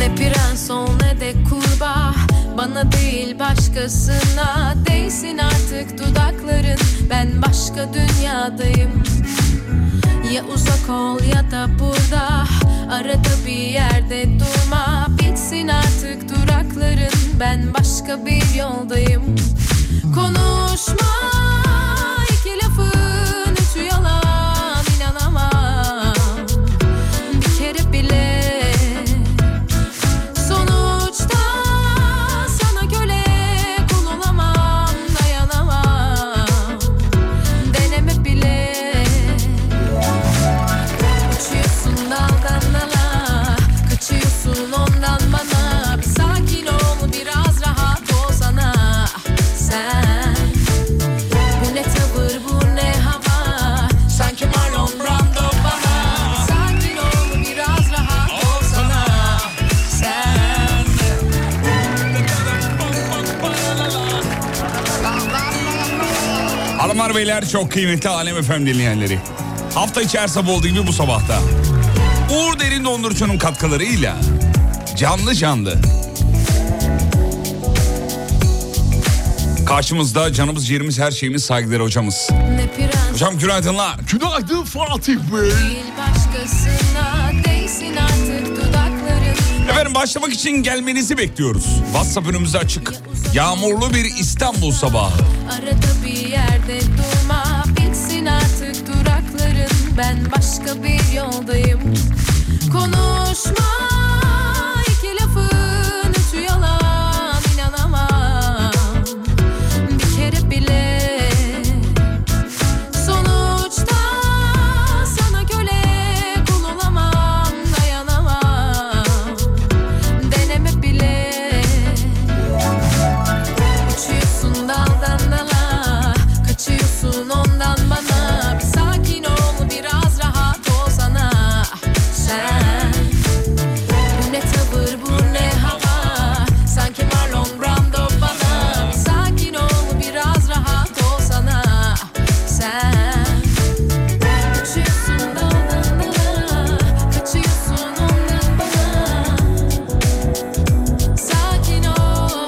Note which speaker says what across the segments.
Speaker 1: Ne prens ol ne de kurbağa Bana değil başkasına Değsin artık dudakların Ben başka dünyadayım Ya uzak ol ya da burada Arada bir yerde durma Bitsin artık durakların Ben başka bir yoldayım Konuşma iki lafın üçü yalan inanamam Bir kere bile Sonuçta sana köle kul olamam dayanamam deneme bile uçuyorsun daldan dala kaçıyorsun ondan bana bir sakin ol biraz rahat ol sana sen bu ne tavır bu ne hava sanki Marlon Brando bana Bir sakin ol biraz rahat ol sana sen
Speaker 2: Hanımlar beyler çok kıymetli Alem efendim dinleyenleri. Hafta içi her sabah olduğu gibi bu sabahta. Uğur Derin Dondurucu'nun katkılarıyla canlı canlı. Karşımızda canımız ciğerimiz her şeyimiz saygıları hocamız.
Speaker 1: ne prens
Speaker 2: Hocam günaydınlar.
Speaker 3: Günaydın Fatih Bey.
Speaker 1: değil başkasına değsin artık dudakların
Speaker 2: Efendim başlamak için gelmenizi bekliyoruz. WhatsApp önümüzde açık. Yağmurlu bir İstanbul sabahı.
Speaker 1: arada bir yerde durma bitsin artık durakların ben başka bir yoldayım konuşma iki lafın üçü yalan inanamam bir kere bile Sonuçta sana köle kul olamam dayanamam deneme bile uçuyorsun daldan dala kaçıyorsun ondan bana bir sakin ol biraz rahat ol sana sen bu ne tavır bu ne hava sanki Marlon Brando bana bir sakin ol biraz rahat ol sana sen uçuyorsun daldan dala kaçıyorsun ondan bana sakin ol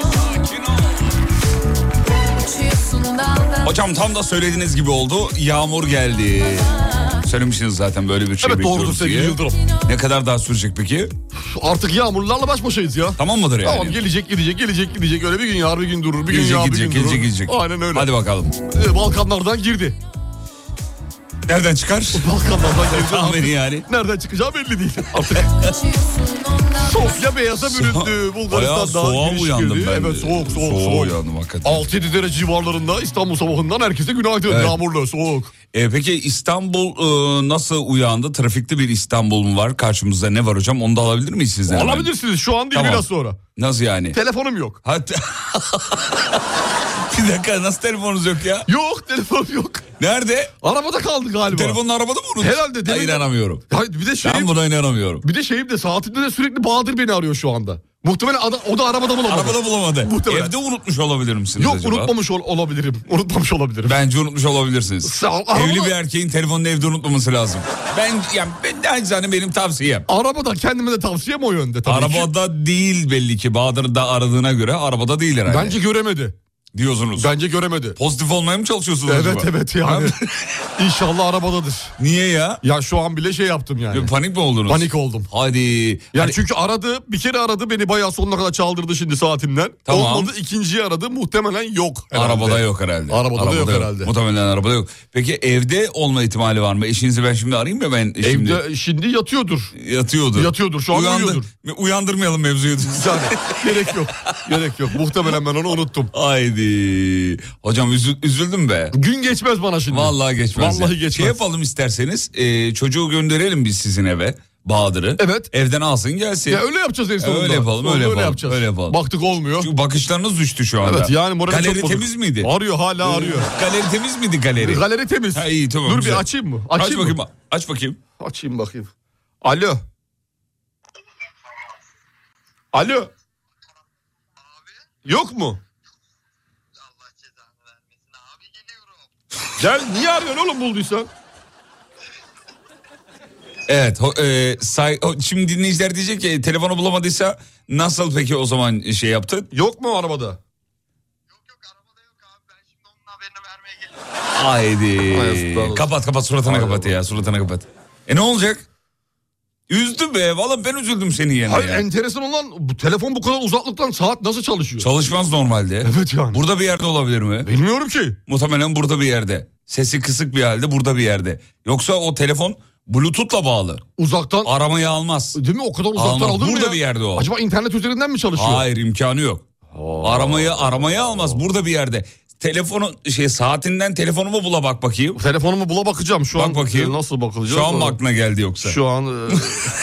Speaker 1: uçuyorsun daldan
Speaker 2: Hocam tam da söylediğiniz gibi oldu. Yağmur geldi. Söylemişsiniz zaten böyle bir şey
Speaker 3: Evet
Speaker 2: bekliyoruz
Speaker 3: doğrudur sevgili
Speaker 2: diye.
Speaker 3: Yıldırım.
Speaker 2: Ne kadar daha sürecek peki?
Speaker 3: Artık yağmurlarla baş başayız ya.
Speaker 2: Tamam mıdır yani?
Speaker 3: Tamam gelecek gidecek gelecek gidecek öyle bir gün yağar bir gün durur bir gün
Speaker 2: Gelecek
Speaker 3: yağar bir
Speaker 2: gidecek
Speaker 3: gün durur.
Speaker 2: gelecek gidecek.
Speaker 3: Aynen öyle.
Speaker 2: Hadi bakalım.
Speaker 3: Ee, Balkanlardan girdi.
Speaker 2: Nereden çıkar?
Speaker 3: Balkanlardan girdi.
Speaker 2: Tahmini
Speaker 3: Artık
Speaker 2: yani.
Speaker 3: Nereden çıkacağı belli değil. Artık
Speaker 1: uçuyorsun ondan
Speaker 3: Sofya beyaza büründü.
Speaker 2: Bayağı
Speaker 3: Bulgaristan'dan
Speaker 2: soğuğa
Speaker 3: giriş
Speaker 2: uyandım
Speaker 3: girdi.
Speaker 2: ben. de.
Speaker 3: Evet soğuk soğuk soğuk.
Speaker 2: Soğuğa uyandım hakikaten.
Speaker 3: 6-7 derece civarlarında İstanbul sabahından herkese günaydın.
Speaker 2: Evet.
Speaker 3: Yağmurlu, soğuk.
Speaker 2: E, peki İstanbul e, nasıl uyandı? Trafikli bir İstanbul mu var? Karşımızda ne var hocam? Onu da alabilir miyiz sizden? hemen?
Speaker 3: Alabilirsiniz şu an değil
Speaker 2: Tamam. Hani-
Speaker 3: biraz sonra.
Speaker 2: Nasıl yani?
Speaker 3: Telefonum yok.
Speaker 2: Hatta... bir dakika nasıl telefonunuz yok ya?
Speaker 3: Yok telefonum yok.
Speaker 2: Nerede?
Speaker 3: Arabada kaldı galiba.
Speaker 2: Telefonun arabada mı unuttunuz?
Speaker 3: Herhalde, demin-
Speaker 2: Hayır inanamıyorum.
Speaker 3: Hayır, bir de şey- şeyim,
Speaker 2: Ben buna inanamıyorum.
Speaker 3: bir de şeyim de saatimde de sürekli Bahadır beni arıyor şu anda. Muhtemelen ada- o da arabada bulamadı.
Speaker 2: Arabada bulamadı.
Speaker 3: Muhtemelen.
Speaker 2: Evde unutmuş olabilir misiniz
Speaker 3: Yok
Speaker 2: acaba?
Speaker 3: unutmamış ol- olabilirim. Unutmamış olabilirim.
Speaker 2: Bence unutmuş olabilirsiniz.
Speaker 3: Sağ ol, arabada-
Speaker 2: Evli bir erkeğin telefonunu evde unutmaması lazım. Ben yani ben naçizane benim tavsiyem.
Speaker 3: Arabada kendime de tavsiyem o yönde E, tabii ki.
Speaker 2: Arabada değil belli ki Bahadır da aradığına göre arabada değil herhalde
Speaker 3: Bence göremedi.
Speaker 2: diyorsunuz.
Speaker 3: Bence göremedi.
Speaker 2: Pozitif olmaya mı çalışıyorsunuz acaba?
Speaker 3: Evet evet yani. İnşallah arabadadır.
Speaker 2: Niye ya?
Speaker 3: Ya şu an bile şey yaptım yani.
Speaker 2: Panik mi oldunuz?
Speaker 3: Panik oldum.
Speaker 2: Hadi.
Speaker 3: Yani
Speaker 2: Hani-
Speaker 3: çünkü aradı bir kere aradı beni bayağı sonuna kadar çaldırdı şimdi saatinden.
Speaker 2: Tamam.
Speaker 3: Olmadı ikinciyi aradı muhtemelen yok. herhalde.
Speaker 2: Arabada yok herhalde.
Speaker 3: Arabada da yok herhalde.
Speaker 2: Muhtemelen arabada yok. Peki evde olma ihtimali var mı? Eşinizi ben şimdi arayayım mı ben şimdi?
Speaker 3: Evde şimdi yatıyordur.
Speaker 2: Yatıyordu.
Speaker 3: Yatıyordur, şu an uyuyordur.
Speaker 2: Uyandırmayalım mevzuyu.
Speaker 3: Yani gerek yok. Gerek yok. Muhtemelen ben onu unuttum.
Speaker 2: Haydi. Hocam üzü- üzüldüm be.
Speaker 3: Gün geçmez bana şimdi.
Speaker 2: Vallahi geçmez.
Speaker 3: Vallahi
Speaker 2: ya.
Speaker 3: geçmez.
Speaker 2: Şey yapalım isterseniz e, çocuğu gönderelim biz sizin eve. Bahadır'ı.
Speaker 3: Evet.
Speaker 2: Evden alsın gelsin.
Speaker 3: Ya öyle yapacağız en sonunda.
Speaker 2: Öyle yapalım,
Speaker 3: Onu
Speaker 2: öyle yapalım,
Speaker 3: yapacağız.
Speaker 2: öyle yapalım.
Speaker 3: Baktık olmuyor.
Speaker 2: Çünkü bakışlarınız düştü şu anda.
Speaker 3: evet yani morali
Speaker 2: Galeri
Speaker 3: çok bozuk.
Speaker 2: temiz miydi?
Speaker 3: Arıyor hala arıyor.
Speaker 2: Galeri temiz miydi galeri?
Speaker 3: Galeri temiz.
Speaker 2: Ha, iyi, tamam,
Speaker 3: Dur
Speaker 2: güzel.
Speaker 3: bir açayım mı?
Speaker 2: Aç
Speaker 3: Açayım mı?
Speaker 2: bakayım. Aç bakayım.
Speaker 3: Açayım bakayım. Alo. Alo. Yok mu? Gel niye arıyorsun oğlum bulduysan?
Speaker 2: Evet. ho- e, say, o- şimdi dinleyiciler diyecek ki telefonu bulamadıysa nasıl peki o zaman şey yaptın?
Speaker 3: Yok mu arabada?
Speaker 2: Haydi.
Speaker 3: estağfurullah.
Speaker 2: Kapat kapat suratına kapat ya suratına kapat. E ne olacak? Üzdüm be. Valla ben üzüldüm senin yerine.
Speaker 3: Hayır
Speaker 2: ya.
Speaker 3: enteresan olan bu telefon bu kadar uzaklıktan saat nasıl çalışıyor?
Speaker 2: Çalışmaz normalde.
Speaker 3: Evet yani.
Speaker 2: Burada bir yerde olabilir mi?
Speaker 3: Bilmiyorum ki.
Speaker 2: Muhtemelen burada bir yerde. Sesi kısık bir halde burada bir yerde. Yoksa o telefon Bluetooth'la bağlı.
Speaker 3: Uzaktan
Speaker 2: Aramayı almaz.
Speaker 3: değil mi o kadar uzaktan
Speaker 2: Almaz.
Speaker 3: alır mı
Speaker 2: Burada
Speaker 3: ya?
Speaker 2: bir yerde o.
Speaker 3: Acaba internet üzerinden mi çalışıyor?
Speaker 2: Hayır imkanı yok. Aramayı aramayı almaz. Burada bir yerde. Telefonu şey saatinden telefonumu bula bak bakayım.
Speaker 3: Telefonumu bula bakacağım şu
Speaker 2: Bak
Speaker 3: an. Ee,
Speaker 2: bakayım.
Speaker 3: Nasıl bakılacak?
Speaker 2: Şu an mı aklına geldi yoksa? Şu,
Speaker 3: Şu an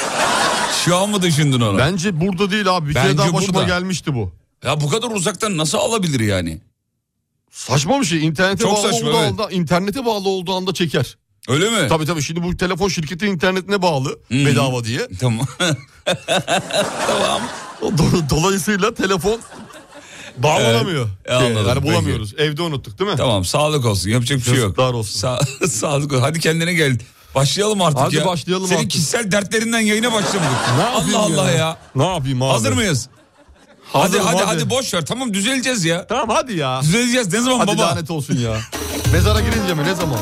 Speaker 3: e,
Speaker 2: an mı düşündün onu?
Speaker 3: Bence burada değil abi. Bir
Speaker 2: Bence
Speaker 3: kere daha başıma
Speaker 2: burada.
Speaker 3: gelmişti bu.
Speaker 2: Ya bu kadar uzaktan nasıl alabilir yani?
Speaker 3: Saçma bir şey. İnternete
Speaker 2: Çok
Speaker 3: bağlı
Speaker 2: saçma,
Speaker 3: olduğu
Speaker 2: evet.
Speaker 3: anda, internete bağlı olduğu anda çeker.
Speaker 2: Öyle mi? Hmm.
Speaker 3: Tabii tabii şimdi bu telefon şirketin internetine bağlı bedava diye.
Speaker 2: Tamam.
Speaker 3: Do- Dolayısıyla telefon bağlanamıyor.
Speaker 2: Evet, anladım,
Speaker 3: yani
Speaker 2: peki.
Speaker 3: bulamıyoruz. Evde unuttuk değil mi?
Speaker 2: tamam sağlık olsun. Yapacak bir şey yok.
Speaker 3: Yazıklar olsun.
Speaker 2: Sa- sağlık olsun. Hadi kendine gel. Başlayalım artık
Speaker 3: Hadi
Speaker 2: ya.
Speaker 3: başlayalım
Speaker 2: Senin
Speaker 3: artık.
Speaker 2: kişisel dertlerinden yayına başlamadık.
Speaker 3: Ne yapayım
Speaker 2: Allah Allah ya.
Speaker 3: Ne yapayım abi?
Speaker 2: Hazır mıyız? Hadi
Speaker 3: Hazırım
Speaker 2: hadi hadi boş ver. Tamam düzeleceğiz ya.
Speaker 3: Tamam hadi ya.
Speaker 2: Düzeleceğiz. Ne zaman
Speaker 3: Hadi
Speaker 2: baba?
Speaker 3: lanet olsun ya. Mezara girince mi ne zaman?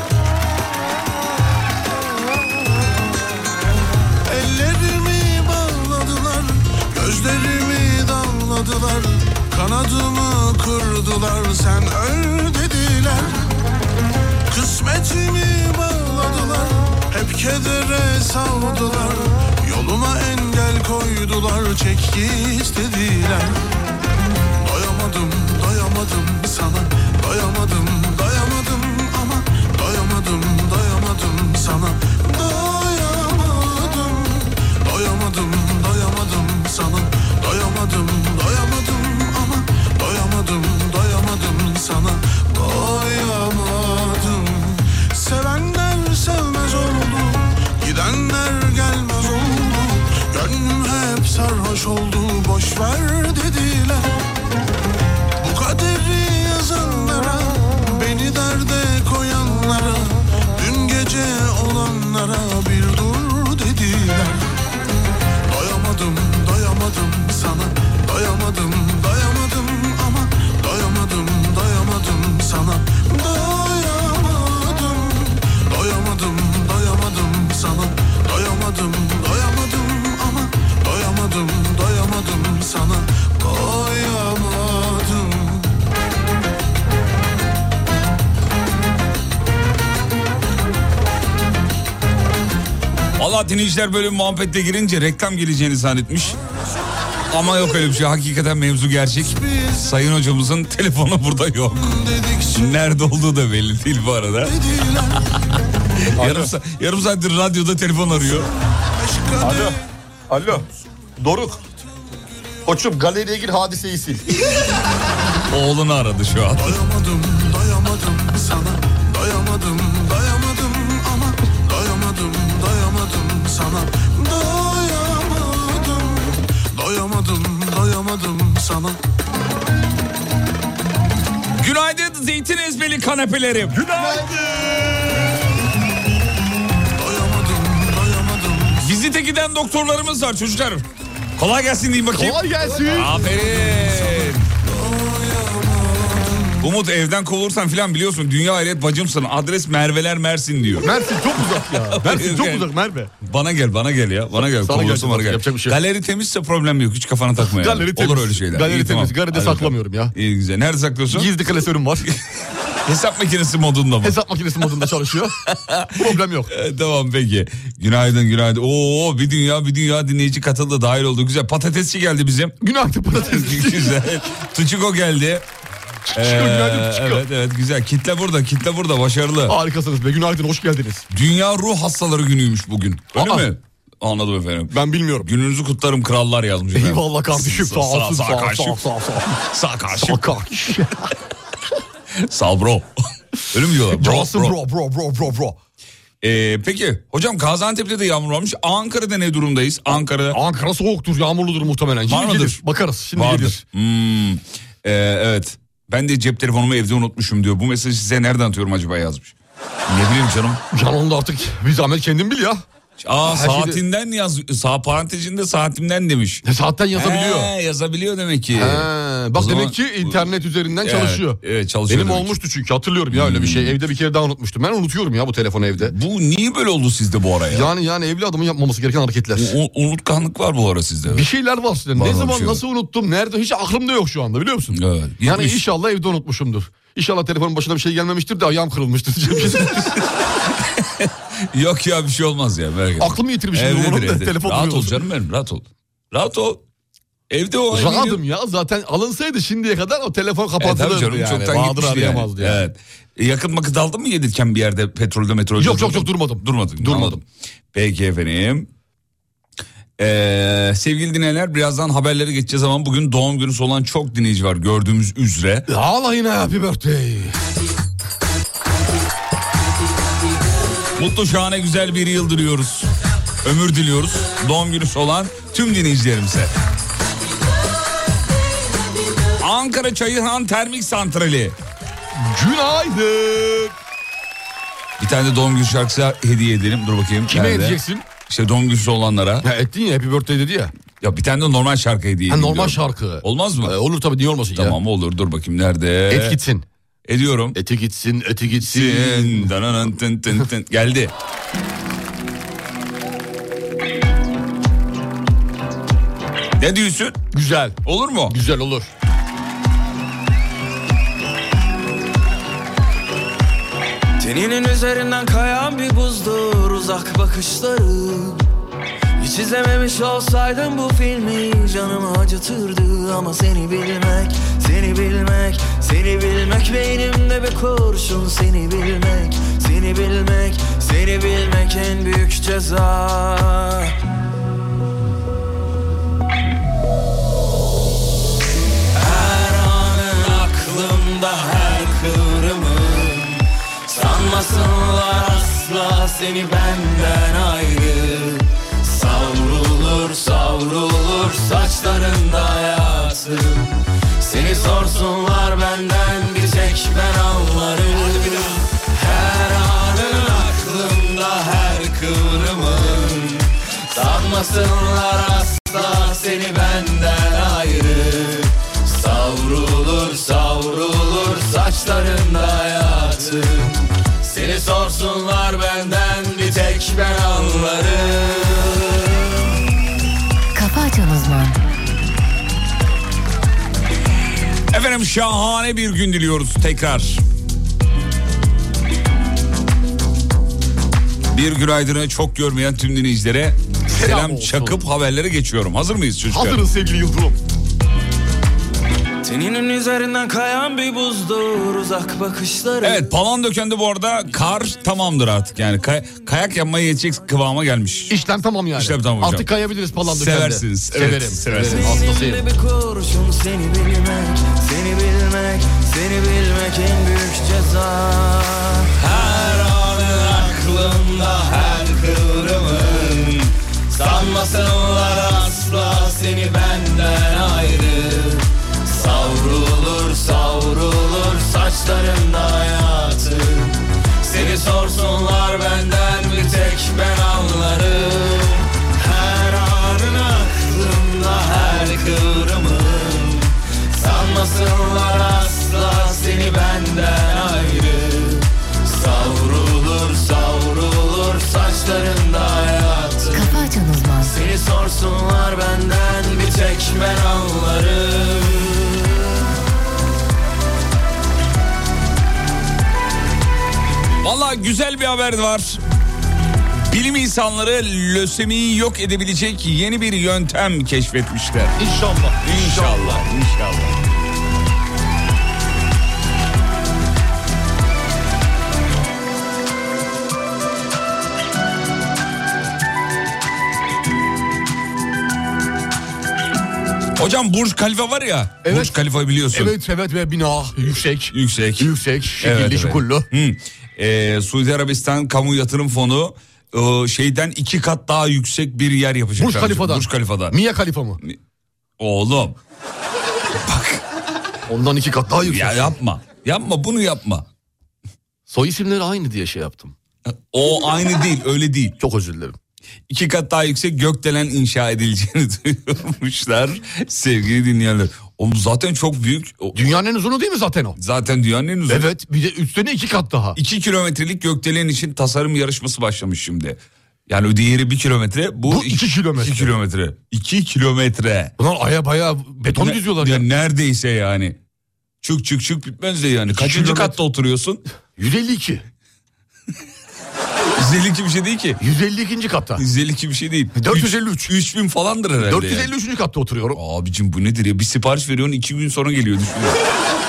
Speaker 4: Ellerimi bağladılar, gözlerimi damladılar Kanadımı kırdılar, sen öl dediler Kısmetimi bağladılar, hep kedere savdular Yoluma engel koydular, çek git dediler Doyamadım, doyamadım sana Doyamadım, doyamadım ama Doyamadım, doyamadım sana Doyamadım, doyamadım, doyamadım sana Doyamadım, doyamadım ama Doyamadım, doyamadım sana Doyamadım Sevenler sevmez oldu Gidenler gelmez oldu Gönlüm hep sarhoş oldu Boş ver dediler bu kaderi yazanlara Beni derde koyanlara Dün gece olanlara Bir dur dediler Doyamadım doyamadım sana Doyamadım doyamadım ama Doyamadım doyamadım sana Doyamadım Doyamadım doyamadım sana Doyamadım doyamadım ama Doyamadım doyamadım sana Doyamadım
Speaker 2: Valla dinleyiciler böyle bir muhabbetle girince reklam geleceğini zannetmiş. Ama yok öyle bir şey. Hakikaten mevzu gerçek. Sayın hocamızın telefonu burada yok.
Speaker 4: dedikçe
Speaker 2: Nerede olduğu da belli değil bu arada.
Speaker 4: dediler
Speaker 2: Yarım, sa- yarım saattir radyoda telefon arıyor.
Speaker 4: Aşka
Speaker 3: Alo. Alo. Doruk. Koçum galeriye gir hadiseyi sil.
Speaker 2: Oğlunu aradı şu an.
Speaker 4: Doyamadım, doyamadım sana Doyamadım, doyamadım ama Doyamadım, doyamadım sana Doyamadım, doyamadım, doyamadım sana
Speaker 2: Günaydın zeytin ezmeli kanepelerim.
Speaker 4: Doyamadım, doyamadım
Speaker 2: Vizite giden doktorlarımız var çocuklar. Kolay gelsin diyeyim bakayım.
Speaker 3: Kolay gelsin.
Speaker 2: Aferin. Umut evden kovulursan filan biliyorsun dünya hayret bacımsın adres Merveler Mersin diyor.
Speaker 3: Mersin çok uzak ya. Mersin çok
Speaker 2: Gel.
Speaker 3: uzak Merve.
Speaker 2: Bana gel bana gel ya bana gel.
Speaker 3: Sana
Speaker 2: Kovulursun
Speaker 3: gelsin,
Speaker 2: bana gel.
Speaker 3: yapacak bir şey yok.
Speaker 2: Galeri temizse problem yok hiç kafana takma yani.
Speaker 3: Galeri temiz.
Speaker 2: Olur öyle şeyler.
Speaker 3: Galeri
Speaker 2: İyi,
Speaker 3: temiz. Galeride
Speaker 2: Hadi bakalım.
Speaker 3: saklamıyorum ya.
Speaker 2: İyi güzel. Nerede saklıyorsun?
Speaker 3: Gizli klasörüm var.
Speaker 2: Hesap makinesi modunda mı?
Speaker 3: Hesap makinesi modunda çalışıyor. Problem yok.
Speaker 2: E, tamam peki. Günaydın günaydın. Oo bir dünya bir dünya dinleyici katıldı dahil oldu. Güzel patatesçi geldi bizim.
Speaker 3: Günaydın patates.
Speaker 2: güzel. Tuçiko geldi. Ee,
Speaker 3: günaydın Tuçiko.
Speaker 2: evet evet güzel. Kitle burada kitle burada başarılı.
Speaker 3: Harikasınız be. Günaydın hoş geldiniz.
Speaker 2: Dünya ruh hastaları günüymüş bugün. Öyle
Speaker 3: Aa.
Speaker 2: mi? Anladım efendim.
Speaker 3: Ben bilmiyorum.
Speaker 2: Gününüzü kutlarım krallar yazmış efendim.
Speaker 3: Eyvallah kardeşim. Sağ
Speaker 2: sağ
Speaker 3: olsun.
Speaker 2: sağ
Speaker 3: Sağ
Speaker 2: karşı.
Speaker 3: sağ sağ sağ.
Speaker 2: Sağ karşı.
Speaker 3: Sağ karşı.
Speaker 2: Sağ ol bro. Öyle mi diyorlar? Bro,
Speaker 3: Johnson
Speaker 2: bro.
Speaker 3: bro bro bro bro bro.
Speaker 2: Ee, peki hocam Gaziantep'te de yağmur varmış. Ankara'da ne durumdayız? Ankara'da
Speaker 3: Ankara soğuktur, yağmurludur muhtemelen. Şimdi
Speaker 2: Var mıdır?
Speaker 3: gelir. Bakarız. Şimdi
Speaker 2: vardır.
Speaker 3: gelir.
Speaker 2: Hmm. Ee, evet. Ben de cep telefonumu evde unutmuşum diyor. Bu mesajı size nereden atıyorum acaba yazmış. Ne bileyim canım.
Speaker 3: Can onu da artık bir zahmet kendin bil ya.
Speaker 2: Aa
Speaker 3: Her şeyde-
Speaker 2: saatinden yaz. Sağ parantezinde saatimden demiş.
Speaker 3: Ne saatten yazabiliyor.
Speaker 2: He, E, yazabiliyor demek ki.
Speaker 3: He, bak
Speaker 2: O zaman-
Speaker 3: demek ki internet üzerinden
Speaker 2: Evet,
Speaker 3: çalışıyor.
Speaker 2: evet, çalışıyor
Speaker 3: Benim
Speaker 2: demek ki.
Speaker 3: olmuştu çünkü hatırlıyorum ya öyle bir şey. Evde bir kere daha unutmuştum. Ben unutuyorum ya bu telefonu evde.
Speaker 2: Bu niye böyle oldu sizde bu araya?
Speaker 3: Yani yani evli adamın yapmaması gereken hareketler.
Speaker 2: unutkanlık var bu ara sizde.
Speaker 3: Bir şeyler var size.
Speaker 2: Var,
Speaker 3: Ne
Speaker 2: var bir
Speaker 3: zaman
Speaker 2: şey var.
Speaker 3: nasıl unuttum? Nerede? Hiç aklımda yok şu anda biliyor musun?
Speaker 2: Evet,
Speaker 3: Yani
Speaker 2: gitmiş.
Speaker 3: inşallah evde unutmuşumdur. İnşallah telefonun başına bir şey gelmemiştir de ayağım kırılmıştır. şey.
Speaker 2: Yok ya bir şey olmaz ya. Merak etme.
Speaker 3: Aklımı yitirmişim.
Speaker 2: Evdedir,
Speaker 3: Umarım da
Speaker 2: evdedir.
Speaker 3: telefon
Speaker 2: Rahat ol
Speaker 3: duyuyordur.
Speaker 2: canım benim rahat ol. Rahat ol. Evde o.
Speaker 3: Rahatım ya zaten alınsaydı şimdiye kadar o telefon
Speaker 2: Evet E, tabii
Speaker 3: kapatılırdı
Speaker 2: canım
Speaker 3: yani.
Speaker 2: çoktan
Speaker 3: Bahadır
Speaker 2: gitmişti yani.
Speaker 3: arayamazdı yani.
Speaker 2: Evet. E, Yakıt makıt aldın mı yedirken bir yerde petrolde metrolde?
Speaker 3: Yok yok
Speaker 2: durdun?
Speaker 3: yok durmadım.
Speaker 2: Durmadın.
Speaker 3: Durmadım.
Speaker 2: anladım. Peki efendim. Ee, sevgili dinleyenler birazdan haberlere geçeceğiz ama bugün doğum günü olan çok dinleyici var gördüğümüz üzere.
Speaker 3: Ağla yine happy birthday.
Speaker 2: Mutlu şahane güzel bir yıl diliyoruz. Ömür diliyoruz. Doğum günü olan tüm dinleyicilerimize. Ankara Çayırhan Termik Santrali.
Speaker 3: Günaydın.
Speaker 2: Bir tane de doğum günü şarkısı hediye edelim. Dur bakayım.
Speaker 3: Kime
Speaker 2: nerede?
Speaker 3: edeceksin?
Speaker 2: İşte doğum günü olanlara.
Speaker 3: Ya ettin ya happy birthday dedi ya.
Speaker 2: Ya bir tane de normal şarkı hediye
Speaker 3: Ha,
Speaker 2: edeyim
Speaker 3: normal
Speaker 2: diyorum.
Speaker 3: şarkı.
Speaker 2: Olmaz mı?
Speaker 3: Ee, olur tabii niye olmasın
Speaker 2: Tamam olur dur bakayım nerede?
Speaker 3: ya. Et gitsin.
Speaker 2: Ediyorum.
Speaker 3: Eti gitsin, eti gitsin.
Speaker 2: Tın, dananın tın tın tın. Geldi. Ne diyorsun?
Speaker 3: Güzel.
Speaker 2: Olur mu?
Speaker 3: Güzel olur.
Speaker 5: Teninin üzerinden kayan bir buzdur uzak bakışları Hiç izlememiş olsaydım bu filmi canımı acıtırdı Ama seni bilmek, seni bilmek, seni bilmek Beynimde bir kurşun seni bilmek, seni bilmek, seni bilmek en büyük ceza Her anın aklımda her kıvrımın Sanmasınlar asla seni benden ayrı Savrulur savrulur saçlarında hayatım Seni sorsunlar benden bir tek ben anlarım Her anın aklımda her kıvrımın Sanmasınlar asla seni benden ayrı Savrulur savrulur saçlarında hayatım Seni sorsunlar benden bir tek ben anlarım
Speaker 6: Kafa Açan Uzman.
Speaker 2: Efendim şahane bir gün diliyoruz tekrar. Bir günaydını çok görmeyen tüm dinleyicilere selam,
Speaker 3: olsun.
Speaker 2: çakıp haberlere geçiyorum. Hazır mıyız çocuklar?
Speaker 3: Hazırız sevgili Yıldırım.
Speaker 5: Teninin üzerinden kayan bir buzdur uzak bakışları
Speaker 2: Evet Palandöken'de bu arada kar tamamdır artık. Yani kay- kayak yapmaya yetecek kıvama gelmiş.
Speaker 3: İşlem tamam yani.
Speaker 2: İşlem tamam hocam.
Speaker 3: Artık kayabiliriz palandık.
Speaker 2: Seversiniz, evet,
Speaker 3: severim. Severim.
Speaker 2: seversiniz.
Speaker 3: Hastasıyım.
Speaker 5: Beynimde bir kurşun seni bilmek Seni bilmek Seni bilmek en büyük ceza Her anın aklımda her kıvrımın Sanmasınlar asla seni benden ayrı Savrulur savrulur saçlarında hayatım Seni sorsunlar benden bir tek ben anlarım Her anın aklımda her kıvrımın Sanmasınlar asla seni benden ayrı Savrulur savrulur saçlarında hayatım
Speaker 6: Kafa Açan Uzman.
Speaker 5: Seni sorsunlar benden bir tek ben anlarım
Speaker 2: Valla güzel bir haber var. Bilim insanları lösemiyi yok edebilecek yeni bir yöntem keşfetmişler.
Speaker 3: İnşallah.
Speaker 2: İnşallah, inşallah. Hocam Burj Khalifa var ya. Burj Khalifa biliyorsun.
Speaker 3: Evet evet ve bina yüksek.
Speaker 2: Yüksek.
Speaker 3: Yüksek. Şekilli
Speaker 2: Evet, evet.
Speaker 3: şukullu.
Speaker 2: Hı. Ee, Suudi Arabistan Kamu Yatırım Fonu e, şeyden iki kat daha yüksek bir yer yapacak.
Speaker 3: Burj Khalifa'dan.
Speaker 2: Burj Khalifa'dan.
Speaker 3: Mia Khalifa mı?
Speaker 2: Oğlum
Speaker 3: Ondan iki kat daha yüksek.
Speaker 2: ya yapma. Yapma bunu yapma.
Speaker 3: Soy isimleri aynı diye şey yaptım.
Speaker 2: O aynı değil öyle değil.
Speaker 3: Çok özür dilerim.
Speaker 2: İki kat daha yüksek gökdelen inşa edileceğini duyurmuşlar sevgili dinleyenler. O zaten çok büyük. O-
Speaker 3: Dünyanın en uzunu değil mi zaten o?
Speaker 2: Zaten dünyanın en uzun.
Speaker 3: Evet bir de üstüne iki kat daha.
Speaker 2: 2 kilometrelik gökdelen için tasarım yarışması başlamış şimdi. Yani o diğeri bir kilometre. Bu,
Speaker 3: Bu iki kilometre.
Speaker 2: 2 kilometre. 2 kilometre.
Speaker 3: Bunlar aya baya beton
Speaker 2: Ne-
Speaker 3: diziyorlar
Speaker 2: ya.
Speaker 3: ya.
Speaker 2: Neredeyse yani. Çık çık çık bitmez de yani. Kaçıncı
Speaker 3: kilometre.
Speaker 2: katta oturuyorsun?
Speaker 3: 152.
Speaker 2: 152 bir şey değil ki.
Speaker 3: 152. katta. E,
Speaker 2: 152 bir şey değil.
Speaker 3: 453.
Speaker 2: 3000 falandır herhalde. yani.
Speaker 3: 453. katta oturuyorum.
Speaker 2: Abicim bu nedir ya? Bir sipariş veriyorsun iki gün sonra geliyor düşünüyorum.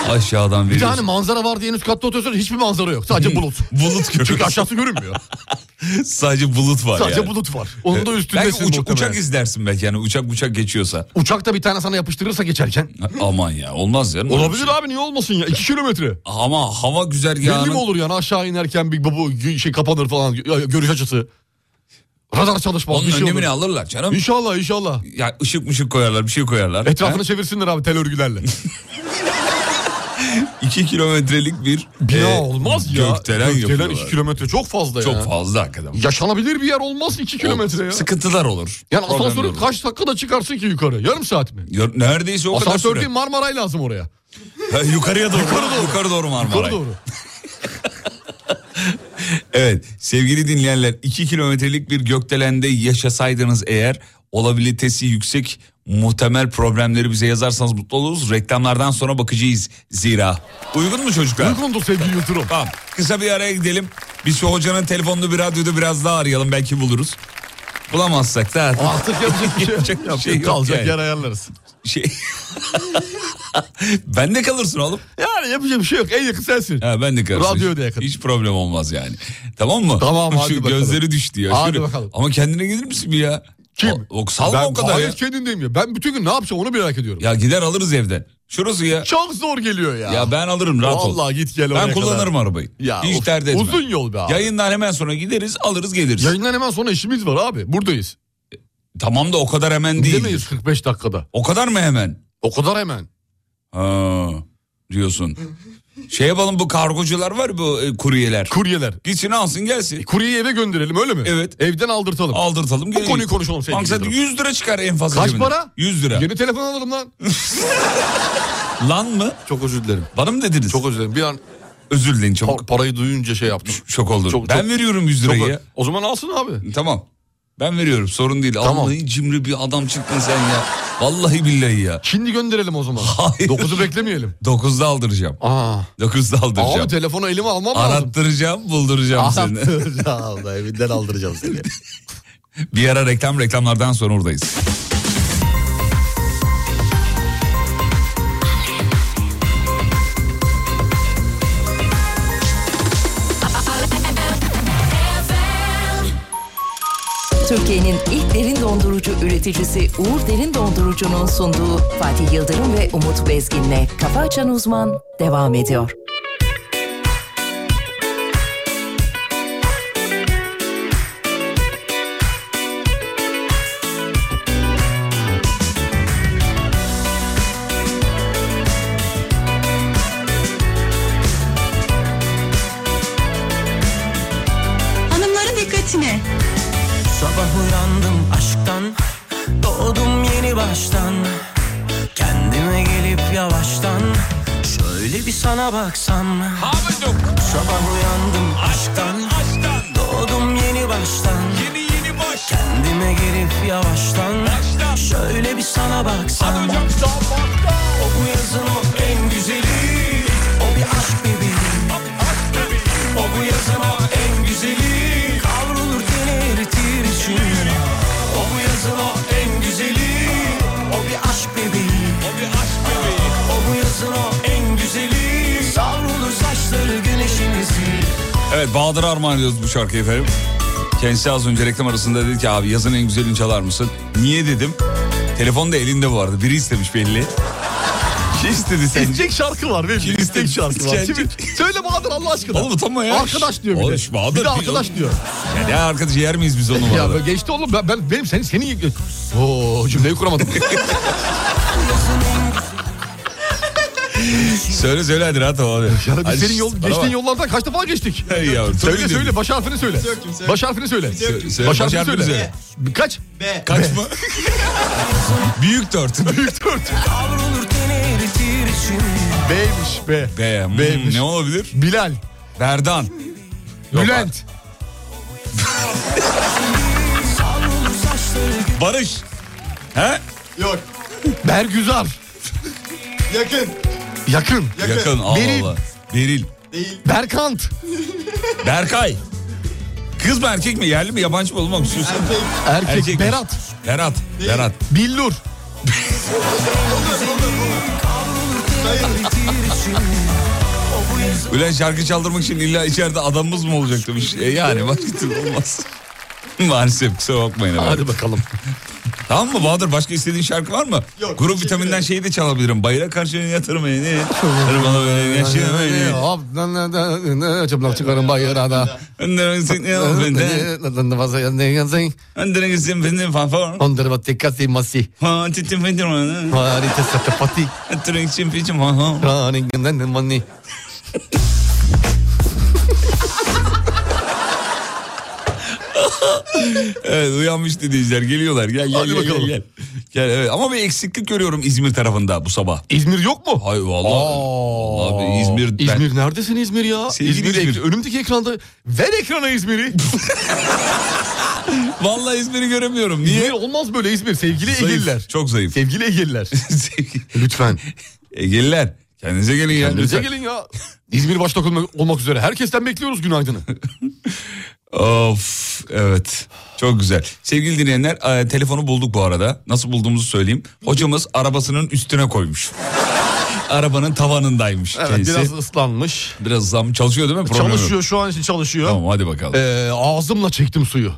Speaker 2: Aşağıdan
Speaker 3: Bir tane
Speaker 2: veriyorsun.
Speaker 3: manzara var diye en üst katta oturuyorsun hiçbir manzara yok. Sadece bulut.
Speaker 2: Bulut
Speaker 3: Çünkü
Speaker 2: görüyorsun.
Speaker 3: aşağısı görünmüyor.
Speaker 2: Sadece bulut var
Speaker 3: Sadece
Speaker 2: yani.
Speaker 3: bulut var. Onun da
Speaker 2: Belki
Speaker 3: üstündesin
Speaker 2: uç-
Speaker 3: muhtemelen.
Speaker 2: uçak izlersin belki yani uçak uçak geçiyorsa.
Speaker 3: Uçakta bir tane sana yapıştırırsa geçerken.
Speaker 2: Aman ya olmaz ya.
Speaker 3: Olabilir abi niye olmasın ya? 2 kilometre.
Speaker 2: Ama hava
Speaker 3: Belli mi
Speaker 2: güzergahının
Speaker 3: olur yani aşağı inerken bir bu gü- şey kapanır falan Ya- görüş açısı. Radar çalışmaz
Speaker 2: onun
Speaker 3: bir şey olur.
Speaker 2: önlemini alırlar canım.
Speaker 3: İnşallah inşallah.
Speaker 2: Ya ışık mışık koyarlar bir şey koyarlar.
Speaker 3: Etrafını çevirsinler abi tel örgülerle.
Speaker 2: 2 kilometrelik bir
Speaker 3: Bina
Speaker 2: e,
Speaker 3: olmaz ya.
Speaker 2: Gökdelen,
Speaker 3: Gökdelen
Speaker 2: yapıyorlar.
Speaker 3: 2 kilometre çok fazla ya.
Speaker 2: Çok fazla hakikaten.
Speaker 3: Yaşanabilir bir yer olmaz 2 kilometre ya.
Speaker 2: Sıkıntılar olur.
Speaker 3: Yani
Speaker 2: Problemler
Speaker 3: asansörü
Speaker 2: olur.
Speaker 3: kaç dakikada çıkarsın ki yukarı? Yarım saat mi?
Speaker 2: Ya Neredeyse o kadar
Speaker 3: Asansör
Speaker 2: süre.
Speaker 3: değil Marmaray lazım oraya.
Speaker 2: Ha, yukarıya doğru. Yukarı doğru. Yukarı doğru Marmaray.
Speaker 3: Yukarı doğru.
Speaker 2: Evet sevgili dinleyenler 2 kilometrelik bir gökdelende yaşasaydınız eğer olabilitesi yüksek muhtemel problemleri bize yazarsanız mutlu oluruz. Reklamlardan sonra bakacağız zira. Uygun mu çocuklar?
Speaker 3: Uygundur sevgili Yıldırım.
Speaker 2: Tamam kısa bir araya gidelim. Biz şu hocanın telefonunu bir radyoda biraz daha arayalım belki buluruz. Bulamazsak da artık
Speaker 3: Artık yapacak bir şey,
Speaker 2: Yapacak bir şey
Speaker 3: yapacak
Speaker 2: yok
Speaker 3: kalacak
Speaker 2: yani.
Speaker 3: yer ayarlarız.
Speaker 2: şey... ben de kalırsın oğlum.
Speaker 3: Yani yapacak bir şey yok. En yakın sensin.
Speaker 2: Ha, ben de kalırsın.
Speaker 3: Radyoya da
Speaker 2: Hiç-
Speaker 3: yakın.
Speaker 2: Hiç problem olmaz yani. Tamam mı?
Speaker 3: Tamam, hadi
Speaker 2: Şu
Speaker 3: bakalım.
Speaker 2: gözleri düştü ya.
Speaker 3: Hadi
Speaker 2: Şöyle-
Speaker 3: bakalım.
Speaker 2: Ama kendine gelir misin bir ya?
Speaker 3: Kim?
Speaker 2: O, o, salma
Speaker 3: ben
Speaker 2: o kadar
Speaker 3: gayet
Speaker 2: ya.
Speaker 3: kendimdeyim ya. Ben bütün gün ne yapacağım onu merak ediyorum.
Speaker 2: Ya gider alırız evden. Şurası ya.
Speaker 3: Çok zor geliyor ya.
Speaker 2: Ya ben alırım rahat ol.
Speaker 3: Vallahi git gel
Speaker 2: Ben
Speaker 3: oraya
Speaker 2: kullanırım
Speaker 3: kadar.
Speaker 2: arabayı.
Speaker 3: Ya
Speaker 2: Hiç
Speaker 3: of,
Speaker 2: dert etme.
Speaker 3: uzun yol be abi.
Speaker 2: Yayından hemen sonra gideriz alırız geliriz. E,
Speaker 3: Yayından hemen sonra işimiz var abi. Buradayız.
Speaker 2: Tamam da o kadar hemen değil.
Speaker 3: Gidemeyiz 45 dakikada.
Speaker 2: O kadar mı hemen?
Speaker 3: O kadar hemen.
Speaker 2: Ha, diyorsun. Şey yapalım bu kargocular var bu e, kuryeler.
Speaker 3: Kuryeler. E,
Speaker 2: Gitsin alsın gelsin.
Speaker 3: Kuryeyi eve gönderelim öyle mi?
Speaker 2: Evet.
Speaker 3: Evden aldırtalım.
Speaker 2: Aldırtalım.
Speaker 3: Bu konuyu konuşalım sevgili
Speaker 2: Maksat
Speaker 3: Yıldırım.
Speaker 2: 100 lira çıkar en fazla
Speaker 3: Kaç
Speaker 2: cebinden.
Speaker 3: para?
Speaker 2: 100 lira.
Speaker 3: Yeni telefon alalım lan.
Speaker 2: Lan mı?
Speaker 3: Çok özür dilerim.
Speaker 2: Bana mı dediniz?
Speaker 3: Çok özür dilerim. Bir an
Speaker 2: özür dileyin
Speaker 3: pa-
Speaker 2: çabuk.
Speaker 3: parayı duyunca şey yaptım.
Speaker 2: Şok oldum.
Speaker 3: Çok-
Speaker 2: ben
Speaker 3: çok-
Speaker 2: veriyorum 100
Speaker 3: Çok
Speaker 2: lirayı
Speaker 3: ö-
Speaker 2: ya.
Speaker 3: o zaman alsın abi.
Speaker 2: Tamam. Ben veriyorum sorun değil.
Speaker 3: Tamam.
Speaker 2: Vallahi cimri bir adam çıktın sen ya. Vallahi billahi ya.
Speaker 3: Şimdi gönderelim o zaman.
Speaker 2: Hayır.
Speaker 3: 9'u beklemeyelim.
Speaker 2: 9'da aldıracağım.
Speaker 3: Aa.
Speaker 2: 9'da aldıracağım.
Speaker 3: Abi telefonu elime almam lazım.
Speaker 2: Arattıracağım, bulduracağım seni.
Speaker 3: Arattıracağım da evinden aldıracağım seni.
Speaker 2: Bir ara reklam reklamlardan sonra oradayız.
Speaker 6: Türkiye'nin ilk derin dondurucu üreticisi Uğur Derin Dondurucu'nun sunduğu Fatih Yıldırım ve Umut Bezgin'le Kafa Açan Uzman devam ediyor.
Speaker 7: Hanımların dikkatine.
Speaker 5: Sabah uyandım aşktan Doğdum yeni baştan Kendime gelip yavaştan Şöyle bir sana baksam Sabah uyandım aşktan Doğdum yeni baştan
Speaker 2: Yeni yeni baş.
Speaker 5: Kendime gelip yavaştan
Speaker 2: Baştan.
Speaker 5: Şöyle bir sana baksam O bu yazın o en güzeli O bir aşk bebeği O bu yazın o en güzeli Kavrulur deli eritir içim O bu yazın o en güzeli O bir aşk bebeği O bir aşk bebeği O bu yazın o en güzeli Savrulur saçları güneşimizi
Speaker 2: Evet Bahadır Armağan ediyoruz bu şarkıyı efendim. Kendisi az önce reklam arasında dedi ki abi yazın en güzelini çalar mısın? Niye dedim. Telefon da elinde bu arada. Biri istemiş belli. Kim istedi sence?
Speaker 3: İstek şarkı var benim.
Speaker 2: Kim
Speaker 3: İstek
Speaker 2: istedi?
Speaker 3: şarkı var.
Speaker 2: Sence-
Speaker 3: Şimdi söyle Bahadır Allah aşkına.
Speaker 2: Oğlum utanma ya.
Speaker 3: Arkadaş diyor bir
Speaker 2: Oğlum
Speaker 3: de.
Speaker 2: şu Bahadır
Speaker 3: bir de
Speaker 2: bir-
Speaker 3: arkadaş diyor.
Speaker 2: Ya ne arkadaşı yer miyiz biz onu
Speaker 3: Ya
Speaker 2: arada?
Speaker 3: böyle geçti oğlum ben, ben benim senin seni Oo cümleyi kuramadım.
Speaker 2: Söyle söyle hadi rahat ol abi.
Speaker 3: ya
Speaker 2: Hadi
Speaker 3: biz senin yol,
Speaker 2: şş, bana
Speaker 3: geçtiğin
Speaker 2: bak.
Speaker 3: yollardan kaç defa geçtik?
Speaker 2: Hey yavrum,
Speaker 3: söyle
Speaker 2: tabii
Speaker 3: söyle
Speaker 2: diyorum.
Speaker 3: baş harfini söyle.
Speaker 8: kimse
Speaker 3: Baş harfini söyle.
Speaker 8: yok,
Speaker 2: kimse yok.
Speaker 3: Baş
Speaker 2: Baş
Speaker 3: harfini
Speaker 2: harfini
Speaker 3: söyle. Kaç?
Speaker 8: B.
Speaker 2: Kaç mı? Büyük dört. Büyük dört.
Speaker 5: Kavrulur teni eritir için
Speaker 3: B'ymiş B.
Speaker 2: Be, hmm,
Speaker 3: B'ymiş.
Speaker 2: ne olabilir?
Speaker 3: Bilal.
Speaker 2: Berdan.
Speaker 3: Bülent.
Speaker 2: Barış. He?
Speaker 8: Yok.
Speaker 3: Bergüzar.
Speaker 8: Yakın.
Speaker 3: Yakın.
Speaker 8: Yakın.
Speaker 2: Yakın. Allah
Speaker 3: Beril.
Speaker 2: Allah. Beril.
Speaker 8: Değil.
Speaker 3: Berkant.
Speaker 2: Berkay. Kız mı erkek mi? Yerli mi yabancı mı? Olmam sus.
Speaker 8: Erkek.
Speaker 3: Erkek.
Speaker 2: Erkek.
Speaker 3: Berat.
Speaker 2: Berat. Berat.
Speaker 3: Billur.
Speaker 2: Ulan şarkı çaldırmak için illa içeride adamımız mı olacak demiş. E yani başka türlü olmaz. Maalesef kusura bakmayın. efendim.
Speaker 3: Hadi bakalım.
Speaker 2: Tamam mı Bahadır başka istediğin şarkı var mı?
Speaker 8: Yok,
Speaker 2: Grup
Speaker 8: teşekkür
Speaker 2: vitaminden
Speaker 8: ederim.
Speaker 2: şeyi de çalabilirim. Bayra karşına yatırım beni. Tırmala beni. Yaşıyor beni.
Speaker 3: Çıplak çıkarım bayırada.
Speaker 2: Öndere gitsin ne olur benden. Öndere gitsin benden fanfar. Ha titim fendir bana. Öttürün için piçim ha ha. Evet uyanmış dinleyiciler geliyorlar. Gel gel
Speaker 3: Hadi
Speaker 2: gel,
Speaker 3: bakalım.
Speaker 2: gel gel. Gel evet ama bir eksiklik görüyorum İzmir tarafında bu sabah.
Speaker 3: İzmir yok mu?
Speaker 2: Hay vallahi.
Speaker 3: Aa.
Speaker 2: Vallahi İzmir ben-
Speaker 3: İzmir neredesin İzmir ya?
Speaker 2: Sevgili
Speaker 3: İzmir,
Speaker 2: İzmir.
Speaker 3: ek- önümdeki ekranda ver ekrana İzmir'i.
Speaker 2: Vallahi İzmir'i göremiyorum. Niye?
Speaker 3: İzmir olmaz böyle İzmir sevgili
Speaker 2: Zayıf,
Speaker 3: Egeliler.
Speaker 2: Çok zayıf.
Speaker 3: Sevgili Egeliler. Lütfen.
Speaker 2: Egeliler E, kendinize gelin ya.
Speaker 3: Bize
Speaker 2: lütfen.
Speaker 3: gelin ya. İzmir başta olmak- olmak üzere herkesten bekliyoruz günaydını.
Speaker 2: Of evet. Çok güzel. Sevgili dinleyenler e, telefonu bulduk bu arada. Nasıl bulduğumuzu söyleyeyim. Hocamız arabasının üstüne koymuş. Arabanın tavanındaymış
Speaker 3: Evet
Speaker 2: kendisi.
Speaker 3: biraz
Speaker 2: Biraz,
Speaker 3: ıslanmış.
Speaker 2: zam çalışıyor değil mi? Problem yok.
Speaker 3: Çalışıyor şu an için çalışıyor.
Speaker 2: Tamam hadi bakalım. Evet,
Speaker 3: Ee, ağzımla çektim suyu.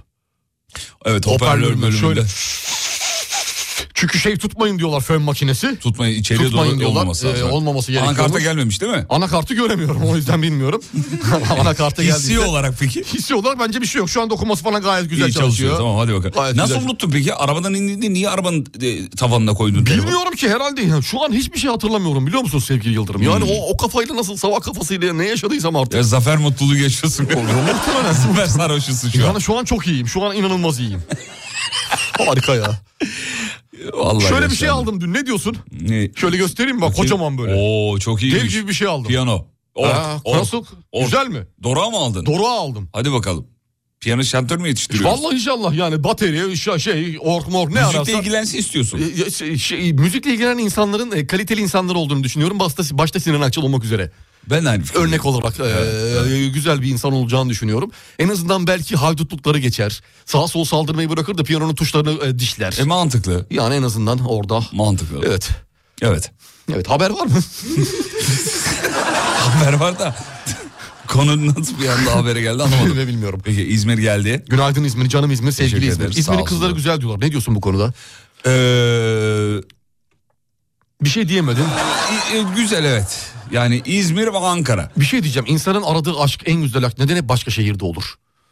Speaker 2: hoparlör
Speaker 3: Hoparlörümü
Speaker 2: bölümünde.
Speaker 3: şöyle- Çünkü şey tutmayın diyorlar fön makinesi.
Speaker 2: Tutmayın içeriye
Speaker 3: Tutmayın
Speaker 2: doğru
Speaker 3: diyorlar.
Speaker 2: olmaması lazım.
Speaker 3: Ee, olmaması gerekiyormuş.
Speaker 2: Anakarta gelmemiş değil mi?
Speaker 3: Anakartı göremiyorum o yüzden bilmiyorum. Anakarta
Speaker 2: Hissi
Speaker 3: geldiyse.
Speaker 2: olarak peki.
Speaker 3: Hissi olarak bence bir şey yok. Şu anda okuması falan gayet güzel
Speaker 2: İyi çalışıyor.
Speaker 3: çalışıyor.
Speaker 2: Tamam hadi bakalım.
Speaker 3: Gayet
Speaker 2: Nasıl
Speaker 3: güzel.
Speaker 2: unuttun peki? Arabadan indiğinde niye arabanın e, tavanına koydun? telefonu?
Speaker 3: Bilmiyorum ki herhalde ya. Şu an hiçbir şey hatırlamıyorum biliyor musun sevgili Yıldırım? Yani o, o kafayla nasıl sabah kafasıyla ne yaşadıysam artık.
Speaker 2: Hmm. Ya zafer mutluluğu geçiyorsun.
Speaker 3: Muhtemelen.
Speaker 2: Süper sarhoşusun şu an.
Speaker 3: Yani şu an çok iyiyim. Şu an inanılmaz iyiyim. Harika ya.
Speaker 2: Vallahi
Speaker 3: Şöyle bir şey
Speaker 2: yaşlandım.
Speaker 3: aldım dün. Ne diyorsun?
Speaker 2: Ne?
Speaker 3: Şöyle göstereyim mi? Bak
Speaker 2: Bakayım.
Speaker 3: kocaman böyle.
Speaker 2: Oo çok iyi.
Speaker 3: Dev gibi bir şey aldım.
Speaker 2: Piyano. Or,
Speaker 3: Ha,
Speaker 2: or.
Speaker 3: nasıl?
Speaker 2: Or.
Speaker 3: Güzel mi?
Speaker 2: Dora mı aldın?
Speaker 3: Doruğa aldım.
Speaker 2: Hadi bakalım. Piyano şantör mü yetiştiriyorsun?
Speaker 3: Vallahi inşallah yani bateriye şey, şey ork mor ne
Speaker 2: Müzikle
Speaker 3: ararsan.
Speaker 2: ilgilensin istiyorsun.
Speaker 3: E, ya, şey, şey, müzikle ilgilenen insanların e, kaliteli insanlar olduğunu düşünüyorum. Başta, başta Sinan Akçıl olmak üzere.
Speaker 2: ben de aynı fikirdeyim.
Speaker 3: Örnek olarak e, e, güzel bir insan olacağını düşünüyorum. En azından belki haydutlukları geçer. Sağa sol saldırmayı bırakır da piyanonun tuşlarını e, dişler.
Speaker 2: E mantıklı.
Speaker 3: Yani en azından orada.
Speaker 2: Mantıklı.
Speaker 3: Evet.
Speaker 2: Evet.
Speaker 3: Evet haber var mı?
Speaker 2: Haber var da konu nasıl bir anda habere geldi anlamadım.
Speaker 3: Ne bilmiyorum.
Speaker 2: Peki İzmir geldi.
Speaker 3: Günaydın İzmir, canım İzmir, sevgili
Speaker 2: Teşekkür
Speaker 3: İzmir.
Speaker 2: ederiz, sağ
Speaker 3: İzmir'in
Speaker 2: olsun.
Speaker 3: kızları güzel diyorlar. Ne diyorsun bu konuda? Ee,
Speaker 2: Ee,
Speaker 3: Bir şey diyemedim.
Speaker 2: i- i- e, güzel evet. Yani İzmir ve Ankara.
Speaker 3: Bir şey diyeceğim. İnsanın aradığı aşk en güzel aşk neden hep başka şehirde olur?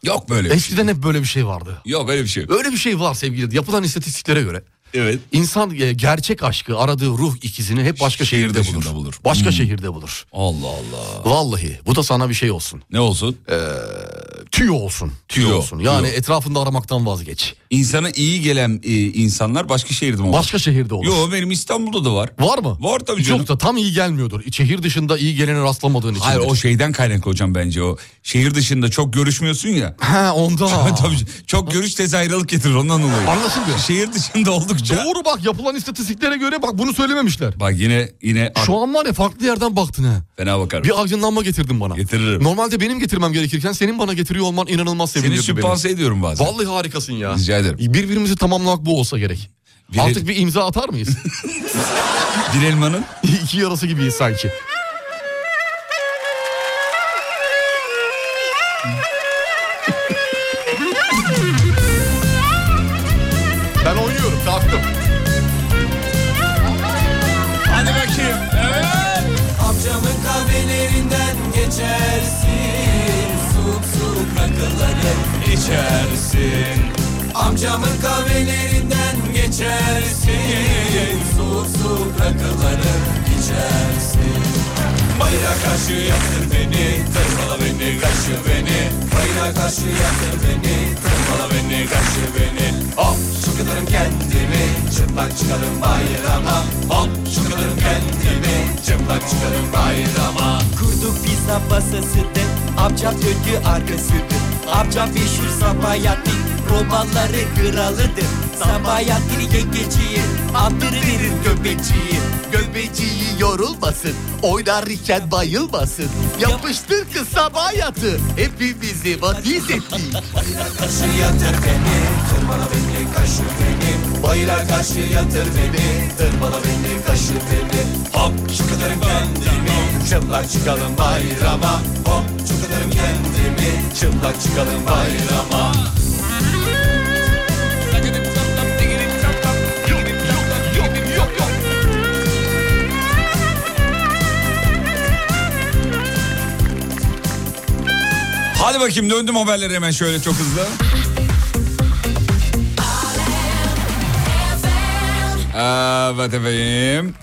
Speaker 2: Yok böyle bir şey.
Speaker 3: Eskiden hep böyle bir şey vardı.
Speaker 2: Yok öyle bir şey. yok.
Speaker 3: Öyle bir şey var sevgili. Yapılan istatistiklere göre.
Speaker 2: Evet.
Speaker 3: İnsan e, gerçek aşkı aradığı ruh ikizini hep başka
Speaker 2: Şehir
Speaker 3: şehirde
Speaker 2: dışında
Speaker 3: bulur.
Speaker 2: bulur. Hmm.
Speaker 3: Başka şehirde bulur.
Speaker 2: Allah Allah.
Speaker 3: Vallahi bu da sana bir şey olsun.
Speaker 2: Ne olsun?
Speaker 3: Tüyo olsun. Tüyo,
Speaker 2: Tüyo,
Speaker 3: olsun. Yani
Speaker 2: tüyo.
Speaker 3: etrafında aramaktan vazgeç.
Speaker 2: İnsana iyi gelen e, insanlar başka şehirde mi olur?
Speaker 3: Başka şehirde olur.
Speaker 2: Yok benim İstanbul'da da var.
Speaker 3: Var mı?
Speaker 2: Var tabii
Speaker 3: Hiç
Speaker 2: canım.
Speaker 3: Yok da tam iyi gelmiyordur. Şehir dışında iyi gelene rastlamadığın için.
Speaker 2: Hayır o şeyden kaynaklı hocam bence o. Şehir dışında çok görüşmüyorsun ya.
Speaker 3: Ha onda.
Speaker 2: Tabii çok görüş tez ayrılık getirir ondan dolayı.
Speaker 3: Anlaşıldı.
Speaker 2: Şehir dışında oldukça.
Speaker 3: Doğru bak yapılan istatistiklere göre bak bunu söylememişler.
Speaker 2: Bak yine yine
Speaker 3: Şu an var ya farklı yerden baktın ha.
Speaker 2: fena bakarım.
Speaker 3: Bir aydınlanma getirdin bana.
Speaker 2: Getiririm.
Speaker 3: Normalde benim getirmem gerekirken senin bana getiriyor olman inanılmaz
Speaker 2: Seni
Speaker 3: sevindirdi beni.
Speaker 2: sübvanse ediyorum bazen.
Speaker 3: Vallahi harikasın ya.
Speaker 2: Rica ederim.
Speaker 3: Birbirimizi tamamlamak bu olsa gerek.
Speaker 2: Bir-
Speaker 3: Artık bir imza atar mıyız?
Speaker 2: Bir elmanın
Speaker 3: İki yarası gibiyiz sanki. ben oynuyorum kalktım.
Speaker 9: içersin Amcamın kahvelerinden geçersin Soğuk soğuk rakıları içersin Bayra karşı yatır beni Tırmala beni kaşı beni Bayra karşı yatır beni Tırmala beni kaşı beni Hop çıkarım kendimi Çıplak çıkarım bayrama Hop çıkarım kendimi Çıplak çıkarım bayrama
Speaker 10: Kurduk pizza masasını Amcam döndü arkasını Amcam meşhur Sabahattin Romanları kralıdır Sabahattin yengeciyi Andırıverir göbeciyi Göbeciyi yorulmasın Oynar iken bayılmasın Yapıştır kız Sabahat'i Hepimizi vadiz ettik
Speaker 9: Karşı yatır beni Tırmala beni kaşı beni Bayra karşı yatır beni Tırmala beni kaşı beni Hop çıkarım kendimi Çıplak çıkalım bayrama Hop çıkarım kendimi Çıplak çıkalım bayrama
Speaker 2: Hadi bakayım döndüm haberlere hemen şöyle çok hızlı. Evet efendim.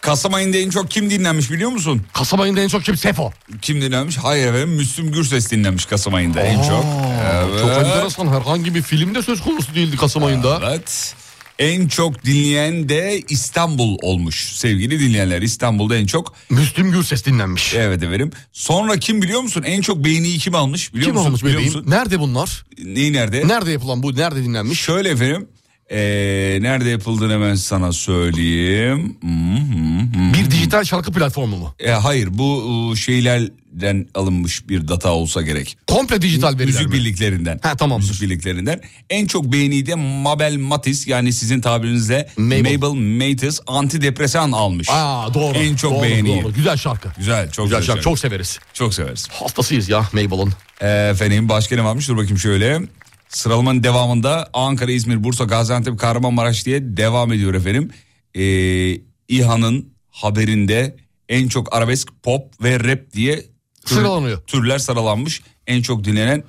Speaker 2: Kasım ayında en çok kim dinlenmiş biliyor musun? Kasım ayında en çok kim? Sefo. Kim dinlenmiş? Hayır efendim Müslüm Gürses dinlenmiş Kasım ayında en çok. Evet.
Speaker 3: Çok enteresan herhangi bir filmde söz konusu değildi Kasım ayında.
Speaker 2: Evet. En çok dinleyen de İstanbul olmuş. Sevgili dinleyenler İstanbul'da en çok... Müslüm Gürses dinlenmiş. Evet efendim. Sonra kim biliyor musun? En çok beğeniyi kim almış? Biliyor
Speaker 3: Kim
Speaker 2: musun?
Speaker 3: almış
Speaker 2: Biliyor
Speaker 3: bebeğim?
Speaker 2: musun?
Speaker 3: Nerede bunlar?
Speaker 2: Neyi nerede?
Speaker 3: Nerede yapılan bu? Nerede dinlenmiş?
Speaker 2: Şöyle efendim. Ee, nerede yapıldığını hemen sana söyleyeyim.
Speaker 3: Bir dijital şarkı platformu mu?
Speaker 2: E, hayır bu e, şeylerden alınmış bir data olsa gerek.
Speaker 3: Komple dijital veriler
Speaker 2: Müzik
Speaker 3: mi?
Speaker 2: birliklerinden. Ha tamam. Müzik birliklerinden. En çok beğeniyi de Mabel Matiz yani sizin tabirinizle Mabel, Matiz antidepresan almış.
Speaker 3: Aa doğru.
Speaker 2: En çok
Speaker 3: doğru,
Speaker 2: beğeniyi.
Speaker 3: doğru. Güzel şarkı.
Speaker 2: Güzel çok
Speaker 3: Güzel
Speaker 2: güzel.
Speaker 3: şarkı. Çok severiz.
Speaker 2: Çok severiz.
Speaker 3: Hastasıyız ya Mabel'ın.
Speaker 2: Efendim başka ne varmış dur bakayım şöyle. Sıralamanın devamında Ankara, İzmir, Bursa, Gaziantep, Kahramanmaraş diye devam ediyor efendim. Ee, İHA'nın haberinde en çok arabesk, pop ve rap diye tür-
Speaker 3: Sıralanıyor.
Speaker 2: türler sıralanmış. En çok dinlenen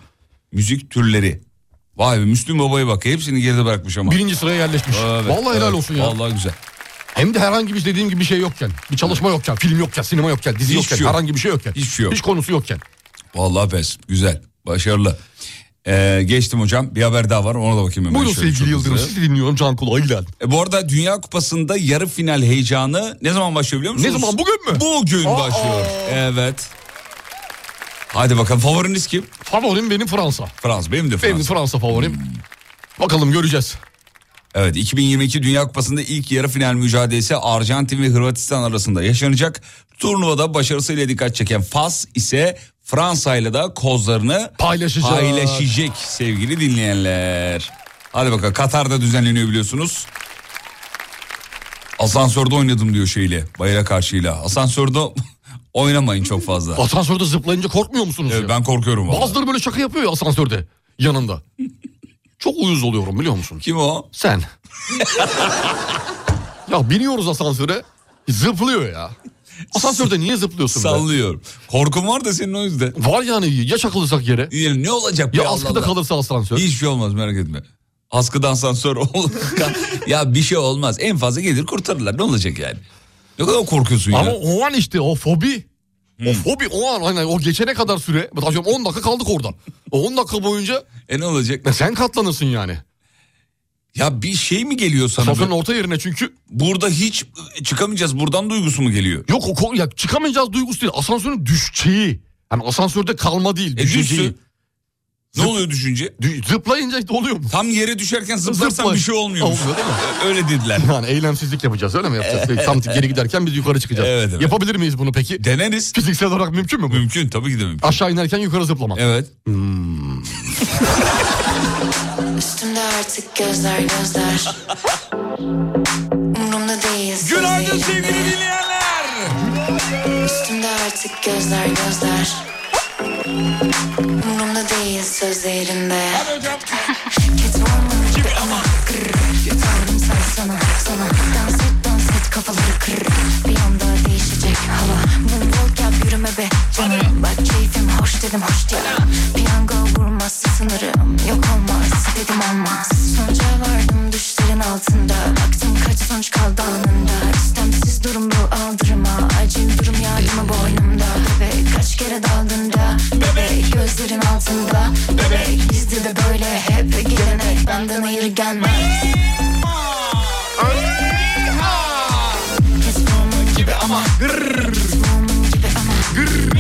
Speaker 2: müzik türleri. Vay be Müslüm Baba'ya bak hepsini geride bırakmış ama.
Speaker 3: Birinci sıraya yerleşmiş. Vallahi helal olsun ya.
Speaker 2: Vallahi güzel.
Speaker 3: Hem de herhangi bir dediğim gibi bir şey yokken. Bir çalışma yokken. Film yokken. Sinema yokken. Dizi
Speaker 2: Hiçbir
Speaker 3: yokken.
Speaker 2: şey yok.
Speaker 3: Herhangi bir şey yokken.
Speaker 2: Hiçbir şey yok.
Speaker 3: Hiç konusu yokken.
Speaker 2: Vallahi pes güzel başarılı. Ee, geçtim hocam bir haber daha var ona da bakayım hemen.
Speaker 3: Buyurun
Speaker 2: şöyle çok
Speaker 3: sevgili Yıldırım.
Speaker 2: hızlı.
Speaker 3: Sizi dinliyorum Can Kulağıyla.
Speaker 2: E, bu arada Dünya Kupası'nda yarı final heyecanı ne zaman başlıyor biliyor musunuz?
Speaker 3: Ne zaman, bugün mü?
Speaker 2: Bugün
Speaker 3: Aa!
Speaker 2: başlıyor. Evet. Hadi bakalım favoriniz kim?
Speaker 3: Favorim benim Fransa.
Speaker 2: Fransa benim de Fransa.
Speaker 3: Benim Fransa favorim. Bakalım göreceğiz.
Speaker 2: Evet 2022 Dünya Kupası'nda ilk yarı final mücadelesi Arjantin ve Hırvatistan arasında yaşanacak. Turnuvada başarısıyla dikkat çeken Fas ise Fransa ile de kozlarını
Speaker 3: Paylaşacak.
Speaker 2: paylaşacak sevgili dinleyenler. Hadi bakalım Katar'da düzenleniyor biliyorsunuz. Asansörde oynadım diyor şeyle bayrak karşıyla. Asansörde oynamayın çok fazla.
Speaker 3: Asansörde zıplayınca korkmuyor musunuz?
Speaker 2: Evet, ben korkuyorum valla.
Speaker 3: Bazıları böyle şaka yapıyor ya asansörde. Yanında. Çok uyuz oluyorum biliyor musun?
Speaker 2: Kim o?
Speaker 3: Sen. ya biniyoruz asansöre. Zıplıyor ya. Asansörde niye zıplıyorsun? be?
Speaker 2: Sallıyorum. Korkum var da senin o yüzden.
Speaker 3: Var yani ya çakılırsak yere.
Speaker 2: Ya ne olacak? be
Speaker 3: Ya
Speaker 2: Allah
Speaker 3: askıda
Speaker 2: Allah?
Speaker 3: kalırsa asansör.
Speaker 2: Hiçbir şey olmaz merak etme. Askıdan sansör ol. ya bir şey olmaz. En fazla gelir kurtarırlar. Ne olacak yani? Ne kadar korkuyorsun
Speaker 3: Ama
Speaker 2: ya.
Speaker 3: o an işte o fobi.
Speaker 2: Hmm.
Speaker 3: O fobi o an aynen o geçene kadar süre. Atıyorum 10 dakika kaldık orada. O 10 dakika boyunca
Speaker 2: E ne olacak?
Speaker 3: sen katlanırsın yani.
Speaker 2: Ya bir şey mi geliyor sana?
Speaker 3: Sofranın
Speaker 2: böyle?
Speaker 3: orta yerine çünkü
Speaker 2: Burada hiç e, çıkamayacağız. Buradan duygusu mu geliyor?
Speaker 3: yok o ko- ya çıkamayacağız duygusu değil. Asansörün düşeceği. Yani asansörde kalma değil.
Speaker 2: E
Speaker 3: Düşeceği.
Speaker 2: düşsün. Ne oluyor düşünce?
Speaker 3: Dü- zıplayınca da oluyor mu?
Speaker 2: Tam yere düşerken zıplarsan
Speaker 3: Zıpla.
Speaker 2: bir şey olmuyormuş.
Speaker 3: Olmuyor değil mi?
Speaker 2: E, Öyle dediler.
Speaker 3: Yani eylemsizlik yapacağız öyle mi yapacağız? Tam geri giderken biz yukarı çıkacağız.
Speaker 2: Evet, evet.
Speaker 3: Yapabilir miyiz bunu peki?
Speaker 2: Deneriz.
Speaker 3: Fiziksel olarak mümkün mü bu?
Speaker 2: Mümkün tabii ki de mümkün.
Speaker 3: Aşağı inerken yukarı zıplamak.
Speaker 2: Evet.
Speaker 1: Üstümde artık gözler gözler Umrumda değil
Speaker 2: Günaydın sevgili dinleyenler
Speaker 1: Üstümde artık gözler gözler Umrumda değil sözlerinde Hadi hocam Gibi ama Yeterdim sen sana sana Dans et dans et kafaları kır Bir anda değişecek hava Moonwalk yap yürüme be canım Bak keyfim hoş dedim hoş diye Piyango vurmazsa sınırı
Speaker 7: geri gelmez
Speaker 9: Kes formun gibi ama Gırrrr Gırrrr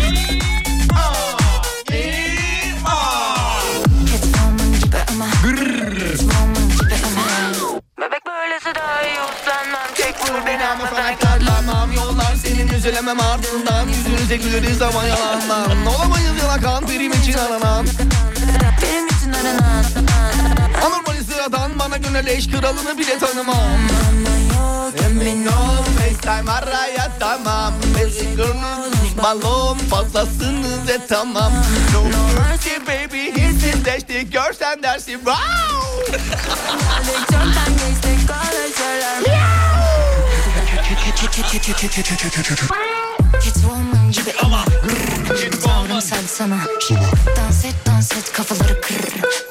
Speaker 7: Bebek böylesi daha iyi uslanmam Tek vur
Speaker 9: beni ama sana katlanmam Yollar senin üzelemem ardından Yüzünüze güleriz ama yalanlar Olamayız yalakan benim için aranan Benim için aranan Anormal sıradan bana göre leş kralını bile tanımam Emin ol FaceTime araya tamam Mezgurunuz balon fazlasını ve tamam No mercy baby hissizleşti görsen dersin wow
Speaker 7: Catwoman gibi ama Tanrım sen sana Dans et dans et kafaları kır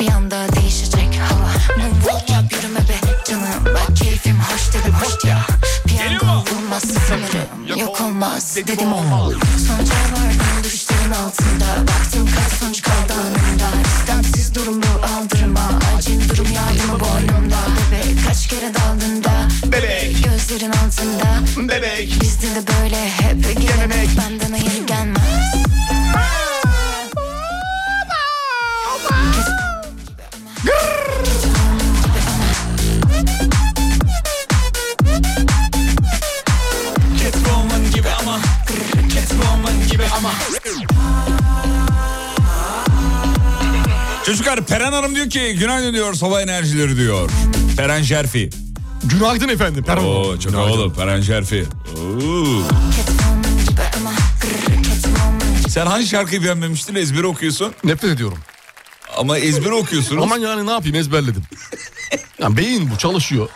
Speaker 7: Bir anda değişecek hava Moonwalk yap yürüme be canım Bak keyfim hoş dedim hoş ya Piyango vurmaz sanırım Yok olmaz dedim olmaz Sonuca vardım düşlerin altında Baktım kaç sonuç kaldı anında İstemsiz durum bu aldırma Acil durum yardımı boynumda Bebek kaç kere daldın da Bebek Gözlerin altında Bebek Bizde de böyle hep gelenek Benden hayır gelmez
Speaker 9: Catwoman gibi ama Catwoman gibi ama
Speaker 2: Çocuklar Peren Hanım diyor ki günaydın diyor sabah enerjileri diyor. Peren Şerfi.
Speaker 3: Günaydın efendim Peren
Speaker 2: Oo, çok havalı Peren Şerfi. Oo. Sen hangi şarkıyı beğenmemiştin ezberi okuyorsun?
Speaker 3: Nefret ediyorum.
Speaker 2: Ama ezberi okuyorsunuz.
Speaker 3: Aman yani ne yapayım ezberledim. yani beyin bu çalışıyor.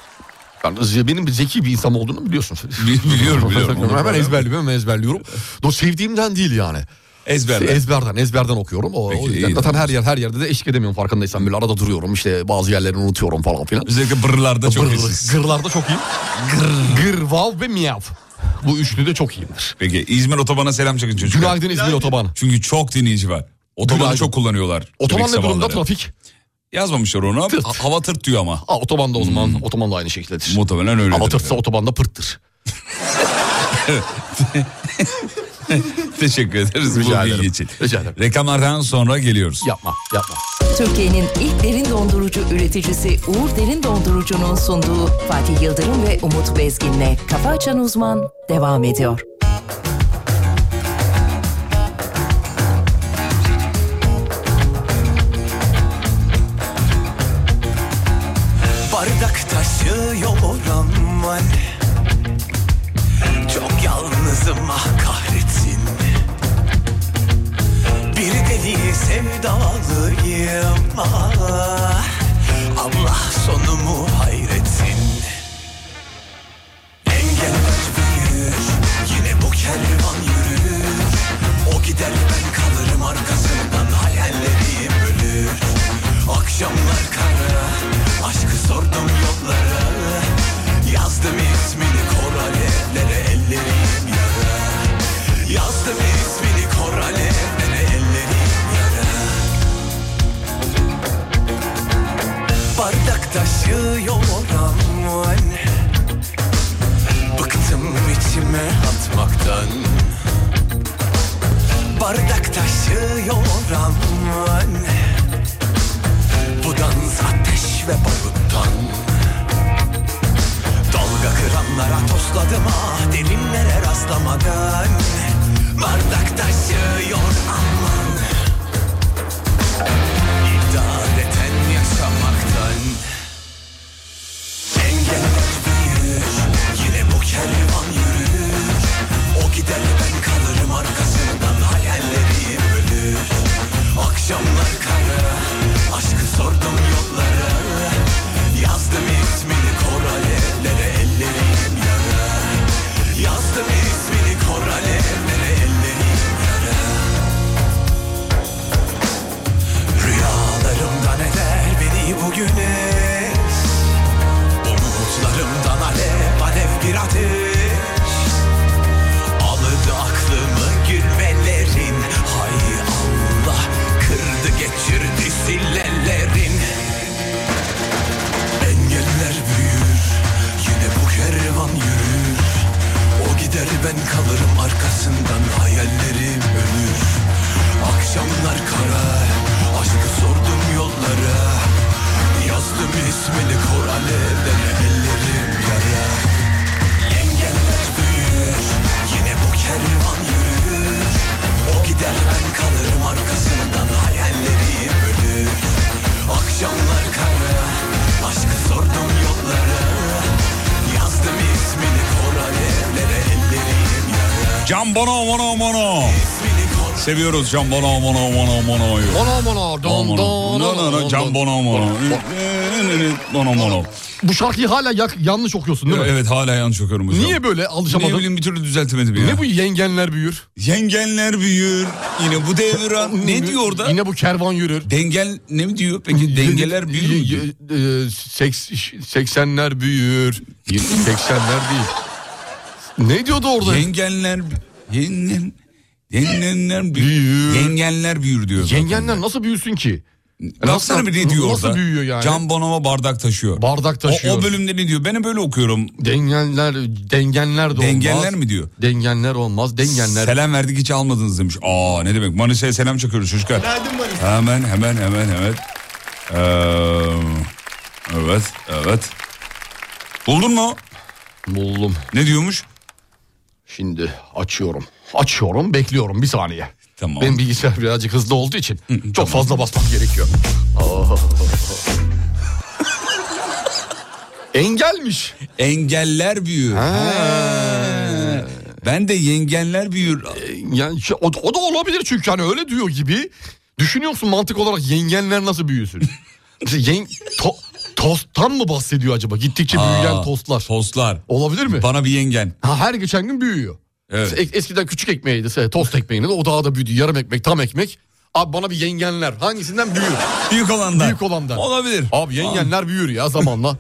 Speaker 3: Yalnız benim bir zeki bir insan olduğunu biliyorsun.
Speaker 2: Biliyorum biliyorum.
Speaker 3: hemen ezberliyorum hemen ezberliyorum. Do sevdiğimden değil yani.
Speaker 2: Ezberden.
Speaker 3: Ezberden, ezberden okuyorum. O, o yüzden
Speaker 2: iyi,
Speaker 3: zaten her yer her yerde de eşlik edemiyorum farkındaysan. Böyle arada duruyorum işte bazı yerlerini unutuyorum falan filan.
Speaker 2: Özellikle bırlarda çok iyisiniz.
Speaker 3: Gırlarda çok iyi. Gır, gır, vav ve miyav. Bu üçlü de çok iyiyimdir.
Speaker 2: Peki İzmir otobana selam çakın çocuklar.
Speaker 3: Günaydın İzmir otobanı.
Speaker 2: Çünkü çok dinleyici var. Otobanı
Speaker 3: Günaydın.
Speaker 2: çok kullanıyorlar.
Speaker 3: Otoban
Speaker 2: Trafik
Speaker 3: ne durumda
Speaker 2: sabahları.
Speaker 3: trafik?
Speaker 2: Yazmamışlar onu. Ha- Hava tırt diyor ama.
Speaker 3: Aa, otobanda o zaman otoban da aynı şekildedir.
Speaker 2: Muhtemelen öyle.
Speaker 3: Ama tırtsa otobanda pırttır.
Speaker 2: Teşekkür ederiz
Speaker 3: Rica
Speaker 2: bu
Speaker 3: ederim.
Speaker 2: bilgi için. Reklamlardan sonra geliyoruz.
Speaker 3: Yapma yapma.
Speaker 6: Türkiye'nin ilk derin dondurucu üreticisi Uğur Derin Dondurucu'nun sunduğu Fatih Yıldırım ve Umut Bezgin'le Kafa Açan Uzman devam ediyor.
Speaker 11: Bardak taşıyorum var Çok yalnızım ah kahretsin Bir deli sevdalıyım ah Allah sonumu hayretsin Engel aşk büyür Yine bu kervan yürür O gider ben kalırım arkasından Hayallerim ölür Akşamlar kara Aşkı sordum yollara Yazdım ismini kor alevlere Ellerim yara Yazdım ismini kor alevlere Ellerim yara Bardak taşıyor oran Bıktım içime atmaktan Bardak taşıyor aman Bu dans ateş ve baruttan Dalga kıranlara tosladım ah Derinlere rastlamadan Bardak taşıyor aman İdareten yaşamaktan Engel büyür Yine bu kervan yürür O gider ben kalırım arkasından Hayallerim ölür Akşamlar kara Aşkı sordum yollara Yazdım ismini kor alevlere Ellerim yara Yazdım ismini kor alevlere Ellerim yara Rüya ben kalırım arkasından hayallerim ölür Akşamlar kara aşkı sordum yollara Yazdım ismini kor alevden ellerim yara Engeller büyür yine bu kervan yürür O gider ben kalırım arkasından hayallerim ölür Akşamlar kara aşkı sordum yollara Yazdım ismini kor alevlere ellerim yara
Speaker 2: Can Bono Mono Mono. Seviyoruz Can Bono Mono Mono Mono'yu.
Speaker 3: Mono mono, don, don,
Speaker 2: No, no, no,
Speaker 3: don,
Speaker 2: Can
Speaker 3: don.
Speaker 2: Bono Mono. Mono Mono.
Speaker 3: Bu şarkıyı hala yak- yanlış okuyorsun değil mi?
Speaker 2: Evet hala yanlış okuyorum hocam.
Speaker 3: Niye böyle alışamadın?
Speaker 2: Ne bileyim bir türlü düzeltemedim ya.
Speaker 3: Ne bu yengenler büyür?
Speaker 2: Yengenler büyür. Yine bu devran. ne diyor orada?
Speaker 3: Yine bu kervan yürür.
Speaker 2: Dengel ne mi diyor? Peki dengeler büyür mü? diyor?
Speaker 3: mü? e, Seks, 80'ler büyür. 80'ler değil. Ne diyordu orada?
Speaker 2: Yengenler yengen, yengenler büyür. Yengenler büyür diyor. zaten.
Speaker 3: Yengenler nasıl büyüsün ki?
Speaker 2: Baksana bir ne diyor
Speaker 3: Nasıl
Speaker 2: orada?
Speaker 3: büyüyor yani?
Speaker 2: Can Bonomo bardak taşıyor.
Speaker 3: Bardak taşıyor.
Speaker 2: O, o bölümde ne diyor? Ben hep böyle okuyorum.
Speaker 3: Dengenler, dengenler de olmaz.
Speaker 2: Dengenler mi diyor?
Speaker 3: Dengenler olmaz, dengenler.
Speaker 2: Selam verdik hiç almadınız demiş. Aa ne demek? Manisa'ya selam çakıyoruz çocuklar.
Speaker 8: Verdim Manisa.
Speaker 2: Hemen hemen hemen hemen. Ee, evet evet. Buldun mu?
Speaker 3: Buldum.
Speaker 2: Ne diyormuş?
Speaker 3: Şimdi açıyorum. Açıyorum, bekliyorum bir saniye.
Speaker 2: Tamam.
Speaker 3: Benim bilgisayar birazcık hızlı olduğu için çok fazla basmam gerekiyor. Aa. Engelmiş.
Speaker 2: Engeller büyür. Ha. Ben de yengenler büyür.
Speaker 3: Yani şey- o, da- o da olabilir çünkü hani öyle diyor gibi. Düşünüyorsun mantık olarak yengenler nasıl büyüsün? İşte Yen, to- tosttan mı bahsediyor acaba? Gittikçe büyüyen
Speaker 2: Aa,
Speaker 3: tostlar.
Speaker 2: Tostlar.
Speaker 3: Olabilir mi?
Speaker 2: Bana bir yengen.
Speaker 3: Ha, her geçen gün büyüyor.
Speaker 2: Evet.
Speaker 3: Es- Eskiden küçük ekmeğiydi se- tost ekmeğini de o daha da büyüdü. Yarım ekmek tam ekmek. Abi bana bir yengenler hangisinden büyür?
Speaker 2: Büyük olandan.
Speaker 3: Büyük olandan.
Speaker 2: Olabilir.
Speaker 3: Abi yengenler büyür ya zamanla.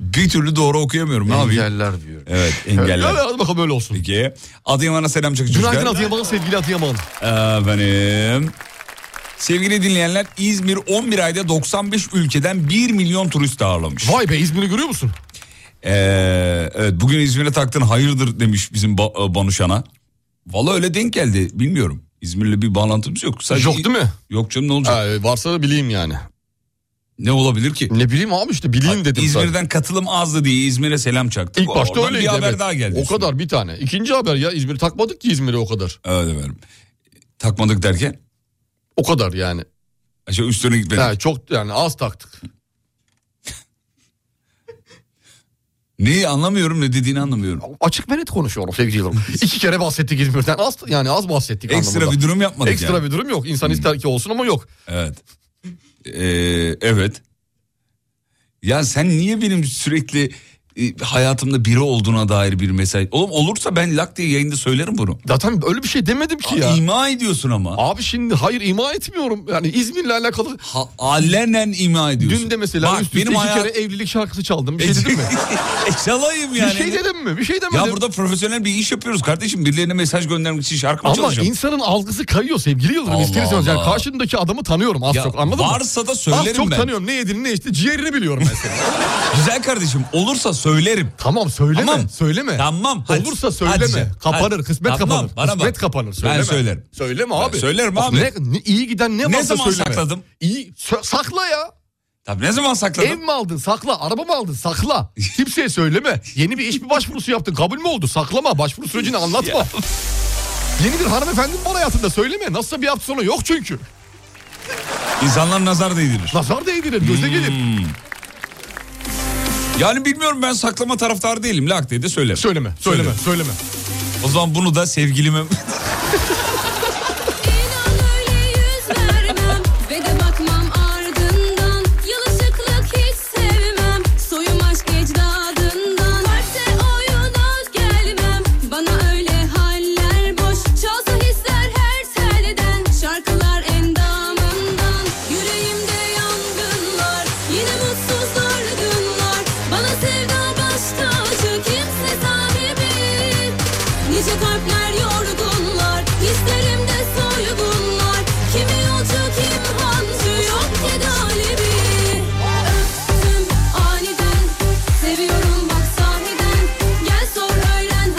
Speaker 2: Bir türlü doğru okuyamıyorum. Ne yapayım?
Speaker 3: Engeller büyür.
Speaker 2: Evet
Speaker 3: Öyle,
Speaker 2: engeller.
Speaker 3: hadi bakalım öyle olsun.
Speaker 2: Peki. Adıyaman'a selam çakı çocuklar.
Speaker 3: Günaydın Adıyaman sevgili Adıyaman.
Speaker 2: Efendim. Sevgili dinleyenler İzmir 11 ayda 95 ülkeden 1 milyon turist ağırlamış.
Speaker 3: Vay be İzmir'i görüyor musun?
Speaker 2: Ee, evet bugün İzmir'e taktın hayırdır demiş bizim ba- e, Banuşan'a. Valla öyle denk geldi bilmiyorum. İzmir'le bir bağlantımız yok. Sadece
Speaker 3: Yok değil mi?
Speaker 2: Yok canım ne olacak?
Speaker 3: Ha, varsa da bileyim yani.
Speaker 2: Ne olabilir ki?
Speaker 3: Ne bileyim abi işte bileyim dedim. sadece.
Speaker 2: İzmir'den katılım azdı diye İzmir'e selam çaktık.
Speaker 3: İlk başta
Speaker 2: Oradan
Speaker 3: öyleydi.
Speaker 2: Bir haber
Speaker 3: evet.
Speaker 2: daha geldi.
Speaker 3: O kadar bir tane. İkinci haber ya İzmir'i takmadık ki İzmir'e o kadar.
Speaker 2: Evet efendim. Takmadık derken?
Speaker 3: O kadar yani.
Speaker 2: Şey üstüne gitmedik.
Speaker 3: Ha, çok yani az taktık.
Speaker 2: Neyi anlamıyorum ne dediğini anlamıyorum.
Speaker 3: Açık ve net konuşuyorum sevgili Yıldırım. İki kere bahsettik İzmir'den. Az, yani az bahsettik
Speaker 2: Ekstra
Speaker 3: anlamında.
Speaker 2: bir durum yapmadık
Speaker 3: Ekstra
Speaker 2: yani. Hmm.
Speaker 3: bir durum yok. İnsan ister ki olsun ama yok.
Speaker 2: Evet. Ee, evet. Ya sen niye benim sürekli e, hayatımda biri olduğuna dair bir mesaj... Oğlum olursa ben lak diye yayında söylerim bunu.
Speaker 3: Zaten öyle bir şey demedim ki ya.
Speaker 2: Ya. İma ediyorsun ama.
Speaker 3: Abi şimdi hayır ima etmiyorum. Yani İzmir'le alakalı
Speaker 2: Ha, alenen ima ediyorsun.
Speaker 3: dün de mesela
Speaker 2: Bak,
Speaker 3: üst üste
Speaker 2: benim
Speaker 3: iki
Speaker 2: hayat-
Speaker 3: kere evlilik şarkısı çaldım. Bir şey dedim mi?
Speaker 2: E, çalayım yani.
Speaker 3: Bir şey dedim mi? Bir şey demedim.
Speaker 2: Ya burada profesyonel bir iş yapıyoruz kardeşim. Birilerine mesaj göndermek için şarkı mı
Speaker 3: Ama
Speaker 2: çalacağım?
Speaker 3: insanın algısı kayıyor sevgili Yıldırım
Speaker 2: Allah
Speaker 3: ister istemez. Yani
Speaker 2: Allah.
Speaker 3: karşındaki adamı tanıyorum az
Speaker 2: Ya
Speaker 3: çok anladın mı?
Speaker 2: varsa da söylerim
Speaker 3: Az çok
Speaker 2: ben.
Speaker 3: tanıyorum ne yediğini ne içtiğini ciğerini biliyorum mesela.
Speaker 2: Güzel kardeşim olursa söylerim.
Speaker 3: tamam söyleme
Speaker 2: Tamam.
Speaker 3: söyleme.
Speaker 2: Tamam. hadi.
Speaker 3: Olursa söyleme.
Speaker 2: Hadi.
Speaker 3: Kapanır
Speaker 2: Hadi.
Speaker 3: kısmet
Speaker 2: Tamam,
Speaker 3: kapanır.
Speaker 2: bana
Speaker 3: kısmet
Speaker 2: bak.
Speaker 3: kapanır söyleme.
Speaker 2: Ben söylerim.
Speaker 3: Söyleme
Speaker 2: Ben
Speaker 3: abi.
Speaker 2: söylerim
Speaker 3: Bak,
Speaker 2: abi.
Speaker 3: Ne, ne, iyi giden ne varsa
Speaker 2: Ne zaman
Speaker 3: söyleme.
Speaker 2: sakladım?
Speaker 3: İyi sö- sakla ya.
Speaker 2: Tabii ne zaman sakladım?
Speaker 3: Ev mi aldın sakla, araba mı aldın sakla. Kimseye söyleme. Yeni bir iş mi başvurusu yaptın kabul mü oldu saklama başvuru sürecini anlatma. Yeni bir hanımefendi mi var hayatında söyleme. Nasılsa bir hafta sonra yok çünkü.
Speaker 2: İnsanlar nazar değdirir. Hmm.
Speaker 3: Nazar değdirir, göze gelir.
Speaker 2: Yani bilmiyorum ben saklama taraftarı değilim. Lak diye de söylerim.
Speaker 3: Söyleme, söyleme, söyleme.
Speaker 2: O zaman bunu da sevgilime...
Speaker 1: vermem ve de bakmam ardından Yalışıklık hiç sevmem Soyum aşk ecdadından Kalpte oyuna gelmem Bana öyle haller boş Çalsa hisler her telden Şarkılar endamından Yüreğimde yangınlar Yine mutsuzlar günler Bana sevda baş tacı Kimse sahibi Nice kalpler yorgunlar hislerimde soygunlar Kimi yolcu kim hancı Yok ki galibi Öptüm aniden Seviyorum bak sahiden Gel sor öğren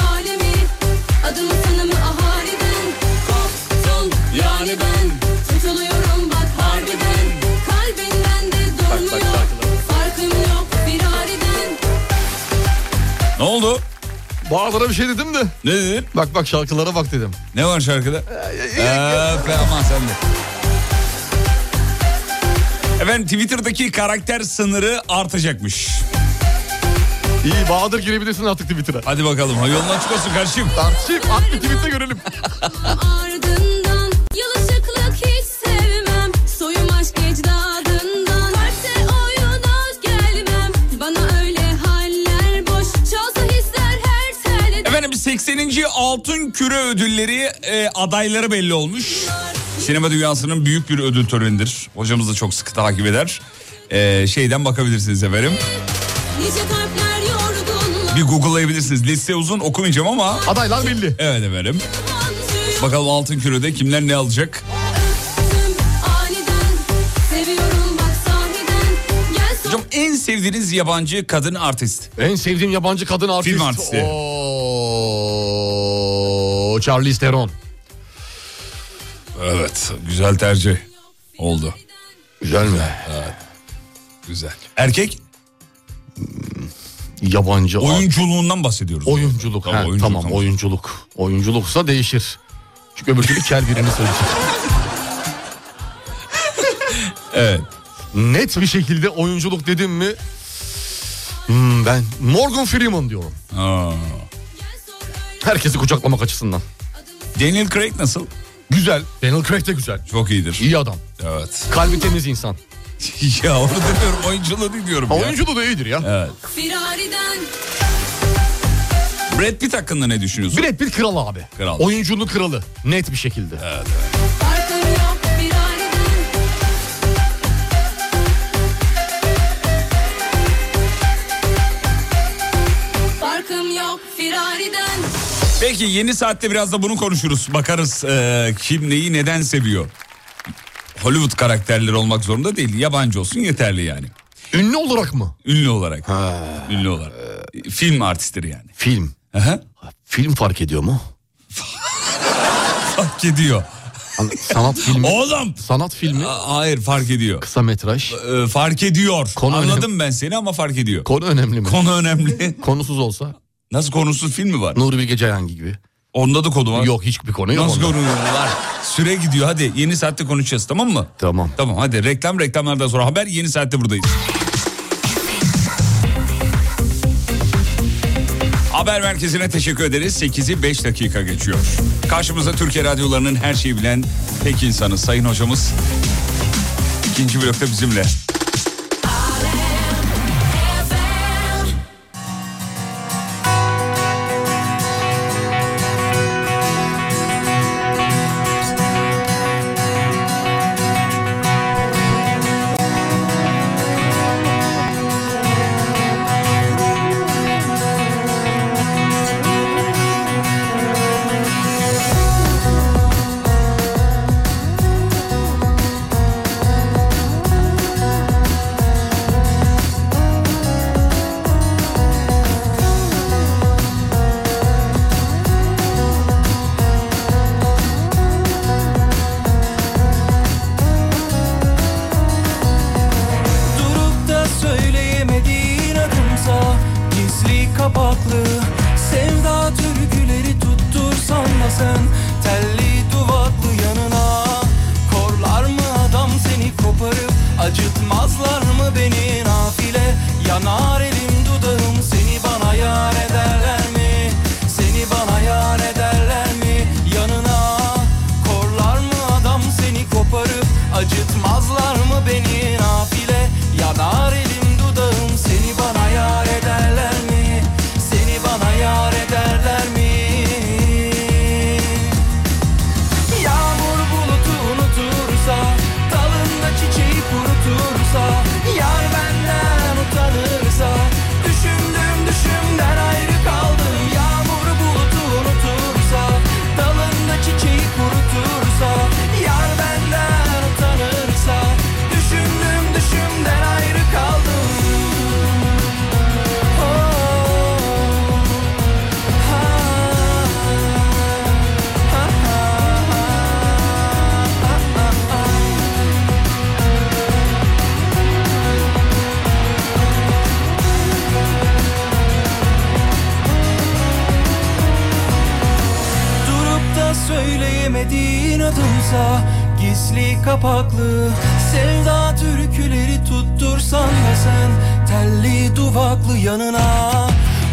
Speaker 2: Ne oldu?
Speaker 3: Bağlara bir şey dedim de.
Speaker 2: Ne dedin?
Speaker 3: Bak bak şarkılara bak dedim. Ee,
Speaker 2: Ne var şarkıda? Ee, Öpe aman sen de. Efendim Twitter'daki karakter sınırı artacakmış.
Speaker 3: İyi Bahadır girebilirsin artık Twitter'a.
Speaker 2: Hadi bakalım ha yolun açık olsun kardeşim.
Speaker 3: Tartışayım at bir tweet'te görelim.
Speaker 12: ardından Yalışıklık hiç sevmem Soyum aşk ecdadından Kalpte oyuna gelmem Bana öyle haller boş Çalsa hisler her telde
Speaker 2: Efendim 80. Altın Küre Ödülleri e, adayları belli olmuş. Sinema dünyasının büyük bir ödül törenidir. Hocamız da çok sıkı takip eder. E, şeyden bakabilirsiniz efendim.
Speaker 12: Nice kalpler yorgunlar
Speaker 2: Bir google'layabilirsiniz. Liste uzun okumayacağım ama.
Speaker 3: Adaylar belli.
Speaker 2: Evet efendim. Bakalım Altın Küre'de kimler ne alacak?
Speaker 12: Aniden Seviyorum bak sahiden Gel son
Speaker 2: Hocam en sevdiğiniz yabancı kadın artist.
Speaker 3: En sevdiğim yabancı kadın artist.
Speaker 2: Film artisti.
Speaker 3: Oo, Charlize Theron.
Speaker 2: Evet güzel tercih oldu.
Speaker 3: Güzel mi?
Speaker 2: Evet. Güzel. Erkek?
Speaker 3: Hmm, Yabancı art-
Speaker 2: Oyunculuğundan bahsediyoruz.
Speaker 3: Oyunculuk.
Speaker 2: Tamam,
Speaker 3: ha,
Speaker 2: oyunculuk,
Speaker 3: tamam
Speaker 2: tamam.
Speaker 3: oyunculuk. Oyunculuksa değişir. Çünkü öbür türlü kel birini seçecek.
Speaker 2: evet.
Speaker 3: Net bir şekilde oyunculuk dedim mi? Hmm, ben Morgan Freeman diyorum.
Speaker 2: Aa.
Speaker 3: Herkesi kucaklamak açısından.
Speaker 2: Daniel Craig nasıl?
Speaker 3: Güzel. Daniel Craig de güzel.
Speaker 2: Çok iyidir.
Speaker 3: İyi adam.
Speaker 2: Evet.
Speaker 3: Kalbi temiz insan.
Speaker 2: ya onu demiyorum oyunculuğu değil diyorum
Speaker 3: Ha,
Speaker 2: ya.
Speaker 3: Oyunculuğu da iyidir ya.
Speaker 2: Evet.
Speaker 12: firariden
Speaker 2: Brad Pitt hakkında ne düşünüyorsun?
Speaker 3: Brad Pitt kral abi.
Speaker 2: Kral.
Speaker 3: Oyunculuğu kralı. Net bir şekilde.
Speaker 2: Evet.
Speaker 12: Farkları yok firariden Farkım yok firariden
Speaker 2: Peki yeni saatte biraz da bunu konuşuruz. Bakarız e, kim neyi neden seviyor. Hollywood karakterleri olmak zorunda değil. Yabancı olsun yeterli yani.
Speaker 3: Ünlü olarak mı?
Speaker 2: Ünlü olarak. Ünlü olarak. E, Film artistleri yani.
Speaker 3: Film.
Speaker 2: Aha.
Speaker 3: Film fark ediyor mu?
Speaker 2: Fark ediyor.
Speaker 3: An- Sanat filmi.
Speaker 2: Oğlum.
Speaker 3: Sanat filmi.
Speaker 2: A- Hayır fark ediyor.
Speaker 3: Kısa metraj.
Speaker 2: E, fark ediyor.
Speaker 3: Konu
Speaker 2: Anladım ben seni ama fark ediyor.
Speaker 3: Konu önemli mi?
Speaker 2: Konu önemli.
Speaker 3: Konusuz olsa.
Speaker 2: Nasıl konusuz film mi var?
Speaker 3: Nuri Bilge Ceylan gibi.
Speaker 2: Onda da konu var.
Speaker 3: Yok hiçbir konu yok.
Speaker 2: Nasıl
Speaker 3: onda.
Speaker 2: konu var? Süre gidiyor hadi yeni saatte konuşacağız tamam mı?
Speaker 3: Tamam.
Speaker 2: Tamam hadi reklam reklamlardan sonra haber yeni saatte buradayız. Haber merkezine teşekkür ederiz. 8'i 5 dakika geçiyor. Karşımızda Türkiye radyolarının her şeyi bilen tek insanı sayın hocamız. ikinci blokta bizimle.
Speaker 5: Durup da söyleyemediğin adımsa Gizli kapaklı sevda türküleri tuttursan da sen Telli duvaklı yanına Korlar mı adam seni koparıp Acıtmazlar mı beni nafile Yanar elim dudağım seni bana yar ederler mi? Seni bana yar ederler mi? Yanına Korlar mı adam seni koparıp Acıtmazlar mı beni nafile Yanar elim dudağım seni bana yar ederler mi Seni bana yar ederler mi Yağmur bulutu unutursa Dalında çiçeği kurutursa Yar benden utanırsa
Speaker 9: Oh.
Speaker 13: Verdiğin adımsa gizli kapaklı Sevda türküleri tuttursan da sen Telli duvaklı yanına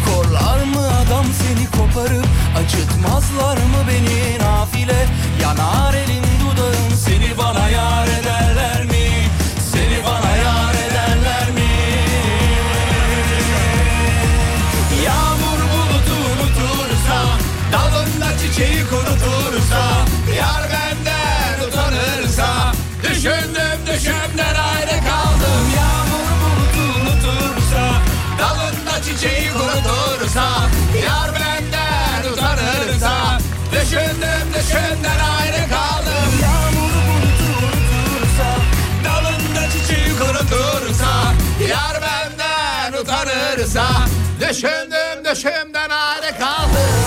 Speaker 13: Korlar mı adam seni koparıp Acıtmazlar mı beni nafile Yanar elin dudağın seni bana yar ederler mi? Seni bana yar ederler mi?
Speaker 9: Yağmur bulutu unutursa Dalında çiçeği kurutursa Yar benden utanırsa Düşündüm düşümden ayrı kaldım Yağmur bulutu unutursa Dalında çiçeği kurutursa Yar benden utanırsa Düşündüm düşümden ayrı kaldım Yağmur bulutu unutursa Dalında çiçeği kurutursa Yar benden utanırsa Düşündüm düşümden ayrı kaldım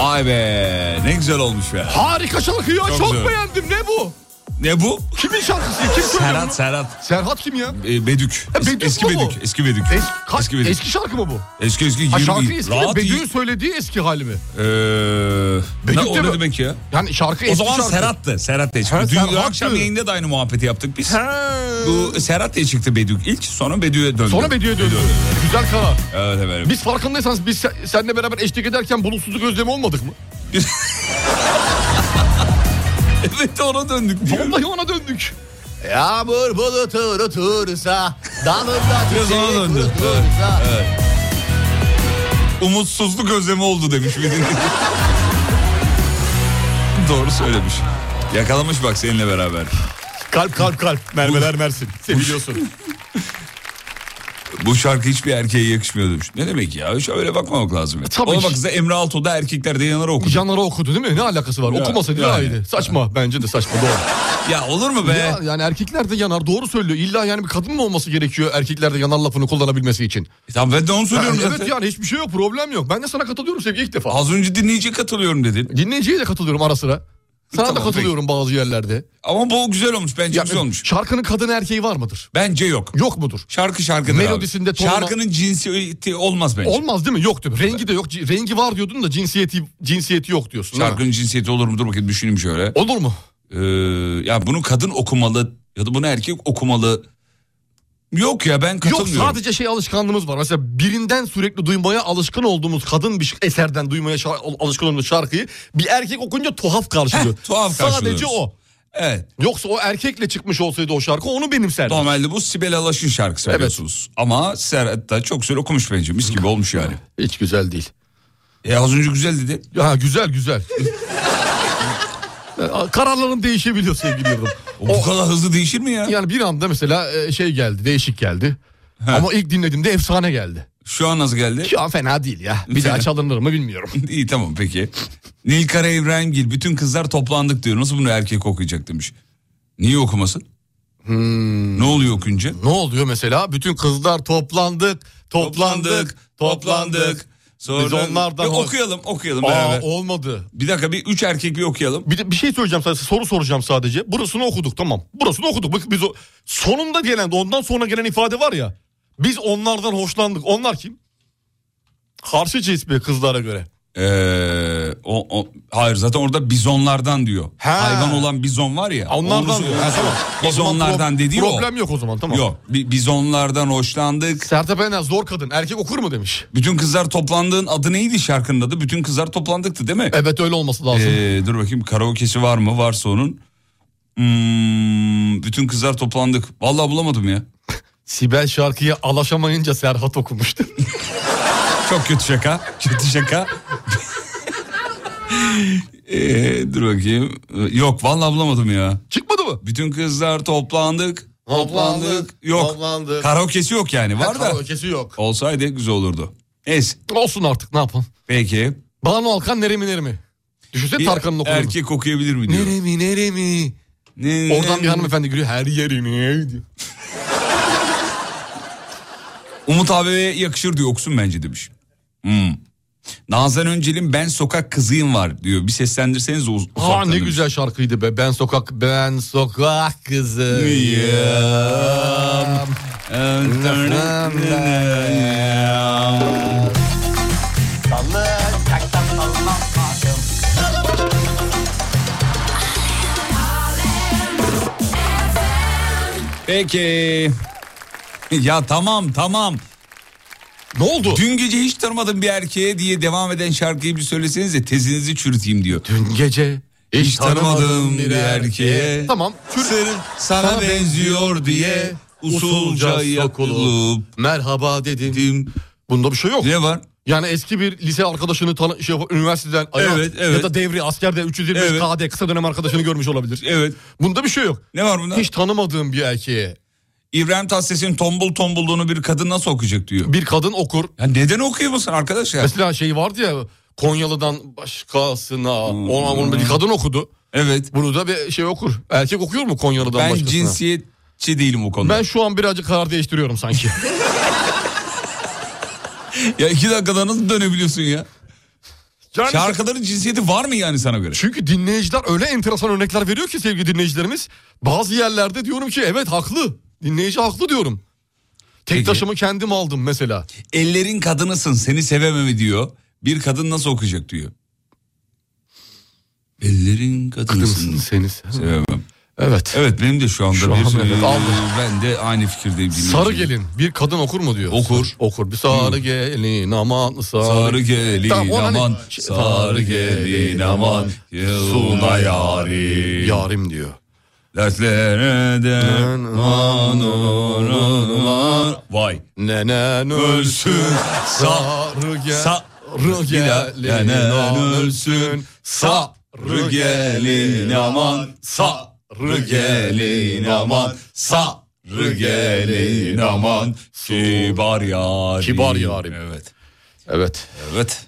Speaker 2: Vay be ne güzel olmuş be.
Speaker 3: Harika şarkı ya. Çok,
Speaker 2: güzel.
Speaker 3: beğendim. Ne bu?
Speaker 2: Ne bu?
Speaker 3: Kimin şarkısı? Kim söylüyor
Speaker 2: Serhat
Speaker 3: bunu?
Speaker 2: Serhat.
Speaker 3: Serhat kim ya?
Speaker 2: E, Bedük.
Speaker 3: Ha, Bedük
Speaker 2: eski
Speaker 3: mu bu?
Speaker 2: Bedük. Eski Bedük.
Speaker 3: Kaç-
Speaker 2: eski Bedük.
Speaker 3: Eski şarkı mı bu?
Speaker 2: Eski eski.
Speaker 3: Ha
Speaker 2: 20
Speaker 3: şarkı eski de
Speaker 2: rahat
Speaker 3: Bedü'nün
Speaker 2: iyi.
Speaker 3: söylediği eski hali mi?
Speaker 2: Ee, ne, o
Speaker 3: de
Speaker 2: ne
Speaker 3: mi?
Speaker 2: demek ya?
Speaker 3: Yani şarkı
Speaker 2: O
Speaker 3: eski
Speaker 2: zaman
Speaker 3: şarkı.
Speaker 2: Serhat'tı. Serhat diye
Speaker 3: Ha,
Speaker 2: çıktı. Dün
Speaker 3: Serhat'tı.
Speaker 2: akşam yayında da aynı muhabbeti yaptık biz. Bu Serhat diye çıktı Bedük. İlk sonra Bedük'e döndü.
Speaker 3: Sonra Bedü'ye döndü. Güzel karar.
Speaker 2: Evet efendim.
Speaker 3: Biz farkındaysanız biz sen- seninle beraber eşlik ederken bulutsuzluk özlemi olmadık mı?
Speaker 2: evet ona döndük.
Speaker 3: Vallahi ona döndük.
Speaker 9: Yağmur bulutu unutursa Dalında
Speaker 2: Biraz ona döndü. Evet, evet. Umutsuzluk özlemi oldu demiş bir dinleyici. Doğru söylemiş. Yakalamış bak seninle beraber.
Speaker 3: Kalp kalp kalp. Mermeler Mersin. Seviliyorsun.
Speaker 2: Bu şarkı hiçbir erkeğe yakışmıyor demiş. Ne demek ya? Hiç öyle bakmamak lazım. Ya.
Speaker 3: E, Tabii
Speaker 2: Ona
Speaker 3: ki.
Speaker 2: bak size Emre Altuğ'da erkeklerde yanara okudu.
Speaker 3: Canlara okudu değil mi? Ne alakası var?
Speaker 2: Ya,
Speaker 3: Okumasaydı
Speaker 2: yani.
Speaker 3: daha iyiydi. Saçma bence de saçma doğru.
Speaker 2: Ya olur mu be?
Speaker 3: Ya, yani erkekler de yanar doğru söylüyor. İlla yani bir kadın mı olması gerekiyor erkeklerde yanar lafını kullanabilmesi için?
Speaker 2: E Tamam ben de onu söylüyorum
Speaker 3: yani,
Speaker 2: zaten.
Speaker 3: Evet yani hiçbir şey yok problem yok. Ben de sana katılıyorum sevgi ilk defa.
Speaker 2: Az önce dinleyiciye katılıyorum dedin.
Speaker 3: Dinleyiciye de katılıyorum ara sıra. Sana da katılıyorum bazı yerlerde.
Speaker 2: Ama bu güzel olmuş bence
Speaker 3: Ya,
Speaker 2: güzel olmuş.
Speaker 3: Şarkının kadın erkeği var mıdır?
Speaker 2: Bence yok.
Speaker 3: Yok mudur?
Speaker 2: Şarkı şarkıdır
Speaker 3: Melodisinde
Speaker 2: abi.
Speaker 3: tonuna-
Speaker 2: Şarkının cinsiyeti olmaz bence.
Speaker 3: Olmaz değil mi? Yok değil mi? Rengi de yok. C- Rengi var diyordun da cinsiyeti cinsiyeti yok diyorsun. değil mi?
Speaker 2: Şarkının cinsiyeti olur mu? Dur bakayım düşüneyim şöyle. Ee,
Speaker 3: Olur mu?
Speaker 2: ya bunu kadın okumalı ya da bunu erkek okumalı. Yok ya ben
Speaker 3: Yok
Speaker 2: katılmıyorum.
Speaker 3: sadece şey alışkanlığımız var. Mesela birinden sürekli duymaya alışkın olduğumuz kadın bir ş- eserden duymaya şa- al- alışkın olduğumuz şarkıyı bir erkek okunca tuhaf karşılıyor.
Speaker 2: Heh, tuhaf
Speaker 3: Sadece
Speaker 2: karşılıyoruz.
Speaker 3: o.
Speaker 2: Evet.
Speaker 3: Yoksa o erkekle çıkmış olsaydı o şarkı onu benimserdi.
Speaker 2: Normalde bu Sibel Alaş'ın şarkısı biliyorsunuz. Ama Serhat da çok güzel okumuş bence. Mis gibi olmuş yani.
Speaker 3: Hiç güzel değil.
Speaker 2: E az önce güzel dedi.
Speaker 3: Ya güzel güzel. Ee, Kararların değişebiliyor sevgili Yıldırım.
Speaker 2: Bu kadar hızlı değişir mi ya?
Speaker 3: Yani bir anda mesela e, şey geldi değişik geldi. Ama ilk dinlediğimde efsane geldi.
Speaker 2: Şu an nasıl geldi?
Speaker 3: Şu an fena değil ya. Bir
Speaker 2: Fena.
Speaker 3: daha çalınır mı bilmiyorum.
Speaker 2: İyi tamam peki. Nilkara İbrahimgil bütün kızlar toplandık diyor. Nasıl bunu erkek okuyacak demiş. Niye okumasın? Ne oluyor okunca?
Speaker 3: Hmm. Ne oluyor mesela? Bütün kızlar toplandık, toplandık, toplandık. Biz onlardan...
Speaker 2: Yok, okuyalım okuyalım
Speaker 3: Aa,
Speaker 2: beraber.
Speaker 3: olmadı.
Speaker 2: Bir dakika bir üç erkek bir okuyalım.
Speaker 3: Bir, de, bir şey söyleyeceğim sadece soru soracağım sadece. Burasını okuduk tamam. Burasını okuduk. Bak biz o sonunda gelen de ondan sonra gelen ifade var ya. Biz onlardan hoşlandık. Onlar kim? Karşı cins mi kızlara göre?
Speaker 2: Ee, o, o- hayır zaten orada bizonlardan diyor.
Speaker 3: Ha.
Speaker 2: Hayvan olan bizon var ya. onu
Speaker 3: Onlardan.
Speaker 2: söylüyor.
Speaker 3: Ha, tamam. O zaman
Speaker 2: Bizonlardan
Speaker 3: pro-
Speaker 2: dediği o.
Speaker 3: Problem yok o zaman tamam.
Speaker 2: Yok bi- bizonlardan hoşlandık.
Speaker 3: Sertab Erener zor kadın erkek okur mu demiş.
Speaker 2: Bütün kızlar toplandığın adı neydi şarkının adı? Bütün kızlar toplandıktı değil mi?
Speaker 3: Evet öyle olması lazım.
Speaker 2: Ee, dur bakayım karaoke'si var mı? Varsa onun. Hmm, bütün kızlar toplandık. Vallahi bulamadım ya.
Speaker 3: Sibel şarkıya alaşamayınca Serhat okumuştu.
Speaker 2: Çok kötü şaka. Kötü şaka. Ee, dur bakayım. Ee, Yok vallahi bulamadım ya.
Speaker 3: Çıkmadı mı?
Speaker 2: Bütün kızlar toplandık. Toplandık. Yok.
Speaker 3: Toplandık.
Speaker 2: Karaoke'si yok yani. Var da.
Speaker 3: Ötesi yok.
Speaker 2: Olsaydı güzel olurdu. Neyse.
Speaker 3: Olsun artık ne yapalım.
Speaker 2: Peki.
Speaker 3: Banu Alkan neremi neremi. Düşünsene
Speaker 2: Bir
Speaker 3: Tarkan'ın okulunu.
Speaker 2: Erkek okuyabilir mi diyor.
Speaker 3: Neremi neremi.
Speaker 2: Ne-
Speaker 3: Oradan bir hanımefendi gülüyor. Her yerimi diyor.
Speaker 2: Umut abiye yakışır diyor okusun bence demiş. Hmm. Nazan Öncel'in Ben Sokak Kızıyım var diyor. Bir seslendirseniz o
Speaker 3: Aa
Speaker 2: uzaktan
Speaker 3: ne
Speaker 2: demiş.
Speaker 3: güzel şarkıydı be. Ben sokak ben sokak kızıyım.
Speaker 2: Yam.
Speaker 10: Sallayacaktan anlamadım
Speaker 2: Peki. Ya tamam tamam. Ne oldu? Dün gece hiç tanımadım bir erkeğe diye devam eden şarkıyı bir söylesenize tezinizi çürüteyim diyor. Dün gece hiç, tanımadım bir erkeğe.
Speaker 3: Tamam.
Speaker 2: Senin sana, benziyor diye usulca yakılıp
Speaker 3: merhaba dedim. Bunda bir şey yok.
Speaker 2: Ne var?
Speaker 3: Yani eski bir lise arkadaşını tanı, şey, üniversiteden ayırt-
Speaker 2: Evet, evet.
Speaker 3: ya da devri askerde 325
Speaker 2: Evet.
Speaker 3: KD kısa dönem arkadaşını görmüş olabilir.
Speaker 2: Evet.
Speaker 3: Bunda bir şey yok.
Speaker 2: Ne var bunda?
Speaker 3: Hiç tanımadığım bir erkeğe.
Speaker 2: İbrahim Tatlıses'in tombul tombulluğunu bir kadın nasıl okuyacak diyor.
Speaker 3: Bir kadın okur.
Speaker 2: Ya neden okuyor musun arkadaş ya?
Speaker 3: Mesela şey vardı ya Konyalı'dan başkasına ona onu bir kadın okudu.
Speaker 2: Hmm. Evet.
Speaker 3: Bunu da bir şey okur. Erkek okuyor mu Konyalı'dan
Speaker 2: Ben
Speaker 3: başkasına?
Speaker 2: cinsiyetçi değilim o konuda.
Speaker 3: Ben şu an birazcık karar değiştiriyorum sanki.
Speaker 2: Ya iki dakikada nasıl dönebiliyorsun ya?
Speaker 3: Yani-
Speaker 2: Şarkıların cinsiyeti var mı yani sana göre?
Speaker 3: Çünkü dinleyiciler öyle enteresan örnekler veriyor ki sevgili dinleyicilerimiz. Bazı yerlerde diyorum ki evet haklı. Dinleyici haklı diyorum. Tek taşımı kendim aldım mesela.
Speaker 2: Ellerin kadınısın seni sevememi diyor. Bir kadın nasıl okuyacak diyor. Ellerin kadınısın.
Speaker 3: seni
Speaker 2: sevemem.
Speaker 3: Evet.
Speaker 2: Evet benim de şu anda
Speaker 3: Şu
Speaker 2: bir
Speaker 3: an evet, aldım.
Speaker 2: ben de aynı fikirdeyim.
Speaker 3: Sarı gelin bir kadın okur mu diyor. Okur. Okur. Bir sarı gelin aman sarı.
Speaker 2: Sarı gelin
Speaker 3: Tamam, o hani-
Speaker 2: aman, sarı gelin aman, yılına yarim.
Speaker 3: Yarim diyor.
Speaker 2: Dertlere de anurun Vay.
Speaker 3: Nenen
Speaker 2: ölsün
Speaker 3: sarı gel-
Speaker 2: sarı
Speaker 3: gelin,
Speaker 2: Nenen
Speaker 3: aman.
Speaker 2: ölsün sarı gelin aman sarı gelin aman sarı gelin aman kibar yarim.
Speaker 3: Kibar yarim.
Speaker 2: Evet.
Speaker 3: Evet.
Speaker 2: Evet.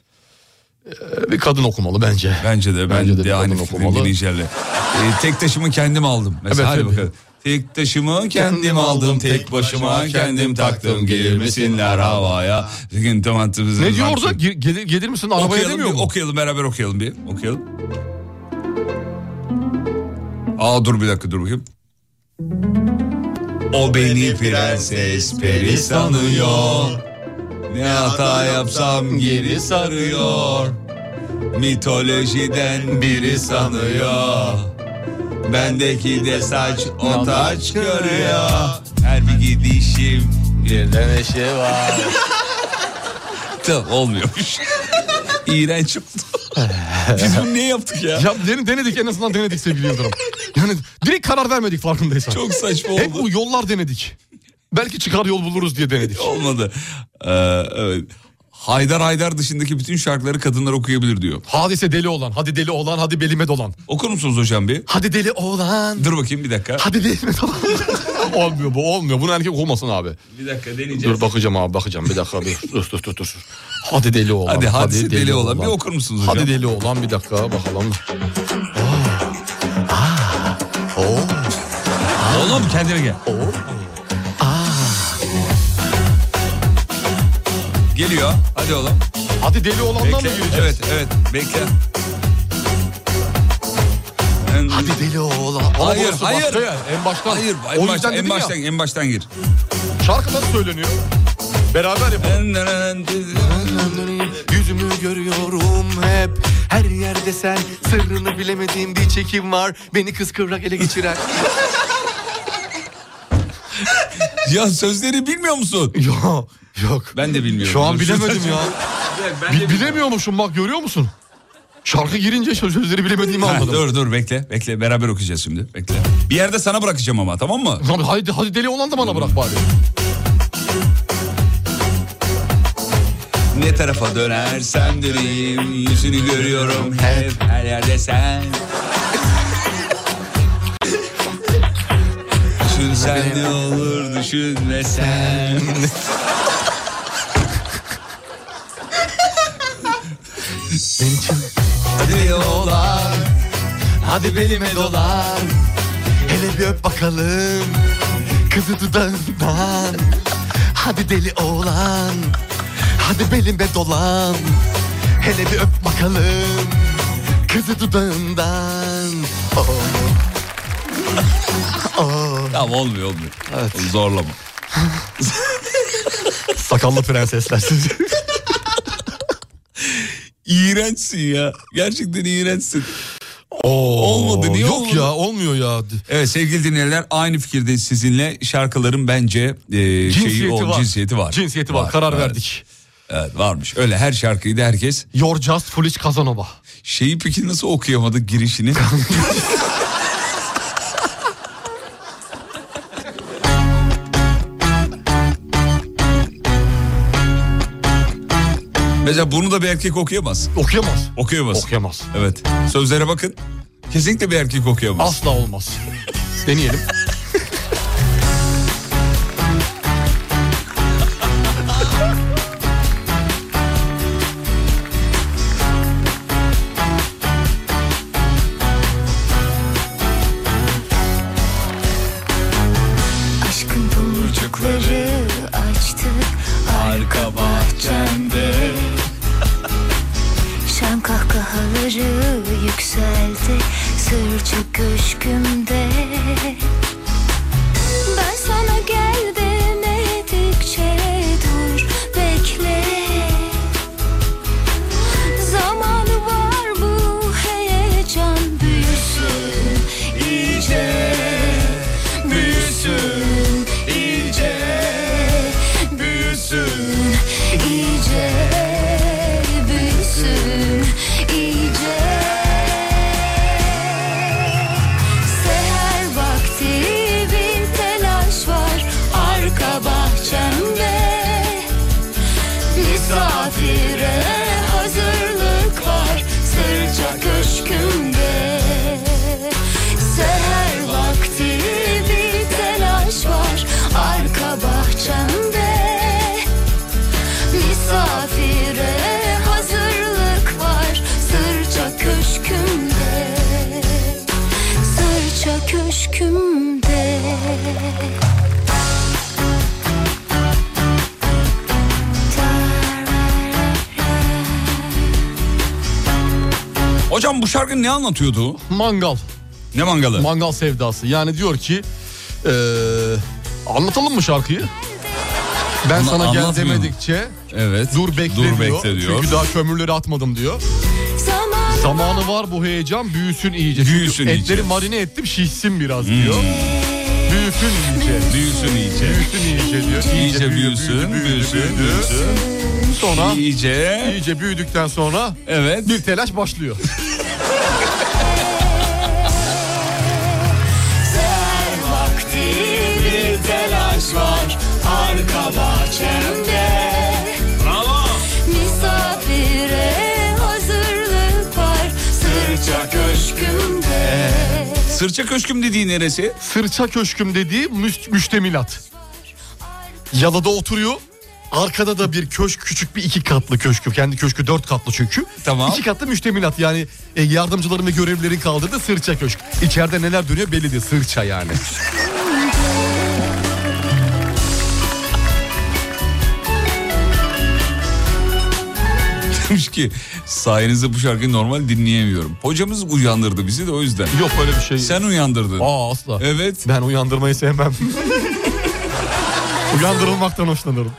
Speaker 3: Ee, Bir kadın okumalı bence.
Speaker 2: Bence de.
Speaker 3: Bence
Speaker 2: Bence
Speaker 3: de
Speaker 2: de,
Speaker 3: bir
Speaker 2: aynı
Speaker 3: kadın
Speaker 2: fikirdeyim
Speaker 3: okumalı.
Speaker 2: dinleyicilerle. Ee, tek taşımı kendim aldım. Mesela
Speaker 3: Evet,
Speaker 2: hadi
Speaker 3: tabii.
Speaker 2: bakalım. Tek taşımı kendim aldım, tek başıma kendim taktım. Girmesinler havaya. Ne
Speaker 3: Ne diyor orada?
Speaker 2: şey.
Speaker 3: Ge- Gelir, gelir misin arabaya
Speaker 2: Okuyalım,
Speaker 3: demiyor
Speaker 2: bir,
Speaker 3: mu?
Speaker 2: okuyalım beraber okuyalım bir. Okuyalım. Aa dur bir dakika dur bakayım. O beni prenses peri sanıyor. Ne hata yapsam geri sarıyor. Mitolojiden biri sanıyor. Bendeki de saç o taç görüyor. Her bir gidişim birden eşe var. tamam olmuyormuş. İğrenç oldu. Biz bunu niye yaptık ya?
Speaker 3: Ya den- denedik en azından denedik sevgili Yıldırım. Yani direkt karar vermedik farkındaysan.
Speaker 2: Çok saçma oldu.
Speaker 3: Hep bu yollar denedik. Belki çıkar yol buluruz diye denedik.
Speaker 2: Olmadı. Ee, evet. Haydar Haydar dışındaki bütün şarkıları kadınlar okuyabilir diyor.
Speaker 3: Hadise deli olan, hadi deli olan, hadi belime dolan.
Speaker 2: Okur musunuz hocam bir?
Speaker 3: Hadi deli olan.
Speaker 2: Dur bakayım bir dakika.
Speaker 3: Hadi belime dolan. olmuyor bu olmuyor. Bunu erkek okumasın abi.
Speaker 2: Bir dakika deneyeceğiz.
Speaker 3: Dur bakacağım abi bakacağım bir dakika bir dur dur dur dur. Hadi deli olan.
Speaker 2: Hadi hadise deli, olan. bir okur musunuz hocam?
Speaker 3: Hadi deli olan bir dakika bakalım.
Speaker 2: Oğlum kendine gel. Geliyor. Hadi oğlum.
Speaker 3: Hadi deli olandan mı gireceğiz?
Speaker 2: Evet evet bekle.
Speaker 3: Hadi deli olan. Ama
Speaker 2: hayır
Speaker 3: burası
Speaker 2: hayır.
Speaker 3: başka yer, En baştan.
Speaker 2: Hayır
Speaker 3: O
Speaker 2: en
Speaker 3: yüzden
Speaker 2: baştan, en
Speaker 3: dedim ya,
Speaker 2: baştan, en baştan gir.
Speaker 3: Şarkı nasıl söyleniyor? Beraber yapalım.
Speaker 10: Yüzümü görüyorum hep her yerde sen Sırrını bilemediğim bir çekim var Beni kıskıvrak ele geçiren
Speaker 2: ya sözleri bilmiyor musun?
Speaker 3: Yok. Yok.
Speaker 2: Ben de bilmiyorum.
Speaker 3: Şu an
Speaker 2: Dur,
Speaker 3: bilemedim ya.
Speaker 2: Ben
Speaker 3: Bi- bilemiyormuşum bak görüyor musun? Şarkı girince şu sözleri bilemediğimi
Speaker 2: Ha,
Speaker 3: anladım.
Speaker 2: dur dur bekle bekle beraber okuyacağız şimdi bekle. Bir yerde sana bırakacağım ama tamam mı?
Speaker 3: Lan hadi, hadi deli olan da bana bırak bari.
Speaker 2: Ne tarafa dönersem döneyim yüzünü görüyorum hep her yerde sen. Düşünsen ne olur düşünmesen.
Speaker 10: Hadi deli olan Hadi belime dolan Hele bir öp bakalım Kızı dudağından Hadi deli oğlan Hadi belime dolan Hele bir öp bakalım Kızı dudağından oh. oh.
Speaker 3: Oh.
Speaker 2: Tamam olmuyor olmuyor. Zorlama.
Speaker 3: Sakallı prensesler.
Speaker 2: İğrençsin ya. Gerçekten iğrençsin. olmadı niye
Speaker 3: yok
Speaker 2: olmadı?
Speaker 3: ya, olmuyor ya.
Speaker 2: Evet sevgili dinleyenler aynı fikirde sizinle şarkıların bence e, şeyi,
Speaker 3: Cinsiyeti
Speaker 2: o,
Speaker 3: var.
Speaker 2: cinsiyeti var.
Speaker 3: Cinsiyeti var, karar
Speaker 2: evet.
Speaker 3: verdik.
Speaker 2: Evet varmış öyle her şarkıyı da herkes.
Speaker 3: Your Just Foolish Casanova.
Speaker 2: Şeyi peki nasıl okuyamadı girişini? Mesela bunu da bir erkek okuyamaz.
Speaker 3: Okuyamaz.
Speaker 2: Okuyamaz.
Speaker 3: Okuyamaz.
Speaker 2: Evet. Sözlere bakın. Kesinlikle bir erkek okuyamaz.
Speaker 3: Asla olmaz. Deneyelim.
Speaker 14: Aşkın tomurcukları açtı
Speaker 9: Arka bahçemde
Speaker 14: Şen kahkahaları yükseldi Sırça köşkümde Ben sana gel demedikçe dur bekle Zamanı var bu heyecan büyüsün iyice Büyüsün iyice Büyüsün iyice Büyüsün iyice Seher vakti bir telaş var Arka bahçemde Misafire hazırlık var Sırca köşkümde Seher vakti bir telaş var Arka bahçemde Misafire hazırlık var Sırca köşkümde Sırca köşkümde
Speaker 2: Hocam bu şarkı ne anlatıyordu?
Speaker 3: Mangal.
Speaker 2: Ne mangalı?
Speaker 3: Mangal sevdası. Yani diyor ki... eee, anlatalım mı şarkıyı? Ben
Speaker 2: Anla-
Speaker 3: sana gel
Speaker 2: anlatmayalım.
Speaker 3: demedikçe
Speaker 2: Evet.
Speaker 3: dur bekle,
Speaker 2: Dur
Speaker 3: diyor.
Speaker 2: bekle diyor.
Speaker 3: Çünkü daha kömürleri atmadım diyor. Zamanı var bu heyecan büyüsün iyice. Çünkü
Speaker 2: Büyüsün
Speaker 3: etleri
Speaker 2: iyice. Hmm.
Speaker 3: marine ettim şişsin biraz diyor. Büyüsün iyice.
Speaker 2: Büyüsün iyice.
Speaker 3: Büyüsün iyice diyor.
Speaker 2: İyice büyüsün, büyüsün, büyüsün.
Speaker 3: Sonra
Speaker 2: İyice.
Speaker 3: iyice büyüdükten sonra
Speaker 2: evet
Speaker 3: bir telaş başlıyor.
Speaker 14: Seher vakti bir telaş var Arka bahçemde Bravo Misafire hazırlık var Sırça köşkümde
Speaker 2: Ee, Sırça köşküm dediği neresi?
Speaker 3: Sırça köşküm dediği müst- müştemilat. Yalıda oturuyor. Arkada da bir köşk küçük bir iki katlı köşkü. Kendi köşkü dört katlı çünkü.
Speaker 2: Tamam.
Speaker 3: İki katlı müştemilat yani e, yardımcıların ve görevlilerin kaldırdığı sırça köşk. İçeride neler dönüyor belli değil sırça yani.
Speaker 2: Demiş ki sayenizde bu şarkıyı normal dinleyemiyorum. Hocamız uyandırdı bizi de o yüzden.
Speaker 3: Yok öyle bir şey.
Speaker 2: Sen uyandırdın.
Speaker 3: Aa asla.
Speaker 2: Evet.
Speaker 3: Ben uyandırmayı sevmem. Uyandırılmaktan hoşlanırım.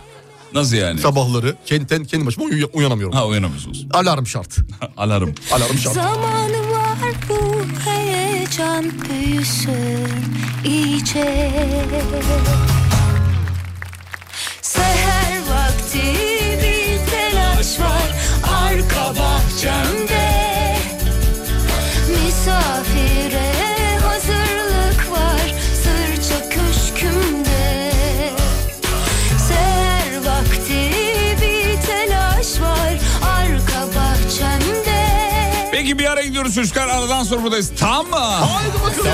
Speaker 2: Nasıl yani?
Speaker 3: Sabahları kendi, kendi başıma uyu- uyanamıyorum.
Speaker 2: Ha uyanamıyorsunuz.
Speaker 3: Alarm şart.
Speaker 2: Alarm.
Speaker 3: Alarm şart.
Speaker 14: Zamanı var bu heyecan büyüsün iyice Seher vakti bir telaş var arka bahçemde Misafire hazırlık var sırça köşkümde Seher vakti bir telaş var arka bahçemde
Speaker 2: Peki bir ara gidiyoruz çocuklar. Aradan sonra buradayız. Tamam mı? Haydi bakalım.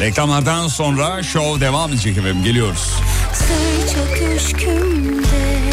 Speaker 2: Reklamlardan sonra show devam edecek efendim. Geliyoruz.
Speaker 14: Sırça köşkümde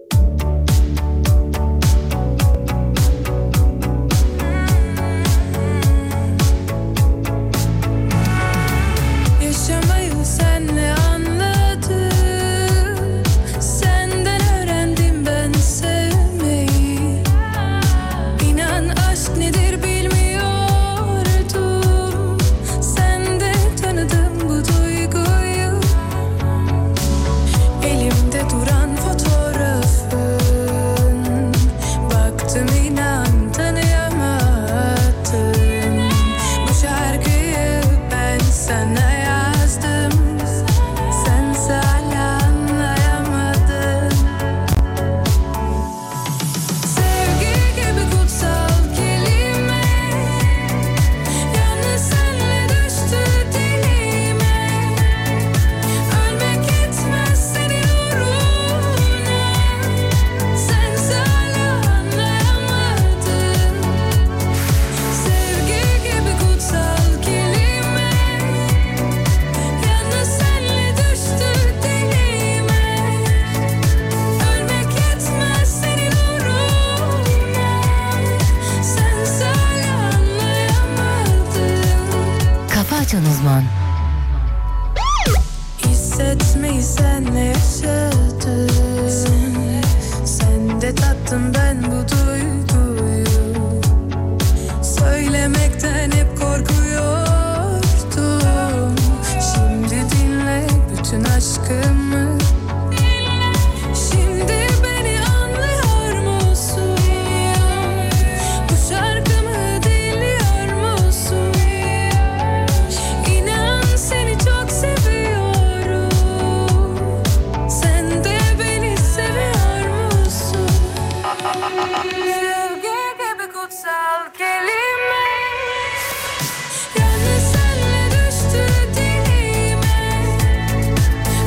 Speaker 6: Kafaçan Uzman.
Speaker 15: Hissetmeyi senle yaşadım Sen de tattım ben bu duyguyu Söylemekten hep korkuyordum Şimdi dinle bütün aşkımı Şimdi beni anlıyor musun? Bu şarkımı dinliyor musun? İnan seni çok seviyorum Sen de beni seviyor musun? Sevgi gibi kutsal kelime Yalnız senle düştü dilime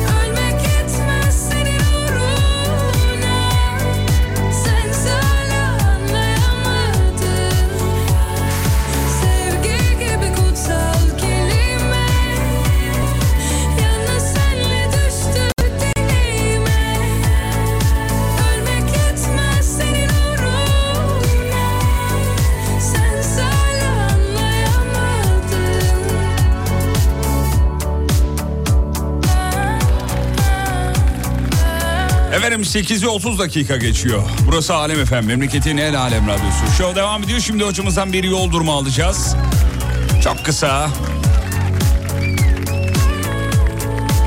Speaker 15: Ölmek yetmez senin uğruna Sen hala anlayamadın Sevgi gibi kutsal kelime Yalnız senle düştü dilime Ölmek yetmez senin uğruna Sen hala anlayamadın
Speaker 2: Efendim 8'i 30 dakika geçiyor. Burası Alem Efem, memleketin en alem radyosu. Show devam ediyor. Şimdi hocamızdan bir yol durumu alacağız. Çok kısa.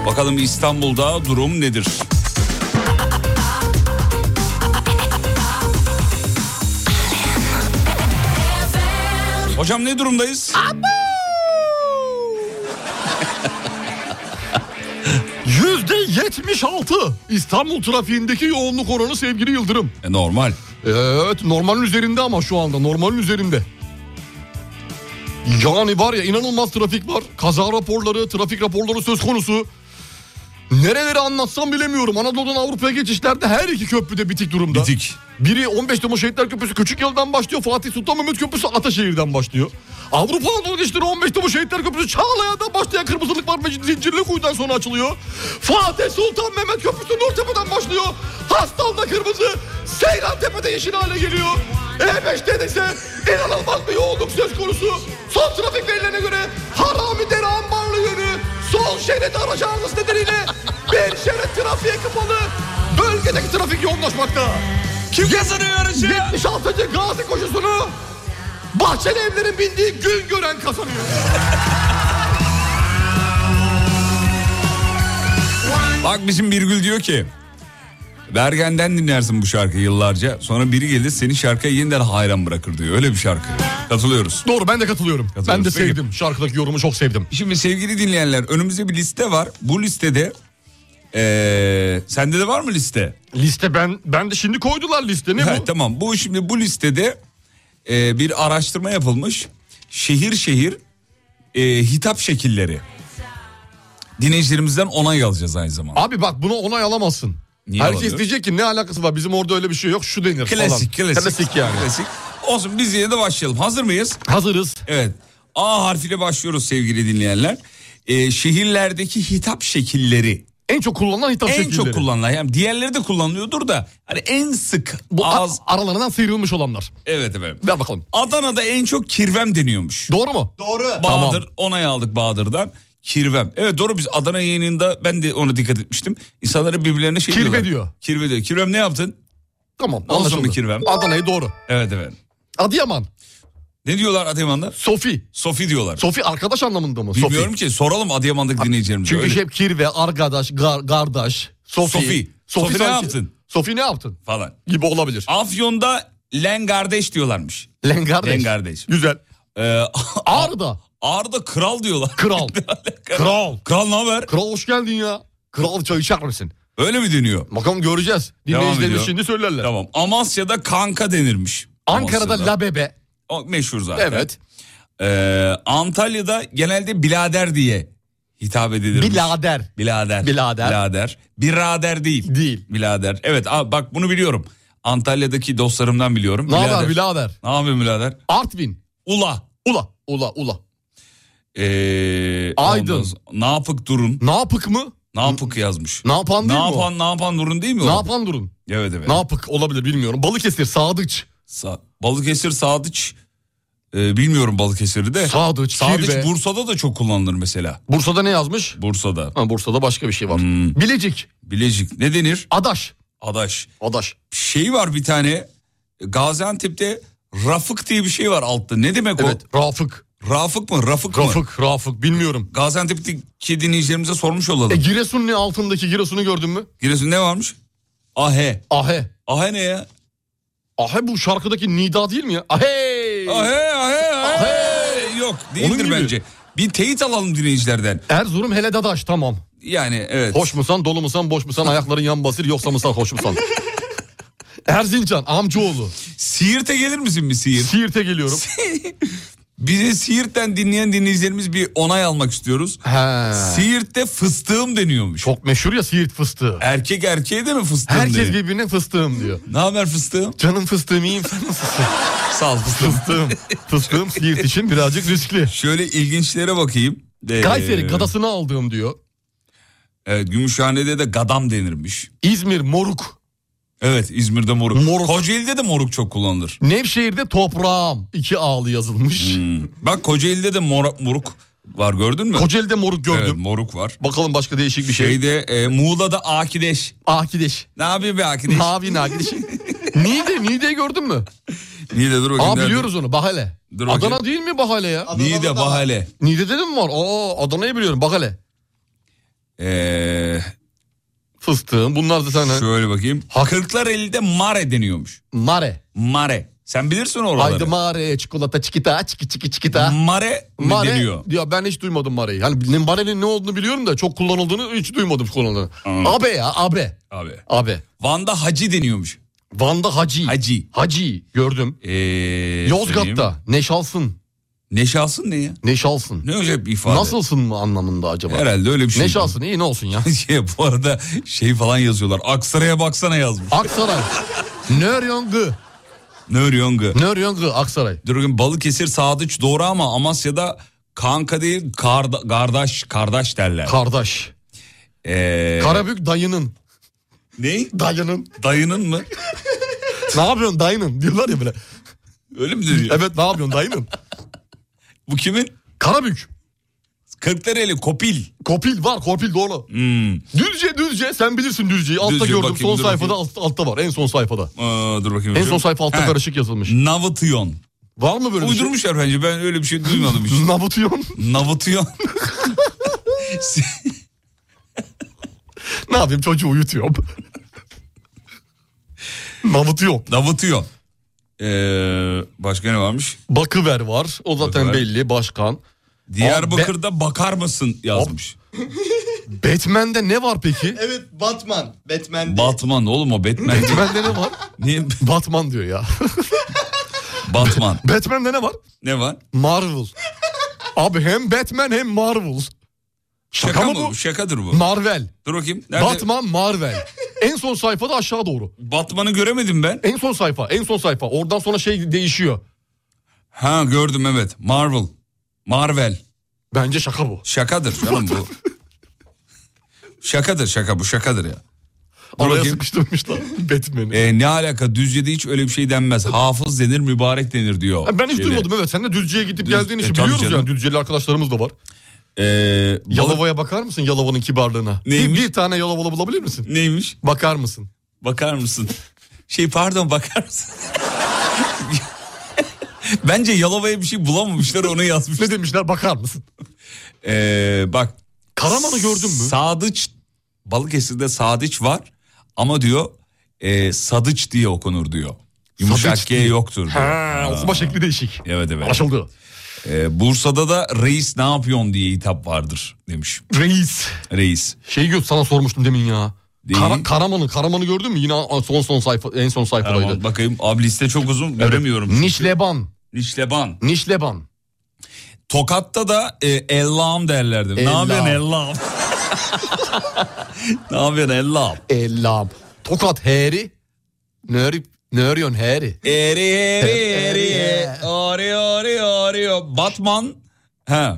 Speaker 2: Bakalım İstanbul'da durum nedir? Hocam ne durumdayız?
Speaker 3: Yüzde yetmiş İstanbul trafiğindeki yoğunluk oranı sevgili Yıldırım. E,
Speaker 2: normal.
Speaker 3: Evet normalin üzerinde ama şu anda normalin üzerinde. Yani var ya inanılmaz trafik var. Kaza raporları, trafik raporları söz konusu. Nereleri anlatsam bilemiyorum. Anadolu'dan Avrupa'ya geçişlerde her iki köprüde bitik durumda. Bitik. Biri 15 Temmuz Şehitler Köprüsü Küçük Yıl'dan başlıyor. Fatih Sultan Mehmet Köprüsü Ataşehir'den başlıyor. Avrupa Anadolu geçişleri 15 Temmuz Şehitler Köprüsü Çağlayan'dan başlayan Kırmızılık var ve Zincirli Kuyu'dan sonra açılıyor. Fatih Sultan Mehmet Köprüsü Nurtepe'den başlıyor. Hastal'da kırmızı, Seyran Tepe'de yeşil hale geliyor. E5'te de ise inanılmaz bir yoğunluk söz konusu. Son trafik verilerine göre Harami Dere Ambarlı yönü sol şerit araç arızası nedeniyle bir şerit trafiğe kapalı. Bölgedeki trafik yoğunlaşmakta. Kim kazanıyor yarışı? 76. Gazi koşusunu Bahçeli evlerin bindiği gün gören kazanıyor.
Speaker 2: Bak bizim Birgül diyor ki Bergen'den dinlersin bu şarkıyı yıllarca. Sonra biri gelir seni şarkıya yeniden hayran bırakır diyor. Öyle bir şarkı. Katılıyoruz.
Speaker 3: Doğru ben de katılıyorum. Ben de
Speaker 2: Peki.
Speaker 3: sevdim. Şarkıdaki yorumu çok sevdim.
Speaker 2: Şimdi sevgili dinleyenler önümüzde bir liste var. Bu listede eee, sende de var mı liste?
Speaker 3: Liste ben ben de şimdi koydular liste ne
Speaker 2: bu? Tamam bu şimdi bu listede eee, bir araştırma yapılmış. Şehir şehir eee, hitap şekilleri. Dinleyicilerimizden onay alacağız aynı zamanda.
Speaker 3: Abi bak bunu onay alamazsın.
Speaker 2: Niye
Speaker 3: Herkes
Speaker 2: alamıyor?
Speaker 3: diyecek ki ne alakası var bizim orada öyle bir şey yok şu denir
Speaker 2: Klasik,
Speaker 3: falan.
Speaker 2: klasik.
Speaker 3: yani.
Speaker 2: Klasik. Olsun biz yine de başlayalım. Hazır mıyız?
Speaker 3: Hazırız.
Speaker 2: Evet. A harfiyle başlıyoruz sevgili dinleyenler. Ee, şehirlerdeki hitap şekilleri.
Speaker 3: En çok kullanılan hitap
Speaker 2: en
Speaker 3: şekilleri.
Speaker 2: çok kullanılan. Yani diğerleri de kullanılıyordur da. Hani en sık.
Speaker 3: Bu az aralarından sıyrılmış olanlar.
Speaker 2: Evet efendim.
Speaker 3: Ver bakalım.
Speaker 2: Adana'da en çok kirvem deniyormuş.
Speaker 3: Doğru mu?
Speaker 2: Doğru. Bahadır onay aldık Bahadır'dan. Kirvem. Evet doğru biz Adana yayınında ben de ona dikkat etmiştim. İnsanları birbirlerine şey
Speaker 3: Kirve
Speaker 2: diyorlar.
Speaker 3: diyor.
Speaker 2: Kirve diyor. Kirvem ne yaptın?
Speaker 3: Tamam
Speaker 2: Olsun
Speaker 3: anlaşıldı.
Speaker 2: mu kirvem?
Speaker 3: Adana'yı doğru.
Speaker 2: Evet evet.
Speaker 3: Adıyaman.
Speaker 2: Ne diyorlar Adıyaman'da?
Speaker 3: Sofi.
Speaker 2: Sofi diyorlar.
Speaker 3: Sofi arkadaş anlamında mı? Sofi.
Speaker 2: Bilmiyorum ki soralım Adıyaman'daki dinleyicilerimize.
Speaker 3: Çünkü
Speaker 2: Öyle.
Speaker 3: hep kirve, arkadaş, gar, kardeş, Sofi.
Speaker 2: Sofi. Sofi ne yaptın?
Speaker 3: Sofi ne yaptın?
Speaker 2: falan.
Speaker 3: Gibi olabilir.
Speaker 2: Afyon'da lengardeş diyorlarmış.
Speaker 3: Lengardeş.
Speaker 2: Lengardeş.
Speaker 3: Güzel.
Speaker 2: Ee,
Speaker 3: Ağrı'da.
Speaker 2: Ağrı'da kral diyorlar.
Speaker 3: Kral. Kral.
Speaker 2: Kral ne haber?
Speaker 3: Kral hoş geldin ya. Kral çay içer misin?
Speaker 2: Öyle mi deniyor?
Speaker 3: Bakalım göreceğiz.
Speaker 2: Devam
Speaker 3: Dinleyicilerimiz
Speaker 2: ediyor.
Speaker 3: şimdi söylerler.
Speaker 2: Tamam. Amasya'da kanka denirmiş.
Speaker 3: Ankara'da
Speaker 2: Amasya'da.
Speaker 3: Labebe.
Speaker 2: O meşhur zaten.
Speaker 3: Evet.
Speaker 2: Ee, Antalya'da genelde bilader diye hitap edilirmiş.
Speaker 3: Bilader.
Speaker 2: Bilader.
Speaker 3: Bilader.
Speaker 2: Bilader. Birader değil.
Speaker 3: Değil.
Speaker 2: Bilader. Evet aa, bak bunu biliyorum. Antalya'daki dostlarımdan biliyorum.
Speaker 3: Ne haber birader?
Speaker 2: Ne yapıyorsun birader?
Speaker 3: Artvin.
Speaker 2: Ula.
Speaker 3: Ula. Ula. Ula.
Speaker 2: Ee,
Speaker 3: Aydın.
Speaker 2: ondan sonra- Ne yapık durun.
Speaker 3: Ne yapık mı?
Speaker 2: Ne yapık yazmış.
Speaker 3: Ne yapan
Speaker 2: ne
Speaker 3: değil mi o?
Speaker 2: yapan, ne yapan durun değil mi
Speaker 3: Ne
Speaker 2: o?
Speaker 3: yapan durun.
Speaker 2: Evet evet.
Speaker 3: Ne yapık olabilir bilmiyorum. Balıkesir, Sadıç.
Speaker 2: Sa- Balıkesir Sadıç. Ee, bilmiyorum Balıkesir'i de.
Speaker 3: Sadıç, Kirve.
Speaker 2: Bursa'da da çok kullanılır mesela.
Speaker 3: Bursa'da ne yazmış?
Speaker 2: Bursa'da. Hmm.
Speaker 3: Ha, Bursa'da başka bir şey var. Bilecik.
Speaker 2: Bilecik. Ne denir?
Speaker 3: Adaş.
Speaker 2: Adaş.
Speaker 3: Adaş.
Speaker 2: Şey var bir tane Gaziantep'te Rafık diye bir şey var altta. Ne demek o? Evet
Speaker 3: Rafık.
Speaker 2: Rafık mı? Rafık, mı?
Speaker 3: Rafık, Rafık bilmiyorum.
Speaker 2: Gaziantep'teki dinleyicilerimize sormuş olalım.
Speaker 3: E, Giresun ne altındaki Giresun'u gördün mü?
Speaker 2: Giresun ne varmış? Ahe.
Speaker 3: Ahe.
Speaker 2: Ahe ne ya?
Speaker 3: Ahe bu şarkıdaki nida değil mi ya? Ahe!
Speaker 2: Ahe ahe ahe. Yok değildir
Speaker 3: gibi.
Speaker 2: bence. Bir teyit alalım dinleyicilerden.
Speaker 3: Erzurum hele dadaş tamam.
Speaker 2: Yani evet.
Speaker 3: Hoş musan, dolu musan, boş musan, ayakların yan basır, yoksa mısan, hoş musan. Erzincan, amcaoğlu.
Speaker 2: Siirt'e gelir misin bir Siirt?
Speaker 3: Siirt'e geliyorum.
Speaker 2: Bizi Siirt'ten dinleyen dinleyicilerimiz bir onay almak istiyoruz.
Speaker 3: He.
Speaker 2: Siirt'te fıstığım deniyormuş.
Speaker 3: Çok meşhur ya Siirt fıstığı.
Speaker 2: Erkek erkeğe de mi fıstığım
Speaker 3: Herkes
Speaker 2: deniyor?
Speaker 3: birbirine fıstığım diyor.
Speaker 2: Ne haber fıstığım?
Speaker 3: Canım fıstığım iyiyim sen nasılsın?
Speaker 2: Sağ ol fıstığım.
Speaker 3: fıstığım. Fıstığım Siirt için birazcık riskli.
Speaker 2: Şöyle ilginçlere bakayım. Ee,
Speaker 3: Kayseri gadasını aldığım diyor.
Speaker 2: Evet Gümüşhane'de de gadam denirmiş.
Speaker 3: İzmir moruk.
Speaker 2: Evet İzmir'de moruk.
Speaker 3: Moruk.
Speaker 2: Kocaeli'de de moruk çok kullanılır.
Speaker 3: Nevşehir'de toprağım. iki ağlı yazılmış.
Speaker 2: Hmm. Bak Kocaeli'de de mora, moruk var gördün mü?
Speaker 3: Kocaeli'de moruk gördüm.
Speaker 2: Evet moruk var.
Speaker 3: Bakalım başka değişik bir şey.
Speaker 2: Şeyde e, Muğla'da akideş.
Speaker 3: Akideş.
Speaker 2: Ne yapıyor be akideş?
Speaker 3: Ne yapayım Akideş? Nide, Nide'yi gördün mü?
Speaker 2: Nide dur bakayım.
Speaker 3: Aa
Speaker 2: nerede?
Speaker 3: biliyoruz onu Bahale.
Speaker 2: Dur
Speaker 3: Adana
Speaker 2: bakayım.
Speaker 3: değil mi Bahale ya?
Speaker 2: Nide Bahale.
Speaker 3: Nide'de de mi var? Aa Adana'yı biliyorum Bahale.
Speaker 2: Ee,
Speaker 3: Fıstığım bunlar da sana.
Speaker 2: şöyle bakayım. Kırklareli'de mare deniyormuş.
Speaker 3: Mare.
Speaker 2: Mare. Sen bilirsin oraları.
Speaker 3: Haydi mare çikolata çikita çiki çiki çikita.
Speaker 2: Mare mi
Speaker 3: Mare
Speaker 2: deniyor?
Speaker 3: Ya ben hiç duymadım mareyi. Hani ne- marenin ne olduğunu biliyorum da çok kullanıldığını hiç duymadım kullanıldığını. Abe ya abe.
Speaker 2: Abi.
Speaker 3: Abe.
Speaker 2: Van'da hacı deniyormuş.
Speaker 3: Van'da Hacı.
Speaker 2: Hacı.
Speaker 3: Hacı gördüm.
Speaker 2: Ee, söyleyeyim.
Speaker 3: Yozgat'ta Neşalsın.
Speaker 2: Neşalsın ne ya?
Speaker 3: Neşalsın.
Speaker 2: Ne öyle bir ifade?
Speaker 3: Nasılsın mı anlamında acaba?
Speaker 2: Herhalde öyle bir şey.
Speaker 3: Neşalsın iyi ne olsun ya.
Speaker 2: Şey, bu arada şey falan yazıyorlar. Aksaray'a baksana yazmış.
Speaker 3: Aksaray. Nöryongı.
Speaker 2: Nöryong'u.
Speaker 3: Nöryongı Aksaray.
Speaker 2: Dur bakayım, Balıkesir Sadıç doğru ama Amasya'da kanka değil karda- kardeş kardeş derler.
Speaker 3: Kardeş.
Speaker 2: Ee,
Speaker 3: Karabük dayının.
Speaker 2: ne?
Speaker 3: Dayının.
Speaker 2: Dayının mı?
Speaker 3: ne yapıyorsun dayının diyorlar ya böyle.
Speaker 2: Öyle mi diyor?
Speaker 3: Evet ne yapıyorsun dayının?
Speaker 2: Bu kimin?
Speaker 3: Karabük.
Speaker 2: Kırklareli Kopil.
Speaker 3: Kopil var kopil doğru.
Speaker 2: Hmm.
Speaker 3: Düzce düzce sen bilirsin düzceyi. Altta
Speaker 2: Düzce,
Speaker 3: gördüm
Speaker 2: bakayım,
Speaker 3: son
Speaker 2: dur
Speaker 3: sayfada
Speaker 2: bakayım.
Speaker 3: alt- altta var en son sayfada.
Speaker 2: Aa, Ee, dur bakayım.
Speaker 3: En son sayfa altta
Speaker 2: He,
Speaker 3: karışık yazılmış.
Speaker 2: Navıtyon.
Speaker 3: Var mı böyle bir
Speaker 2: Uydurmuşlar bence ben öyle bir şey duymadım hiç.
Speaker 3: şey? Nabutyon.
Speaker 2: Navıtyon.
Speaker 3: ne yapayım çocuğu uyutuyorum. Nabutyon.
Speaker 2: Navıtyon. Ee, başka ne varmış?
Speaker 3: Bakıver var. O zaten
Speaker 2: Bakıver.
Speaker 3: belli başkan.
Speaker 2: Diyarbakır'da bakar mısın yazmış.
Speaker 3: Batman'de ne var peki?
Speaker 16: Evet Batman. Batman değil.
Speaker 2: Batman oğlum o Batman. değil.
Speaker 3: Batman'de ne var?
Speaker 2: Niye
Speaker 3: Batman diyor ya.
Speaker 2: Batman?
Speaker 3: Batman'de ne var?
Speaker 2: Ne var?
Speaker 3: Marvel. Abi hem Batman hem Marvel. Şaka,
Speaker 2: Şaka
Speaker 3: mı
Speaker 2: mı
Speaker 3: bu?
Speaker 2: bu? Şakadır bu.
Speaker 3: Marvel.
Speaker 2: Dur bakayım. Nerede?
Speaker 3: Batman Marvel. en son sayfada aşağı doğru.
Speaker 2: Batman'ı göremedim ben.
Speaker 3: En son sayfa, en son sayfa. Oradan sonra şey değişiyor.
Speaker 2: Ha gördüm evet. Marvel. Marvel.
Speaker 3: Bence şaka bu.
Speaker 2: Şakadır canım bu. şakadır şaka bu şakadır ya. Dur
Speaker 3: Araya
Speaker 2: bakayım.
Speaker 3: sıkıştırmışlar Batman'i.
Speaker 2: Ee, ne alaka Düzce'de hiç öyle bir şey denmez. Hafız denir mübarek denir diyor.
Speaker 3: Ha, ben hiç
Speaker 2: Şeyde.
Speaker 3: duymadım evet. Sen de Düzce'ye gidip
Speaker 2: Düz-
Speaker 3: geldiğin
Speaker 2: e,
Speaker 3: işi
Speaker 2: tabii
Speaker 3: biliyoruz
Speaker 2: canım.
Speaker 3: yani. Düzce'li arkadaşlarımız da var.
Speaker 2: Ee, balık-
Speaker 3: Yalova'ya bakar mısın Yalova'nın kibarlığına? Bir-
Speaker 2: Neymiş?
Speaker 3: Bir, tane Yalova bulabilir misin?
Speaker 2: Neymiş?
Speaker 3: Bakar mısın?
Speaker 2: Bakar mısın? Şey pardon bakar mısın? Bence Yalova'ya bir şey bulamamışlar onu yazmış.
Speaker 3: Ne demişler bakar mısın?
Speaker 2: Ee, bak.
Speaker 3: Karaman'ı gördün mü?
Speaker 2: Sadıç. Balıkesir'de Sadıç var ama diyor e, Sadıç diye okunur diyor. Yumuşak
Speaker 3: Sadıç
Speaker 2: G
Speaker 3: diye.
Speaker 2: yoktur diyor.
Speaker 3: Ha, okuma şekli değişik.
Speaker 2: Evet evet.
Speaker 3: Anlaşıldı.
Speaker 2: Ee, Bursa'da da reis ne yapıyorsun diye hitap vardır demiş
Speaker 3: Reis.
Speaker 2: reis.
Speaker 3: Şeyi gör sana sormuştum demin ya.
Speaker 2: Neyi?
Speaker 3: Kara- Karaman'ı, Karaman'ı gördün mü? Yine a- son son sayfa, en son sayfadaydı.
Speaker 2: Tamam, bakayım abi liste çok uzun göremiyorum.
Speaker 3: Nişleban.
Speaker 2: Nişleban.
Speaker 3: Nişleban.
Speaker 2: Tokat'ta da e, Ellam derlerdi. Ne
Speaker 3: Ellam.
Speaker 2: yapıyorsun Ellam? ne yapıyorsun Ellam?
Speaker 3: Ellam. Tokat heri. Nörip. Nöryon heri.
Speaker 2: Eri eri eri eri. Ori ori ori. o. Batman. He.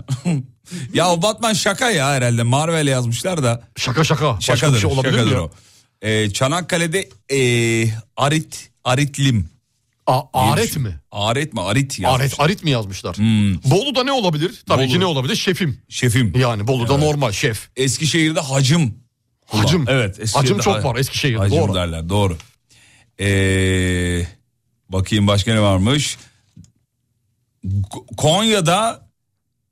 Speaker 2: ya o Batman şaka ya herhalde. Marvel yazmışlar da.
Speaker 3: Şaka şaka. Başka
Speaker 2: Şakadır.
Speaker 3: bir şey olabilir mi
Speaker 2: şakadır
Speaker 3: ya?
Speaker 2: o. E, Çanakkale'de e, Arit Aritlim.
Speaker 3: A- aret mi?
Speaker 2: Aret mi? Arit yazmış. Hmm.
Speaker 3: Aret, arit mi yazmışlar? Bolu'da ne olabilir? Tabii ki ne olabilir? Şefim.
Speaker 2: Şefim.
Speaker 3: Yani Bolu'da normal şef.
Speaker 2: Eskişehir'de hacım. Ulan,
Speaker 3: Hacım.
Speaker 2: Evet.
Speaker 3: Hacım
Speaker 2: Eskişehir'de
Speaker 3: çok
Speaker 2: ha-
Speaker 3: var Eskişehir'de.
Speaker 2: Hacım
Speaker 3: doğru.
Speaker 2: derler doğru. Ee, bakayım başka ne varmış. Ko- Konya'da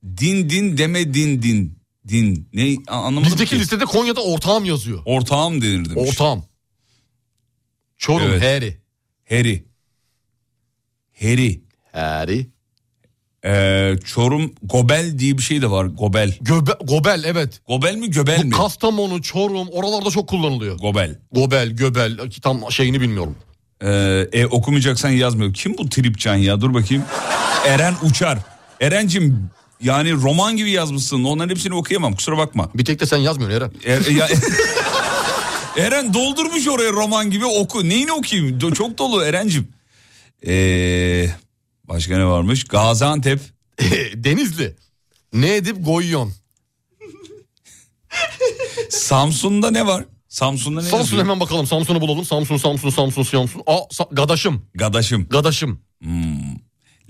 Speaker 2: din din deme din din. Din ne a- anlamadım
Speaker 3: Bizdeki listede Konya'da ortağım yazıyor.
Speaker 2: Ortağım denir demiş.
Speaker 3: Ortağım. Çorum Heri.
Speaker 2: Heri. Heri. Ee,
Speaker 3: Heri.
Speaker 2: Çorum Gobel diye bir şey de var. Gobel.
Speaker 3: gobel evet.
Speaker 2: Gobel mi göbel mi?
Speaker 3: Bu Kastamonu, Çorum oralarda çok kullanılıyor.
Speaker 2: Gobel.
Speaker 3: Gobel, göbel ki tam şey- şeyini bilmiyorum.
Speaker 2: Ee, e, okumayacaksan yazmıyor. Kim bu tripcan ya? Dur bakayım. Eren Uçar. Erencim yani roman gibi yazmışsın. Onların hepsini okuyamam. Kusura bakma. Er,
Speaker 3: Bir tek de sen yazmıyorsun Eren.
Speaker 2: ya- Eren doldurmuş oraya roman gibi oku. Neyini okuyayım? Do- Çok dolu Erencim. Ee, başka ne varmış? Gaziantep.
Speaker 3: Denizli. Ne edip goyyon?
Speaker 2: Samsun'da ne var? Samsun'da ne
Speaker 3: Samsun
Speaker 2: yazıyor?
Speaker 3: hemen bakalım. Samsun'u bulalım. Samsun, Samsun, Samsun, Samsun. Aa, Sa- Gadaşım.
Speaker 2: Gadaşım.
Speaker 3: Gadaşım.
Speaker 2: Hmm.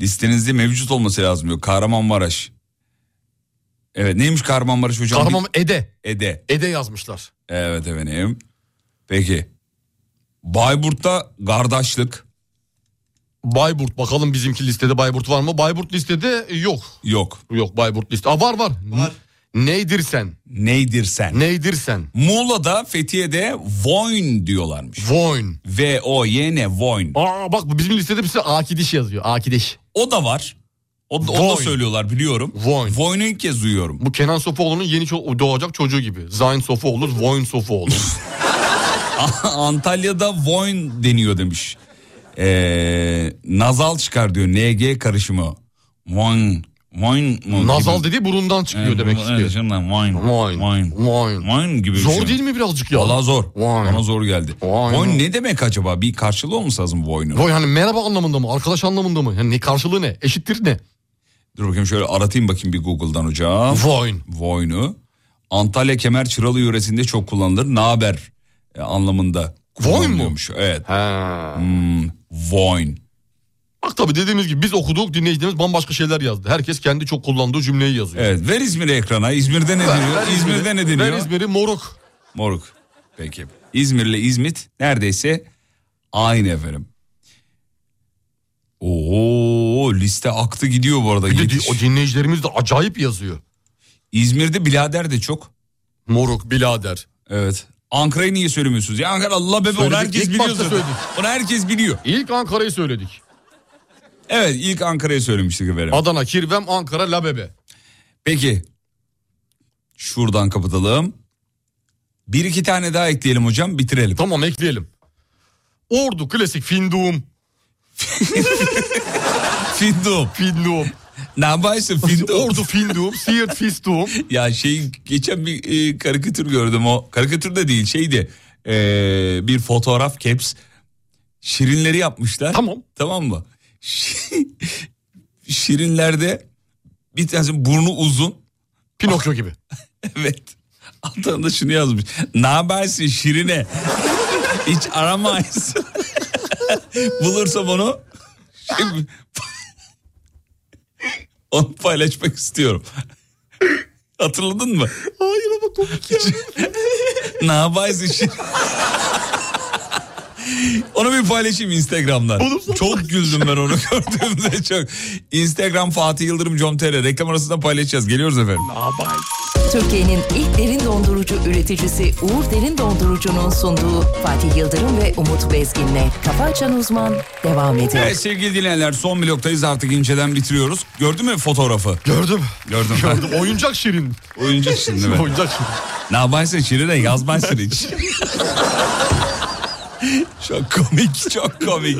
Speaker 2: Listenizde mevcut olması lazım diyor. Kahramanmaraş. Evet neymiş Kahramanmaraş hocam?
Speaker 3: Kahraman Ede.
Speaker 2: Ede.
Speaker 3: Ede yazmışlar.
Speaker 2: Evet efendim. Peki. Bayburt'ta kardeşlik.
Speaker 3: Bayburt bakalım bizimki listede Bayburt var mı? Bayburt listede yok.
Speaker 2: Yok.
Speaker 3: Yok Bayburt liste. Aa, var var. Var. Neydir sen?
Speaker 2: Neydir sen?
Speaker 3: Neydir sen?
Speaker 2: Muğla'da Fethiye'de Voyn diyorlarmış.
Speaker 3: Voyn.
Speaker 2: V-O-Y-N E, Voyn.
Speaker 3: Aa bak bizim listede bir sürü akidiş yazıyor. Akidiş.
Speaker 2: O da var. O, da- o da
Speaker 3: Voyn.
Speaker 2: söylüyorlar biliyorum.
Speaker 3: Voyn.
Speaker 2: Voyn'u ilk kez duyuyorum.
Speaker 3: Bu Kenan Sofuoğlu'nun yeni ço- doğacak çocuğu gibi. Zayn Sofuoğlu, Voyn Sofuoğlu.
Speaker 2: Antalya'da Voyn deniyor demiş. Ee, nazal çıkar diyor. NG karışımı. Voyn. Voyn. mu
Speaker 3: Nazal
Speaker 2: gibi?
Speaker 3: dediği burundan çıkıyor
Speaker 2: Evet,
Speaker 3: demek
Speaker 2: bu-
Speaker 3: istiyor.
Speaker 2: Evet, canım, voyn.
Speaker 3: Voyn.
Speaker 2: Voyn.
Speaker 3: Voyn.
Speaker 2: Voyn gibi bir
Speaker 3: Zor
Speaker 2: şey.
Speaker 3: değil mi birazcık ya?
Speaker 2: Valla zor.
Speaker 3: Voyn.
Speaker 2: Bana zor geldi.
Speaker 3: Voyn.
Speaker 2: Voyn ne demek acaba? Bir karşılığı olması lazım Voyn'un.
Speaker 3: Voyn hani merhaba anlamında mı? Arkadaş anlamında mı? Yani ne karşılığı ne? Eşittir ne?
Speaker 2: Dur bakayım şöyle aratayım bakayım bir Google'dan hocam.
Speaker 3: Voyn.
Speaker 2: Voyn'u. Antalya Kemer Çıralı yöresinde çok kullanılır. Naber e, anlamında
Speaker 3: Voyn mu?
Speaker 2: kullanılıyormuş. Evet. Hmm, Voyn.
Speaker 3: Bak tabii dediğimiz gibi biz okuduk dinleyicilerimiz bambaşka şeyler yazdı. Herkes kendi çok kullandığı cümleyi yazıyor.
Speaker 2: Evet ver İzmir'i ekrana. İzmir'de ne
Speaker 3: Ver-
Speaker 2: deniyor?
Speaker 3: ver İzmir'i.
Speaker 2: İzmir'de ne deniyor?
Speaker 3: Ver İzmir'i moruk.
Speaker 2: Moruk. Peki. İzmir'le İzmit neredeyse aynı efendim. Oo liste aktı gidiyor bu arada.
Speaker 3: Bir de di-
Speaker 2: Yetiş.
Speaker 3: o dinleyicilerimiz de acayip yazıyor.
Speaker 2: İzmir'de bilader de çok.
Speaker 3: Moruk, bilader.
Speaker 2: Evet. Ankara'yı niye söylemiyorsunuz? Ya Ankara Allah bebe onu
Speaker 3: Söyledik,
Speaker 2: herkes
Speaker 3: ilk
Speaker 2: biliyor
Speaker 3: başta
Speaker 2: zaten.
Speaker 3: söyledik.
Speaker 2: Onu herkes biliyor.
Speaker 3: İlk Ankara'yı söyledik.
Speaker 2: Evet ilk Ankara'yı söylemiştik efendim.
Speaker 3: Adana, Kirvem, Ankara, Labebe.
Speaker 2: Peki. Şuradan kapatalım. Bir iki tane daha ekleyelim hocam bitirelim.
Speaker 3: Tamam ekleyelim. Ordu, klasik, Finduğum.
Speaker 2: Findum.
Speaker 3: Finduğum.
Speaker 2: Ne yaparsın Findum?
Speaker 3: Ordu, Finduğum, Siirt, Fistuğum.
Speaker 2: Ya şey geçen bir e, karikatür gördüm o. Karikatür de değil şeydi. E, bir fotoğraf caps. Şirinleri yapmışlar.
Speaker 3: Tamam.
Speaker 2: Tamam mı? Şi- Şirinlerde bir tanesi burnu uzun.
Speaker 3: Pinokyo gibi.
Speaker 2: evet. Altına da şunu yazmış. Ne habersin Şirine? Hiç aramayız. Bulursam onu şey- onu paylaşmak istiyorum. Hatırladın mı?
Speaker 3: Hayır
Speaker 9: Oh,
Speaker 3: ama komik ya.
Speaker 2: Ne yaparsın şimdi? onu bir paylaşayım Instagram'dan. Çok güldüm ben onu gördüğümde çok. Instagram Fatih Yıldırım Com.tr reklam arasında paylaşacağız. Geliyoruz efendim.
Speaker 6: Türkiye'nin ilk derin dondurucu üreticisi Uğur Derin Dondurucu'nun sunduğu Fatih Yıldırım ve Umut Bezgin'le Kafa Açan Uzman devam ediyor.
Speaker 2: Evet sevgili dinleyenler son bloktayız artık inceden bitiriyoruz. Gördün mü fotoğrafı?
Speaker 3: Gördüm.
Speaker 2: Gördüm.
Speaker 3: Gördüm. Oyuncak Şirin.
Speaker 2: Oyuncak Şirin değil mi?
Speaker 3: Oyuncak Şirin.
Speaker 2: ne yaparsın Şirin'e yazmazsın hiç. çok komik, çok komik.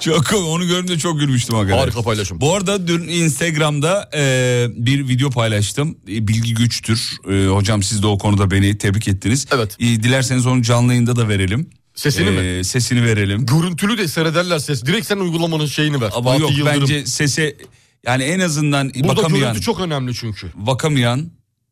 Speaker 2: Çok komik. Onu görünce çok gülmüştüm hakikaten.
Speaker 3: Harika paylaşım.
Speaker 2: Bu arada dün Instagram'da e, bir video paylaştım. E, Bilgi güçtür. E, hocam siz de o konuda beni tebrik ettiniz. Evet. dilerseniz onu canlı yayında da verelim.
Speaker 3: Sesini
Speaker 2: mi? Sesini verelim.
Speaker 3: Görüntülü de seyrederler ses. Direkt sen uygulamanın şeyini ver.
Speaker 2: Ama yok bence sese yani en azından
Speaker 3: Burada
Speaker 2: bakamayan
Speaker 3: görüntü çok önemli çünkü.
Speaker 2: bakamayan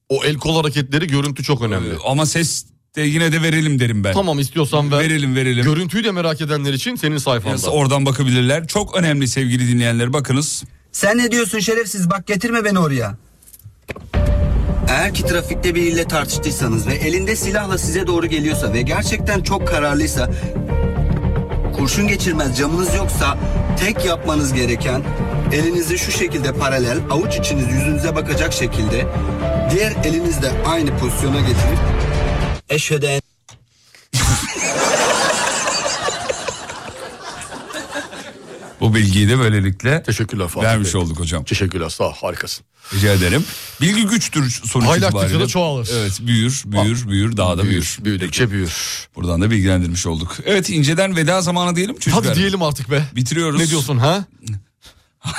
Speaker 3: O el kol hareketleri görüntü çok önemli.
Speaker 2: Ee, ama ses de yine de verelim derim ben.
Speaker 3: Tamam istiyorsan ver.
Speaker 2: Verelim verelim.
Speaker 3: Görüntüyü de merak edenler için senin sayfanda.
Speaker 2: Yes, oradan bakabilirler. Çok önemli sevgili dinleyenler bakınız.
Speaker 17: Sen ne diyorsun şerefsiz bak getirme beni oraya. Eğer ki trafikte biriyle tartıştıysanız ve elinde silahla size doğru geliyorsa ve gerçekten çok kararlıysa kurşun geçirmez camınız yoksa tek yapmanız gereken elinizi şu şekilde paralel avuç içiniz yüzünüze bakacak şekilde diğer elinizle aynı pozisyona getirip eşheden
Speaker 2: Bu bilgiyi de böylelikle
Speaker 3: Teşekkürler Fatih
Speaker 2: vermiş
Speaker 3: Bey.
Speaker 2: olduk hocam.
Speaker 3: Teşekkürler sağ ol, harikasın.
Speaker 2: Rica ederim. Bilgi güçtür sonuç
Speaker 3: Haylaklıkla
Speaker 2: itibariyle.
Speaker 3: da çoğalır.
Speaker 2: Evet büyür, büyür, büyür, daha da büyür.
Speaker 3: Büyüdükçe büyür.
Speaker 2: Buradan da bilgilendirmiş olduk. Evet inceden veda zamanı diyelim mi çocuklar.
Speaker 3: Hadi diyelim artık be.
Speaker 2: Bitiriyoruz.
Speaker 3: Ne diyorsun ha?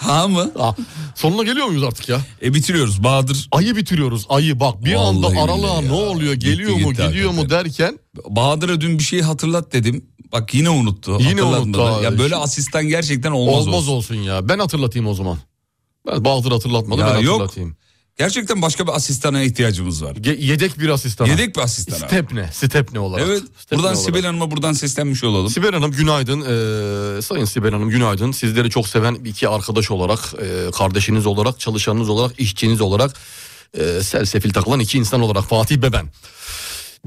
Speaker 2: ha mı?
Speaker 3: Sonuna geliyor muyuz artık ya?
Speaker 2: E bitiriyoruz Bahadır.
Speaker 3: Ayı bitiriyoruz ayı bak bir anda
Speaker 2: Vallahi
Speaker 3: aralığa
Speaker 2: billahi
Speaker 3: ne oluyor geliyor
Speaker 2: Gitti,
Speaker 3: mu
Speaker 2: gitti
Speaker 3: gidiyor mu derken.
Speaker 2: Bahadır'a dün bir şey hatırlat dedim. Bak yine unuttu.
Speaker 3: Yine
Speaker 2: Hatırlatmadı.
Speaker 3: unuttu abi.
Speaker 2: Ya böyle asistan gerçekten olmaz,
Speaker 3: Olmaz, olsun. ya ben hatırlatayım o zaman. Ben Bahadır hatırlatmadı
Speaker 2: Ya
Speaker 3: ben
Speaker 2: yok.
Speaker 3: hatırlatayım.
Speaker 2: Gerçekten başka bir asistana ihtiyacımız var.
Speaker 3: Ge- yedek bir asistana.
Speaker 2: Yedek bir asistana.
Speaker 3: Stepne, Stepne olarak.
Speaker 2: Evet.
Speaker 3: Stepne
Speaker 2: buradan
Speaker 3: olarak.
Speaker 2: Sibel Hanım'a buradan seslenmiş olalım.
Speaker 3: Sibel Hanım günaydın. Ee, Sayın Sibel Hanım günaydın. Sizleri çok seven iki arkadaş olarak, e, kardeşiniz olarak, çalışanınız olarak, işçiniz olarak, e, selsefil takılan iki insan olarak Fatih Beben.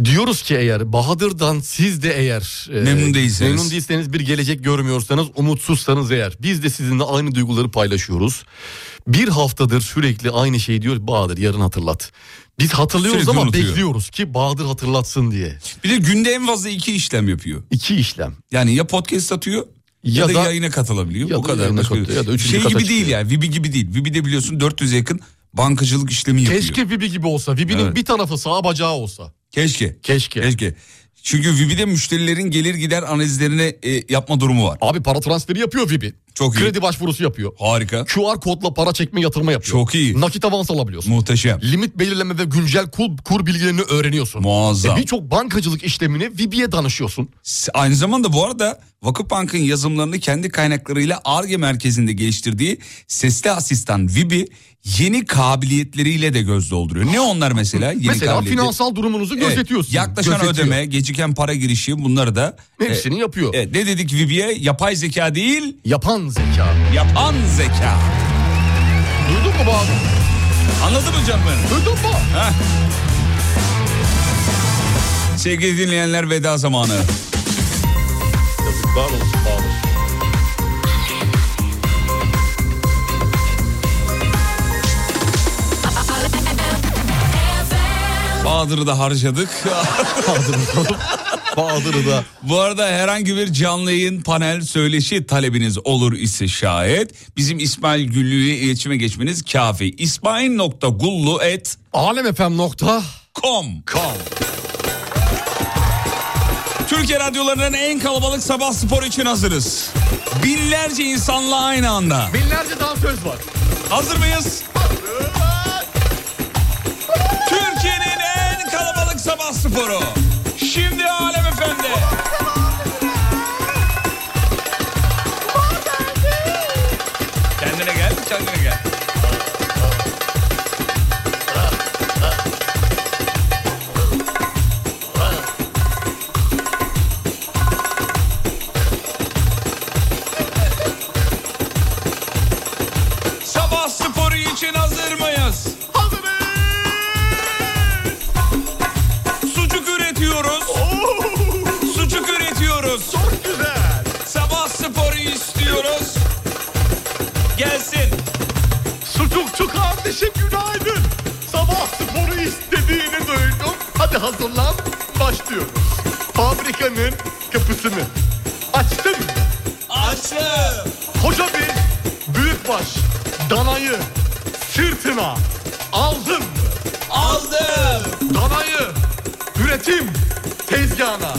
Speaker 3: Diyoruz ki eğer Bahadır'dan siz de eğer e,
Speaker 2: Memnun değilseniz.
Speaker 3: memnun değilseniz bir gelecek görmüyorsanız umutsuzsanız eğer biz de sizinle aynı duyguları paylaşıyoruz. Bir haftadır sürekli aynı şeyi diyor Bahadır yarın hatırlat. Biz hatırlıyoruz
Speaker 2: Sürekli
Speaker 3: ama
Speaker 2: unutuyor.
Speaker 3: bekliyoruz ki Bahadır hatırlatsın diye.
Speaker 2: Bir de günde en fazla iki işlem yapıyor.
Speaker 3: İki işlem.
Speaker 2: Yani ya podcast atıyor ya,
Speaker 3: Ya
Speaker 2: da,
Speaker 3: da-
Speaker 2: yayına katılabiliyor.
Speaker 3: ya
Speaker 2: o
Speaker 3: da
Speaker 2: kadar.
Speaker 3: yayına
Speaker 2: Başka-
Speaker 3: katılıyor ya da üçüncü
Speaker 2: şey
Speaker 3: kata
Speaker 2: gibi değil
Speaker 3: çıkıyor.
Speaker 2: yani. Vibi gibi değil. Vibi de biliyorsun 400'e yakın bankacılık işlemi yapıyor.
Speaker 3: Keşke Vibi gibi olsa. Vibi'nin
Speaker 2: Evet.
Speaker 3: bir tarafı sağ bacağı olsa.
Speaker 2: Keşke.
Speaker 3: Keşke.
Speaker 2: Keşke. Çünkü Vibi'de müşterilerin gelir gider analizlerini e, yapma durumu var.
Speaker 3: Abi para transferi yapıyor Vibi.
Speaker 2: Çok iyi.
Speaker 3: Kredi başvurusu yapıyor.
Speaker 2: Harika.
Speaker 3: QR kodla para çekme yatırma yapıyor.
Speaker 2: Çok iyi.
Speaker 3: Nakit avans alabiliyorsun.
Speaker 2: Muhteşem.
Speaker 3: Limit belirleme ve güncel kur, kur bilgilerini öğreniyorsun.
Speaker 2: Muazzam.
Speaker 3: E, Birçok bankacılık işlemine Vibi'ye danışıyorsun.
Speaker 2: Aynı zamanda bu arada Vakıfbank'ın yazımlarını kendi kaynaklarıyla ARGE E merkezinde geliştirdiği sesli asistan Vibi yeni kabiliyetleriyle de göz dolduruyor. Ne onlar mesela? Yeni
Speaker 3: Mesela
Speaker 2: kabiliyeti?
Speaker 3: finansal durumunuzu
Speaker 2: Evet,
Speaker 3: gözetiyorsun.
Speaker 2: yaklaşan
Speaker 3: Gözetiyor.
Speaker 2: ödeme, geciken para girişi bunları da
Speaker 3: Hepsini yapıyor.
Speaker 2: Evet, ne dedik Vibi'ye? Yapay zeka değil,
Speaker 3: yapan zeka.
Speaker 2: Yapan zeka.
Speaker 3: Duydun mu Bahadır?
Speaker 2: Anladın mı canım beni?
Speaker 3: Duydun mu?
Speaker 2: Heh. Sevgili dinleyenler veda zamanı.
Speaker 3: Yazıklar olsun Bahadır.
Speaker 2: Bahadır'ı da harcadık.
Speaker 3: Bahadır'ı da.
Speaker 2: Bu arada herhangi bir canlı yayın panel söyleşi talebiniz olur ise şayet bizim İsmail Güllü'yle iletişime geçmeniz kafi. İsmail.gullu et alemfm.com Türkiye radyolarının en kalabalık sabah sporu için hazırız. Binlerce insanla aynı anda.
Speaker 3: Binlerce dansöz var.
Speaker 2: Hazır mıyız? Türkiye'nin en kalabalık sabah sporu. Şimdi Alem Efendi. Kendine gel, kendine gel. Sabah sporu için hazır mıyız? Hazırız. Sucuk üretiyoruz. Sucuk üretiyoruz. Çok güzel. Sabah sporu istiyoruz. Gelsin.
Speaker 3: Sucukçu kardeşim günaydın. Sabah sporu istediğini duydum. Hadi hazırlan başlıyoruz. Fabrikanın kapısını açtım.
Speaker 2: Açtım.
Speaker 3: Koca bir büyükbaş danayı sırtına aldın mı?
Speaker 2: Aldım.
Speaker 3: Danayı üretim tezgahına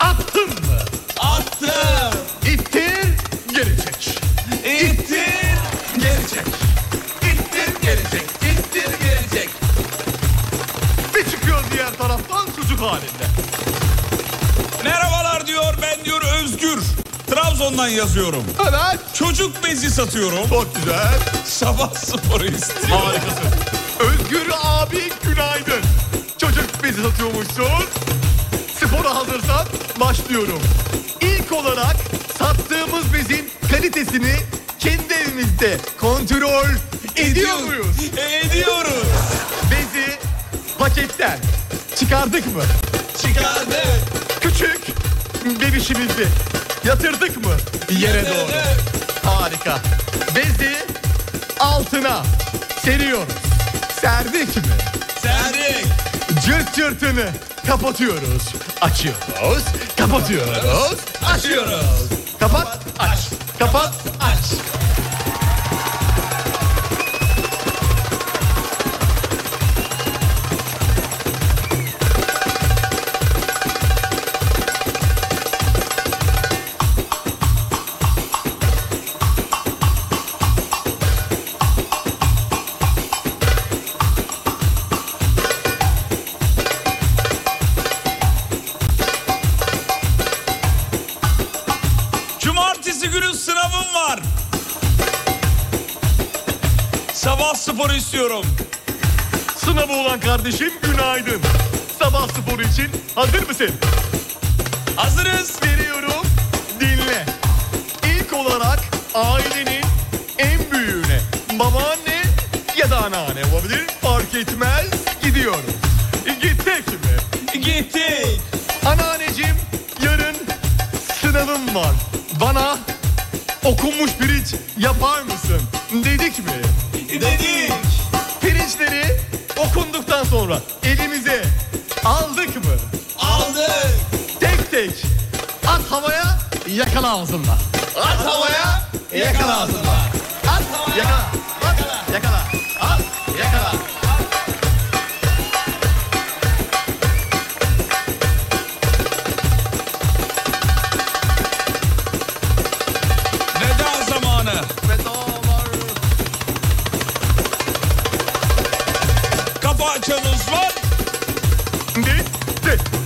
Speaker 3: attın mı?
Speaker 2: Attım.
Speaker 3: İttir geri çek.
Speaker 2: İttir geri çek. İttir geri çek. İttir geri çek.
Speaker 3: Bir çıkıyor diğer taraftan sucuk halinde.
Speaker 2: Merhabalar diyor ben diyor Özgür. Trabzon'dan yazıyorum.
Speaker 3: Evet.
Speaker 2: Çocuk bezi satıyorum.
Speaker 3: Çok güzel.
Speaker 2: Sabah sporu istiyorum.
Speaker 3: Harikasın. Özgür abi günaydın. Çocuk
Speaker 10: Çok bezi satıyormuşsun. Spora hazırsan başlıyorum. İlk olarak sattığımız bezin kalitesini kendi evimizde kontrol ediyor muyuz? Ediyoruz. Bezi paketten çıkardık mı? Çıkardık. Küçük bebişimizi yatırdık mı? Yere doğru. Harika. Bezi altına seriyoruz. Serdik mi? Serdik. Cırt cırtını kapatıyoruz. Açıyoruz. Kapatıyoruz. Açıyoruz. Kapat. Aç. Kapat. Aç.
Speaker 2: Cumartesi günü sınavım var.
Speaker 10: Sabah sporu istiyorum. Sınavı olan kardeşim günaydın. Sabah sporu için hazır mısın? Hazırız. Veriyorum. Dinle. İlk olarak ailenin en büyüğüne babaanne ya da anneanne olabilir fark etmez gidiyorum. E, Gittik mi? Gittik. Anneanneciğim yarın sınavım var. Bana okunmuş pirinç yapar mısın? Dedik mi? Dedik. Pirinçleri okunduktan sonra elimize aldık mı? Aldık. Tek tek at havaya yakala ağzımla. At havaya yakala ağzımla. At yakala. At yakala. At yakala.
Speaker 2: Veda zamanı. Kapı açanız var.
Speaker 10: Bitti.